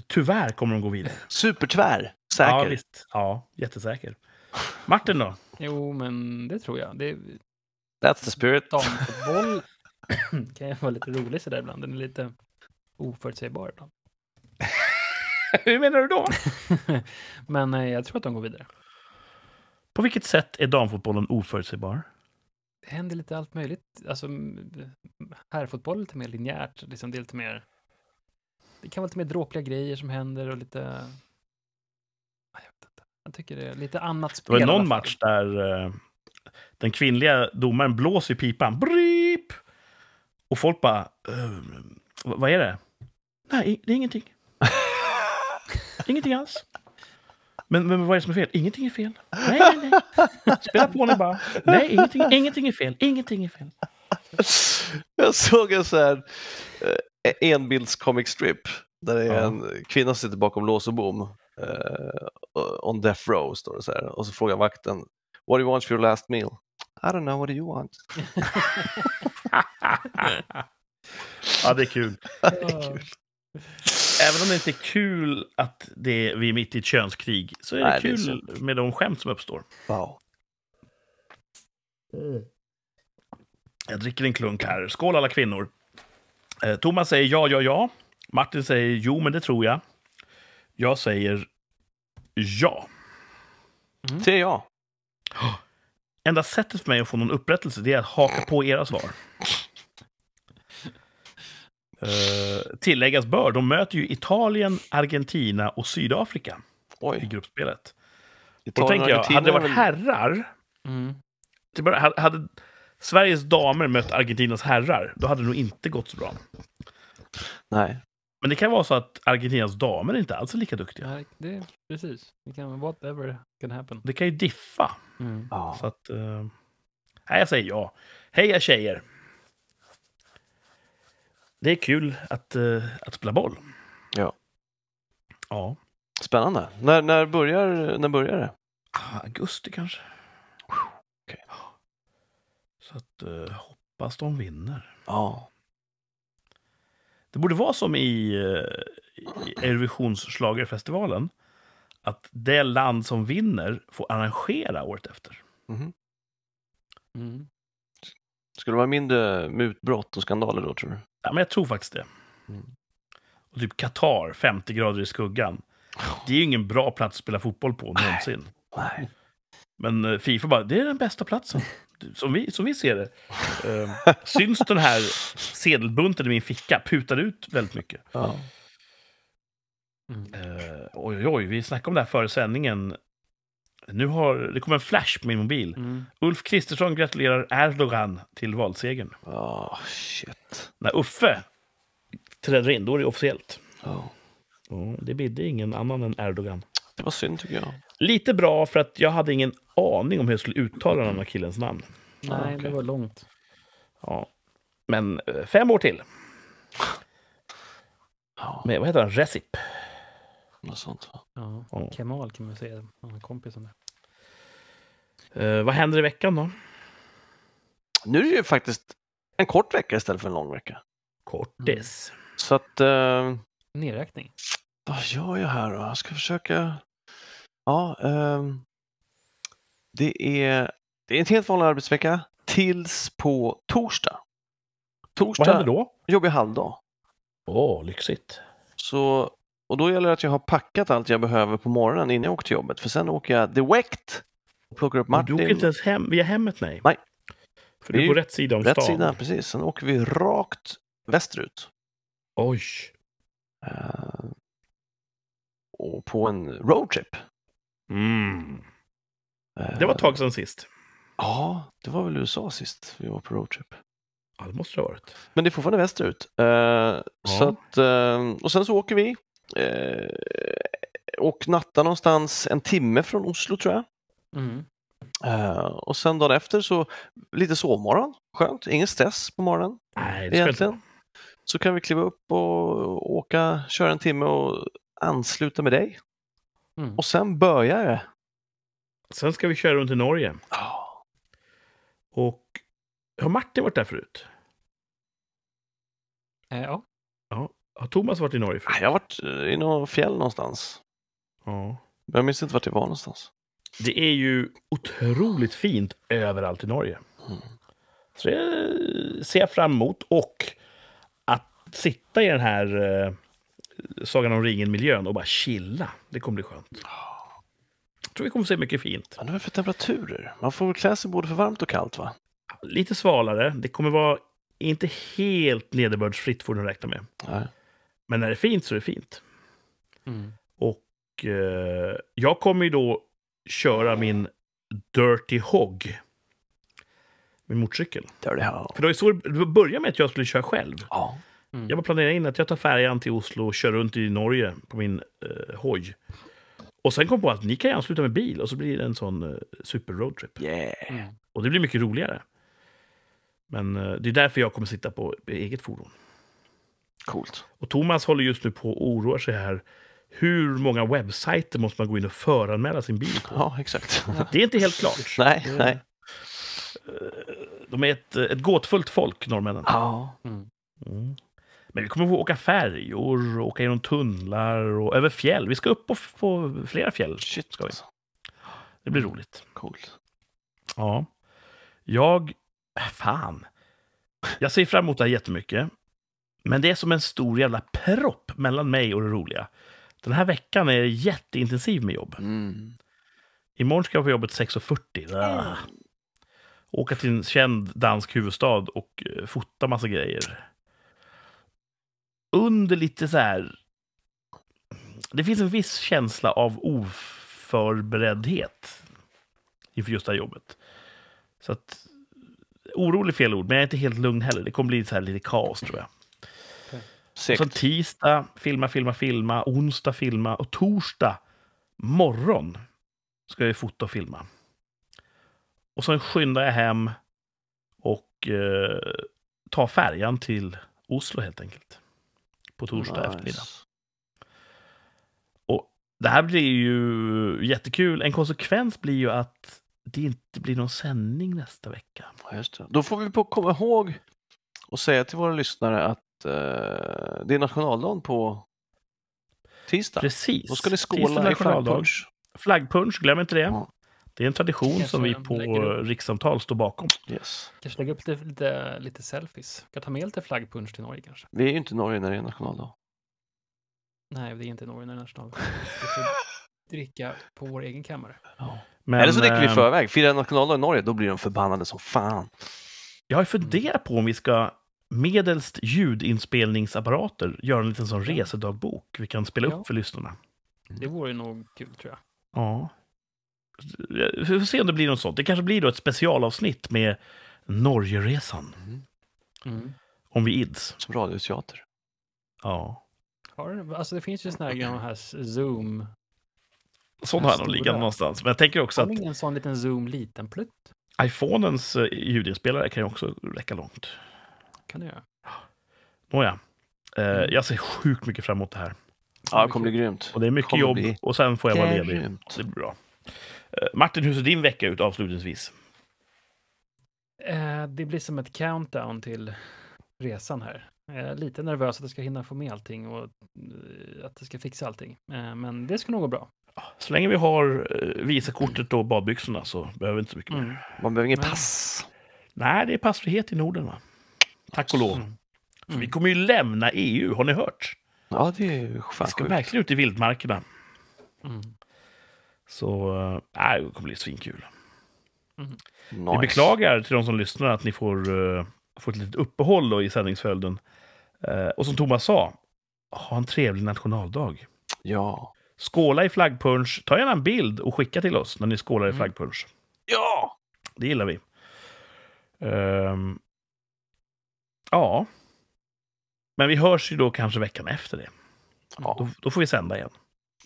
Speaker 1: tyvärr kommer de gå vidare.
Speaker 2: Supertvär, säker.
Speaker 1: Ja, visst. Ja, jättesäker. Martin då?
Speaker 3: Jo, men det tror jag. Det,
Speaker 2: That's the spirit.
Speaker 3: damfotboll kan ju vara lite rolig sådär ibland. Den är lite oförutsägbar ibland.
Speaker 1: Hur menar du då?
Speaker 3: Men eh, jag tror att de går vidare.
Speaker 1: På vilket sätt är damfotbollen oförutsägbar?
Speaker 3: Det händer lite allt möjligt. Alltså, m- herrfotboll är lite mer linjärt. Liksom det, är lite mer, det kan vara lite mer dråpliga grejer som händer och lite... Nej, Jag, vet inte. jag tycker det är lite annat
Speaker 1: Det
Speaker 3: spel.
Speaker 1: var
Speaker 3: i
Speaker 1: ju
Speaker 3: alla
Speaker 1: någon
Speaker 3: fall.
Speaker 1: match där eh, den kvinnliga domaren blåser i pipan. Brip! Och folk bara... "Eh, vad vad är det? Nej, det är ingenting. Ingenting alls. Men, men vad är det som är fel? Ingenting är fel. Nej, nej, nej. Spela på nu bara. Nej, ingenting, ingenting är fel. Ingenting är fel.
Speaker 2: Jag såg en sån här eh, enbilds comic strip där det är
Speaker 1: Ja.
Speaker 2: en kvinna som sitter bakom lås och bom. eh, on death row står det så här. Och så frågar vakten What do you want for your last meal? I don't know, what do you want?
Speaker 1: Ja, det är kul.
Speaker 3: Ja.
Speaker 1: Även om det inte är kul att det är, vi är mitt i ett könskrig så är det
Speaker 2: Nej, det är
Speaker 1: kul med de skämt som uppstår.
Speaker 2: Wow.
Speaker 1: Jag dricker en klunk här. Skål alla kvinnor. Eh, Thomas säger ja, ja, ja. Martin säger jo, men det tror jag. Jag säger ja. Mm.
Speaker 2: Det är jag.
Speaker 1: Enda sättet för mig att få någon upprättelse det är att haka på era svar. Eh, tilläggas bör, de möter ju Italien, Argentina och Sydafrika i
Speaker 2: Oj.
Speaker 1: gruppspelet. Och då
Speaker 2: Italien och
Speaker 1: tänker jag,
Speaker 2: Argentina
Speaker 1: hade det
Speaker 2: är
Speaker 1: varit
Speaker 2: väl-
Speaker 1: herrar
Speaker 3: Mm.
Speaker 1: Det bara, hade- hade Sveriges damer mött Argentinas herrar, då hade det nog inte gått så bra.
Speaker 2: Nej.
Speaker 1: Men det kan vara så att Argentinas damer inte alls är lika duktiga.
Speaker 3: Ja, det, precis. Det kan, whatever can happen.
Speaker 1: Det kan ju diffa.
Speaker 3: Mm.
Speaker 2: Ja.
Speaker 1: Så att, eh, nej, jag säger ja. Heja tjejer! Det är kul att, eh, att spela boll.
Speaker 2: Ja.
Speaker 1: Ja.
Speaker 2: Spännande. När, när, börjar, när börjar det?
Speaker 1: Ah, Augusti kanske.
Speaker 2: Okej.
Speaker 1: Så att, eh, hoppas de vinner.
Speaker 2: Ja.
Speaker 1: Det borde vara som i, eh, i Eurovisionsschlagerfestivalen. Att det land som vinner får arrangera året efter.
Speaker 2: Mhm.
Speaker 3: Mm.
Speaker 2: Skulle det vara mindre mutbrott och skandaler då tror du?
Speaker 1: Ja, men jag tror faktiskt det.
Speaker 2: Mm.
Speaker 1: Och typ Qatar, 50 grader i skuggan. Det är ju ingen bra plats att spela fotboll på någonsin.
Speaker 2: Nej.
Speaker 1: Men eh, Fifa bara, det är den bästa platsen. Som vi, som vi ser det. Eh, syns den här sedelbunten i min ficka? Putar ut väldigt mycket.
Speaker 2: Ja.
Speaker 3: Mm.
Speaker 1: Eh, oj, oj, oj, vi snackade om det här före sändningen. Nu har, det kom en flash på min mobil.
Speaker 3: Mm.
Speaker 1: Ulf Kristersson gratulerar Erdogan till valsegern.
Speaker 2: Ja, Ah, shit.
Speaker 1: När Uffe träder in, då är det officiellt.
Speaker 2: Ja.
Speaker 1: Ja, det bidde ingen annan än Erdogan.
Speaker 2: Det var synd tycker jag.
Speaker 1: Lite bra, för att jag hade ingen aning om hur jag skulle uttala den här killens namn.
Speaker 3: Nej, det
Speaker 2: okej.
Speaker 3: var långt.
Speaker 1: Ja. Men eh, fem år till.
Speaker 2: Ja,
Speaker 1: Med, vad heter han? Recip.
Speaker 2: något sånt. va?
Speaker 3: Ja.
Speaker 1: Ja.
Speaker 3: Kemal kan man säga, han är kompisen där.
Speaker 1: Eh, vad händer i veckan då?
Speaker 2: Nu är det ju faktiskt en kort vecka istället för en lång vecka.
Speaker 1: Kortis.
Speaker 2: Så att, eh,
Speaker 3: Nedräkning.
Speaker 2: vad gör jag här då? Jag ska försöka... Ja, ehm, det, är, det är en helt vanlig arbetsvecka tills på torsdag. Torsdag
Speaker 1: Vad händer då?
Speaker 2: jobbar jag halvdag.
Speaker 1: Åh, lyxigt.
Speaker 2: Så, och då gäller det att jag har packat allt jag behöver på morgonen innan jag åker till jobbet. För sen åker jag direkt och plockar upp
Speaker 1: Martin...
Speaker 2: Martin.
Speaker 1: Du åker inte ens hem, via hemmet, nej.
Speaker 2: Nej.
Speaker 1: För
Speaker 2: Det
Speaker 1: du
Speaker 2: är
Speaker 1: är på
Speaker 2: ju
Speaker 1: rätt sida om
Speaker 2: Rätt
Speaker 1: stan.
Speaker 2: sida, precis. Sen åker vi rakt västerut.
Speaker 1: Oj.
Speaker 2: Eh, och på en roadtrip.
Speaker 1: Mm.
Speaker 2: Eh,
Speaker 1: Det var ett tag sedan sist.
Speaker 2: Ja, det var väl USA sist vi var på roadtrip.
Speaker 1: Ja, det måste det ha varit.
Speaker 2: Men det är fortfarande västerut. Eh, så att, eh, och sen så åker vi eh, och nattar någonstans en timme från Oslo tror jag.
Speaker 3: Mm.
Speaker 2: Eh, och sen dagen efter så lite sovmorgon, skönt, ingen stress på morgonen
Speaker 1: Nej, det spelar inte
Speaker 2: egentligen. Så kan vi kliva upp och åka, köra en timme och ansluta med dig.
Speaker 3: Mm.
Speaker 2: Och sen börjar det.
Speaker 1: roll. Sen ska vi köra runt i Norge.
Speaker 2: Ja,
Speaker 1: Och har Martin varit där förut?
Speaker 3: Eh, ja.
Speaker 1: Har Thomas varit i Norge förut?
Speaker 2: Ah, Jag har varit eh, i någon fjäll någonstans.
Speaker 1: Ja.
Speaker 2: Men jag minns inte vart det var någonstans.
Speaker 1: Det är ju otroligt fint överallt i Norge.
Speaker 2: Mm.
Speaker 1: Så det ser jag fram emot. Och att sitta i den här eh, Sagan om ringen-miljön och bara chilla, det kommer bli skönt. tror vi kommer se mycket fint.
Speaker 2: Vad är det för temperaturer? Man får väl klä sig både för varmt och kallt va?
Speaker 1: Lite svalare. Det kommer vara inte helt nederbördsfritt får du räkna med.
Speaker 2: Nej.
Speaker 1: Men när det är fint så är det fint.
Speaker 3: Mm.
Speaker 1: Och eh, jag kommer ju då köra min Dirty Hog. Min motorcykel.
Speaker 2: Dirty hell.
Speaker 1: För det var ju så det började med att jag skulle köra själv.
Speaker 2: Ja.
Speaker 3: Mm.
Speaker 1: Jag bara planerar in att jag tar färjan till Oslo och kör runt i Norge på min eh, hoj. Och sen kom på att ni kan ju ansluta med bil och så blir det en sån eh, super roadtrip.
Speaker 2: Yeah.
Speaker 3: Mm.
Speaker 1: Och det blir mycket roligare. Men eh, det är därför jag kommer sitta på eget fordon.
Speaker 2: Coolt.
Speaker 1: Och Thomas håller just nu på och oroar sig här. Hur många webbsajter måste man gå in och föranmäla sin bil på?
Speaker 2: Ja, exakt.
Speaker 1: Det är inte helt klart.
Speaker 2: nej, nej.
Speaker 1: De är ett, eh, ett gåtfullt folk, norrmännen.
Speaker 2: Ja.
Speaker 1: Mm. Men vi kommer få åka färjor, åka genom tunnlar och över fjäll. Vi ska upp på, på flera fjäll.
Speaker 2: Shit,
Speaker 1: Ska vi.
Speaker 2: alltså.
Speaker 1: Det blir roligt.
Speaker 2: Coolt.
Speaker 1: Ja. Jag... äh, Fan. Jag ser fram emot det här jättemycket. Men det är som en stor jävla propp mellan mig och det roliga. Den här veckan är jag jätteintensiv med jobb.
Speaker 2: Mm.
Speaker 1: Imorgon ska jag på jobbet 6.40. Ah. Åka till en känd dansk huvudstad och eh, fota massa grejer. Under lite så här... Det finns en viss känsla av oförbereddhet inför just det här jobbet. Så att... Orolig är fel ord, men jag är inte helt lugn heller. Det kommer bli så här lite kaos, tror jag. Och sen
Speaker 2: Segt.
Speaker 1: tisdag, filma, filma, filma. Onsdag, filma. Och torsdag morgon ska jag ju fota och filma. Och sen skyndar jag hem och eh, tar färjan till Oslo helt enkelt. På torsdag
Speaker 2: Nice.
Speaker 1: eftermiddag. Det här blir ju jättekul. En konsekvens blir ju att det inte blir någon sändning nästa vecka.
Speaker 2: Ja, just det. Då får vi på komma ihåg och säga till våra lyssnare att eh, det är nationaldagen på tisdag.
Speaker 1: Precis.
Speaker 2: Då ska ni
Speaker 1: Tisdag
Speaker 2: skåla i
Speaker 1: nationaldag.
Speaker 2: flaggpunsch.
Speaker 1: Flaggpunsch, glöm inte det.
Speaker 2: Ja.
Speaker 1: Det är en tradition
Speaker 3: Kanske
Speaker 1: som vi
Speaker 3: de
Speaker 1: på
Speaker 3: lägger upp.
Speaker 1: rikssamtal står bakom.
Speaker 2: Yes.
Speaker 3: Kanske lägga upp lite, lite, lite selfies. Ska ta med lite flaggpunsch till Norge kanske?
Speaker 2: Vi är ju inte i Norge när det är nationaldag.
Speaker 3: Nej, det är inte Norge när det är nationaldag. Vi får dricka på vår egen kammare.
Speaker 1: Men,
Speaker 2: Eller så dricker vi i
Speaker 1: eh,
Speaker 2: förväg. Firar nationaldag i Norge, då blir de förbannade som fan.
Speaker 1: Jag har ju funderat på om vi ska medelst ljudinspelningsapparater göra en liten sån
Speaker 3: Ja.
Speaker 1: resedagbok vi kan spela
Speaker 3: Ja.
Speaker 1: upp för lyssnarna.
Speaker 3: Det vore nog kul tror jag.
Speaker 1: Ja. Vi får se om det blir något sånt. Det kanske blir då ett specialavsnitt med Norgeresan,
Speaker 3: Mm.
Speaker 1: om vi ids.
Speaker 2: Som radioteater.
Speaker 1: Ja.
Speaker 3: Har, du- alltså det finns ju såna här
Speaker 2: Mm.
Speaker 3: gamla här s- Zoom.
Speaker 1: Sån
Speaker 3: Den
Speaker 1: har jag nog
Speaker 3: stora.
Speaker 1: liggande någonstans. Men jag tänker också
Speaker 3: Har
Speaker 1: att
Speaker 3: ni ingen sån liten Zoom liten plutt?
Speaker 1: Iphonens eh, ljudinspelare kan ju också räcka långt.
Speaker 3: Kan du göra?
Speaker 1: Nåja. Eh,
Speaker 3: Mm.
Speaker 1: Jag ser sjukt mycket fram emot det här.
Speaker 2: Ja, det kommer bli grymt.
Speaker 1: Och det är mycket
Speaker 2: Kommer
Speaker 1: jobb
Speaker 2: bli
Speaker 1: och sen får jag vara ledig.
Speaker 2: Grymt.
Speaker 1: Det blir bra. Eh, Martin, hur ser din vecka ut avslutningsvis?
Speaker 3: Eh, det blir som ett countdown till resan här. Eh, lite nervös att jag ska hinna få med allting och eh, att jag ska fixa allting. Eh, men det ska nog gå bra.
Speaker 1: Så länge vi har eh, visakortet och badbyxorna så behöver vi inte så mycket
Speaker 3: Mm.
Speaker 1: mer.
Speaker 2: Man behöver inget
Speaker 3: Nej.
Speaker 2: pass.
Speaker 1: Nej, det är passfrihet i Norden, va? Tack och lov.
Speaker 3: Mm.
Speaker 1: För Vi kommer ju lämna EU, har ni hört?
Speaker 2: Ja, det är ju fan
Speaker 1: Vi ska
Speaker 2: sjukt.
Speaker 1: verkligen ut i vildmarkerna.
Speaker 3: Mm.
Speaker 1: Så eh, nej, det kommer bli svinkul.
Speaker 2: Nice.
Speaker 1: Vi beklagar till de som lyssnar att ni får, eh, får ett litet uppehåll då i sändningsföljden. Eh, och som Thomas sa, ha en trevlig nationaldag.
Speaker 2: Ja.
Speaker 1: Skåla i flaggpunsch. Ta gärna en bild och skicka till oss när ni skålar i
Speaker 3: Mm.
Speaker 1: flaggpunsch.
Speaker 2: Ja!
Speaker 1: Det gillar vi. Ehm, ja. Men vi hörs ju då kanske veckan efter det.
Speaker 2: ja.
Speaker 1: Då, då får vi sända igen.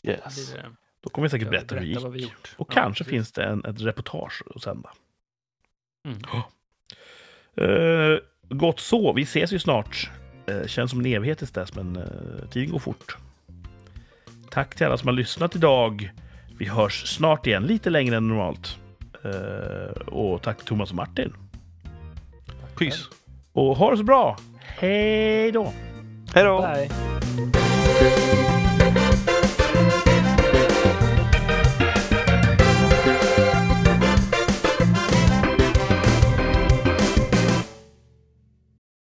Speaker 3: Det
Speaker 2: Yes.
Speaker 3: blir det.
Speaker 1: Då kommer vi säkert
Speaker 3: Ja,
Speaker 1: berätta hur det
Speaker 3: berätta vad vi
Speaker 1: gick.
Speaker 3: gjort.
Speaker 1: Och
Speaker 3: Ja,
Speaker 1: kanske
Speaker 3: precis.
Speaker 1: finns det en, ett reportage att sända.
Speaker 3: Mm.
Speaker 1: Uh, gott så. Vi ses ju snart. Eh, känns som en evighet tills dess, men eh, tiden går fort. Tack till alla som har lyssnat idag. Vi hörs snart igen, lite längre än normalt. Eh, och tack till Thomas och Martin.
Speaker 2: Peace.
Speaker 1: Och ha det så bra! Hej då!
Speaker 2: Hej då!
Speaker 3: Bye.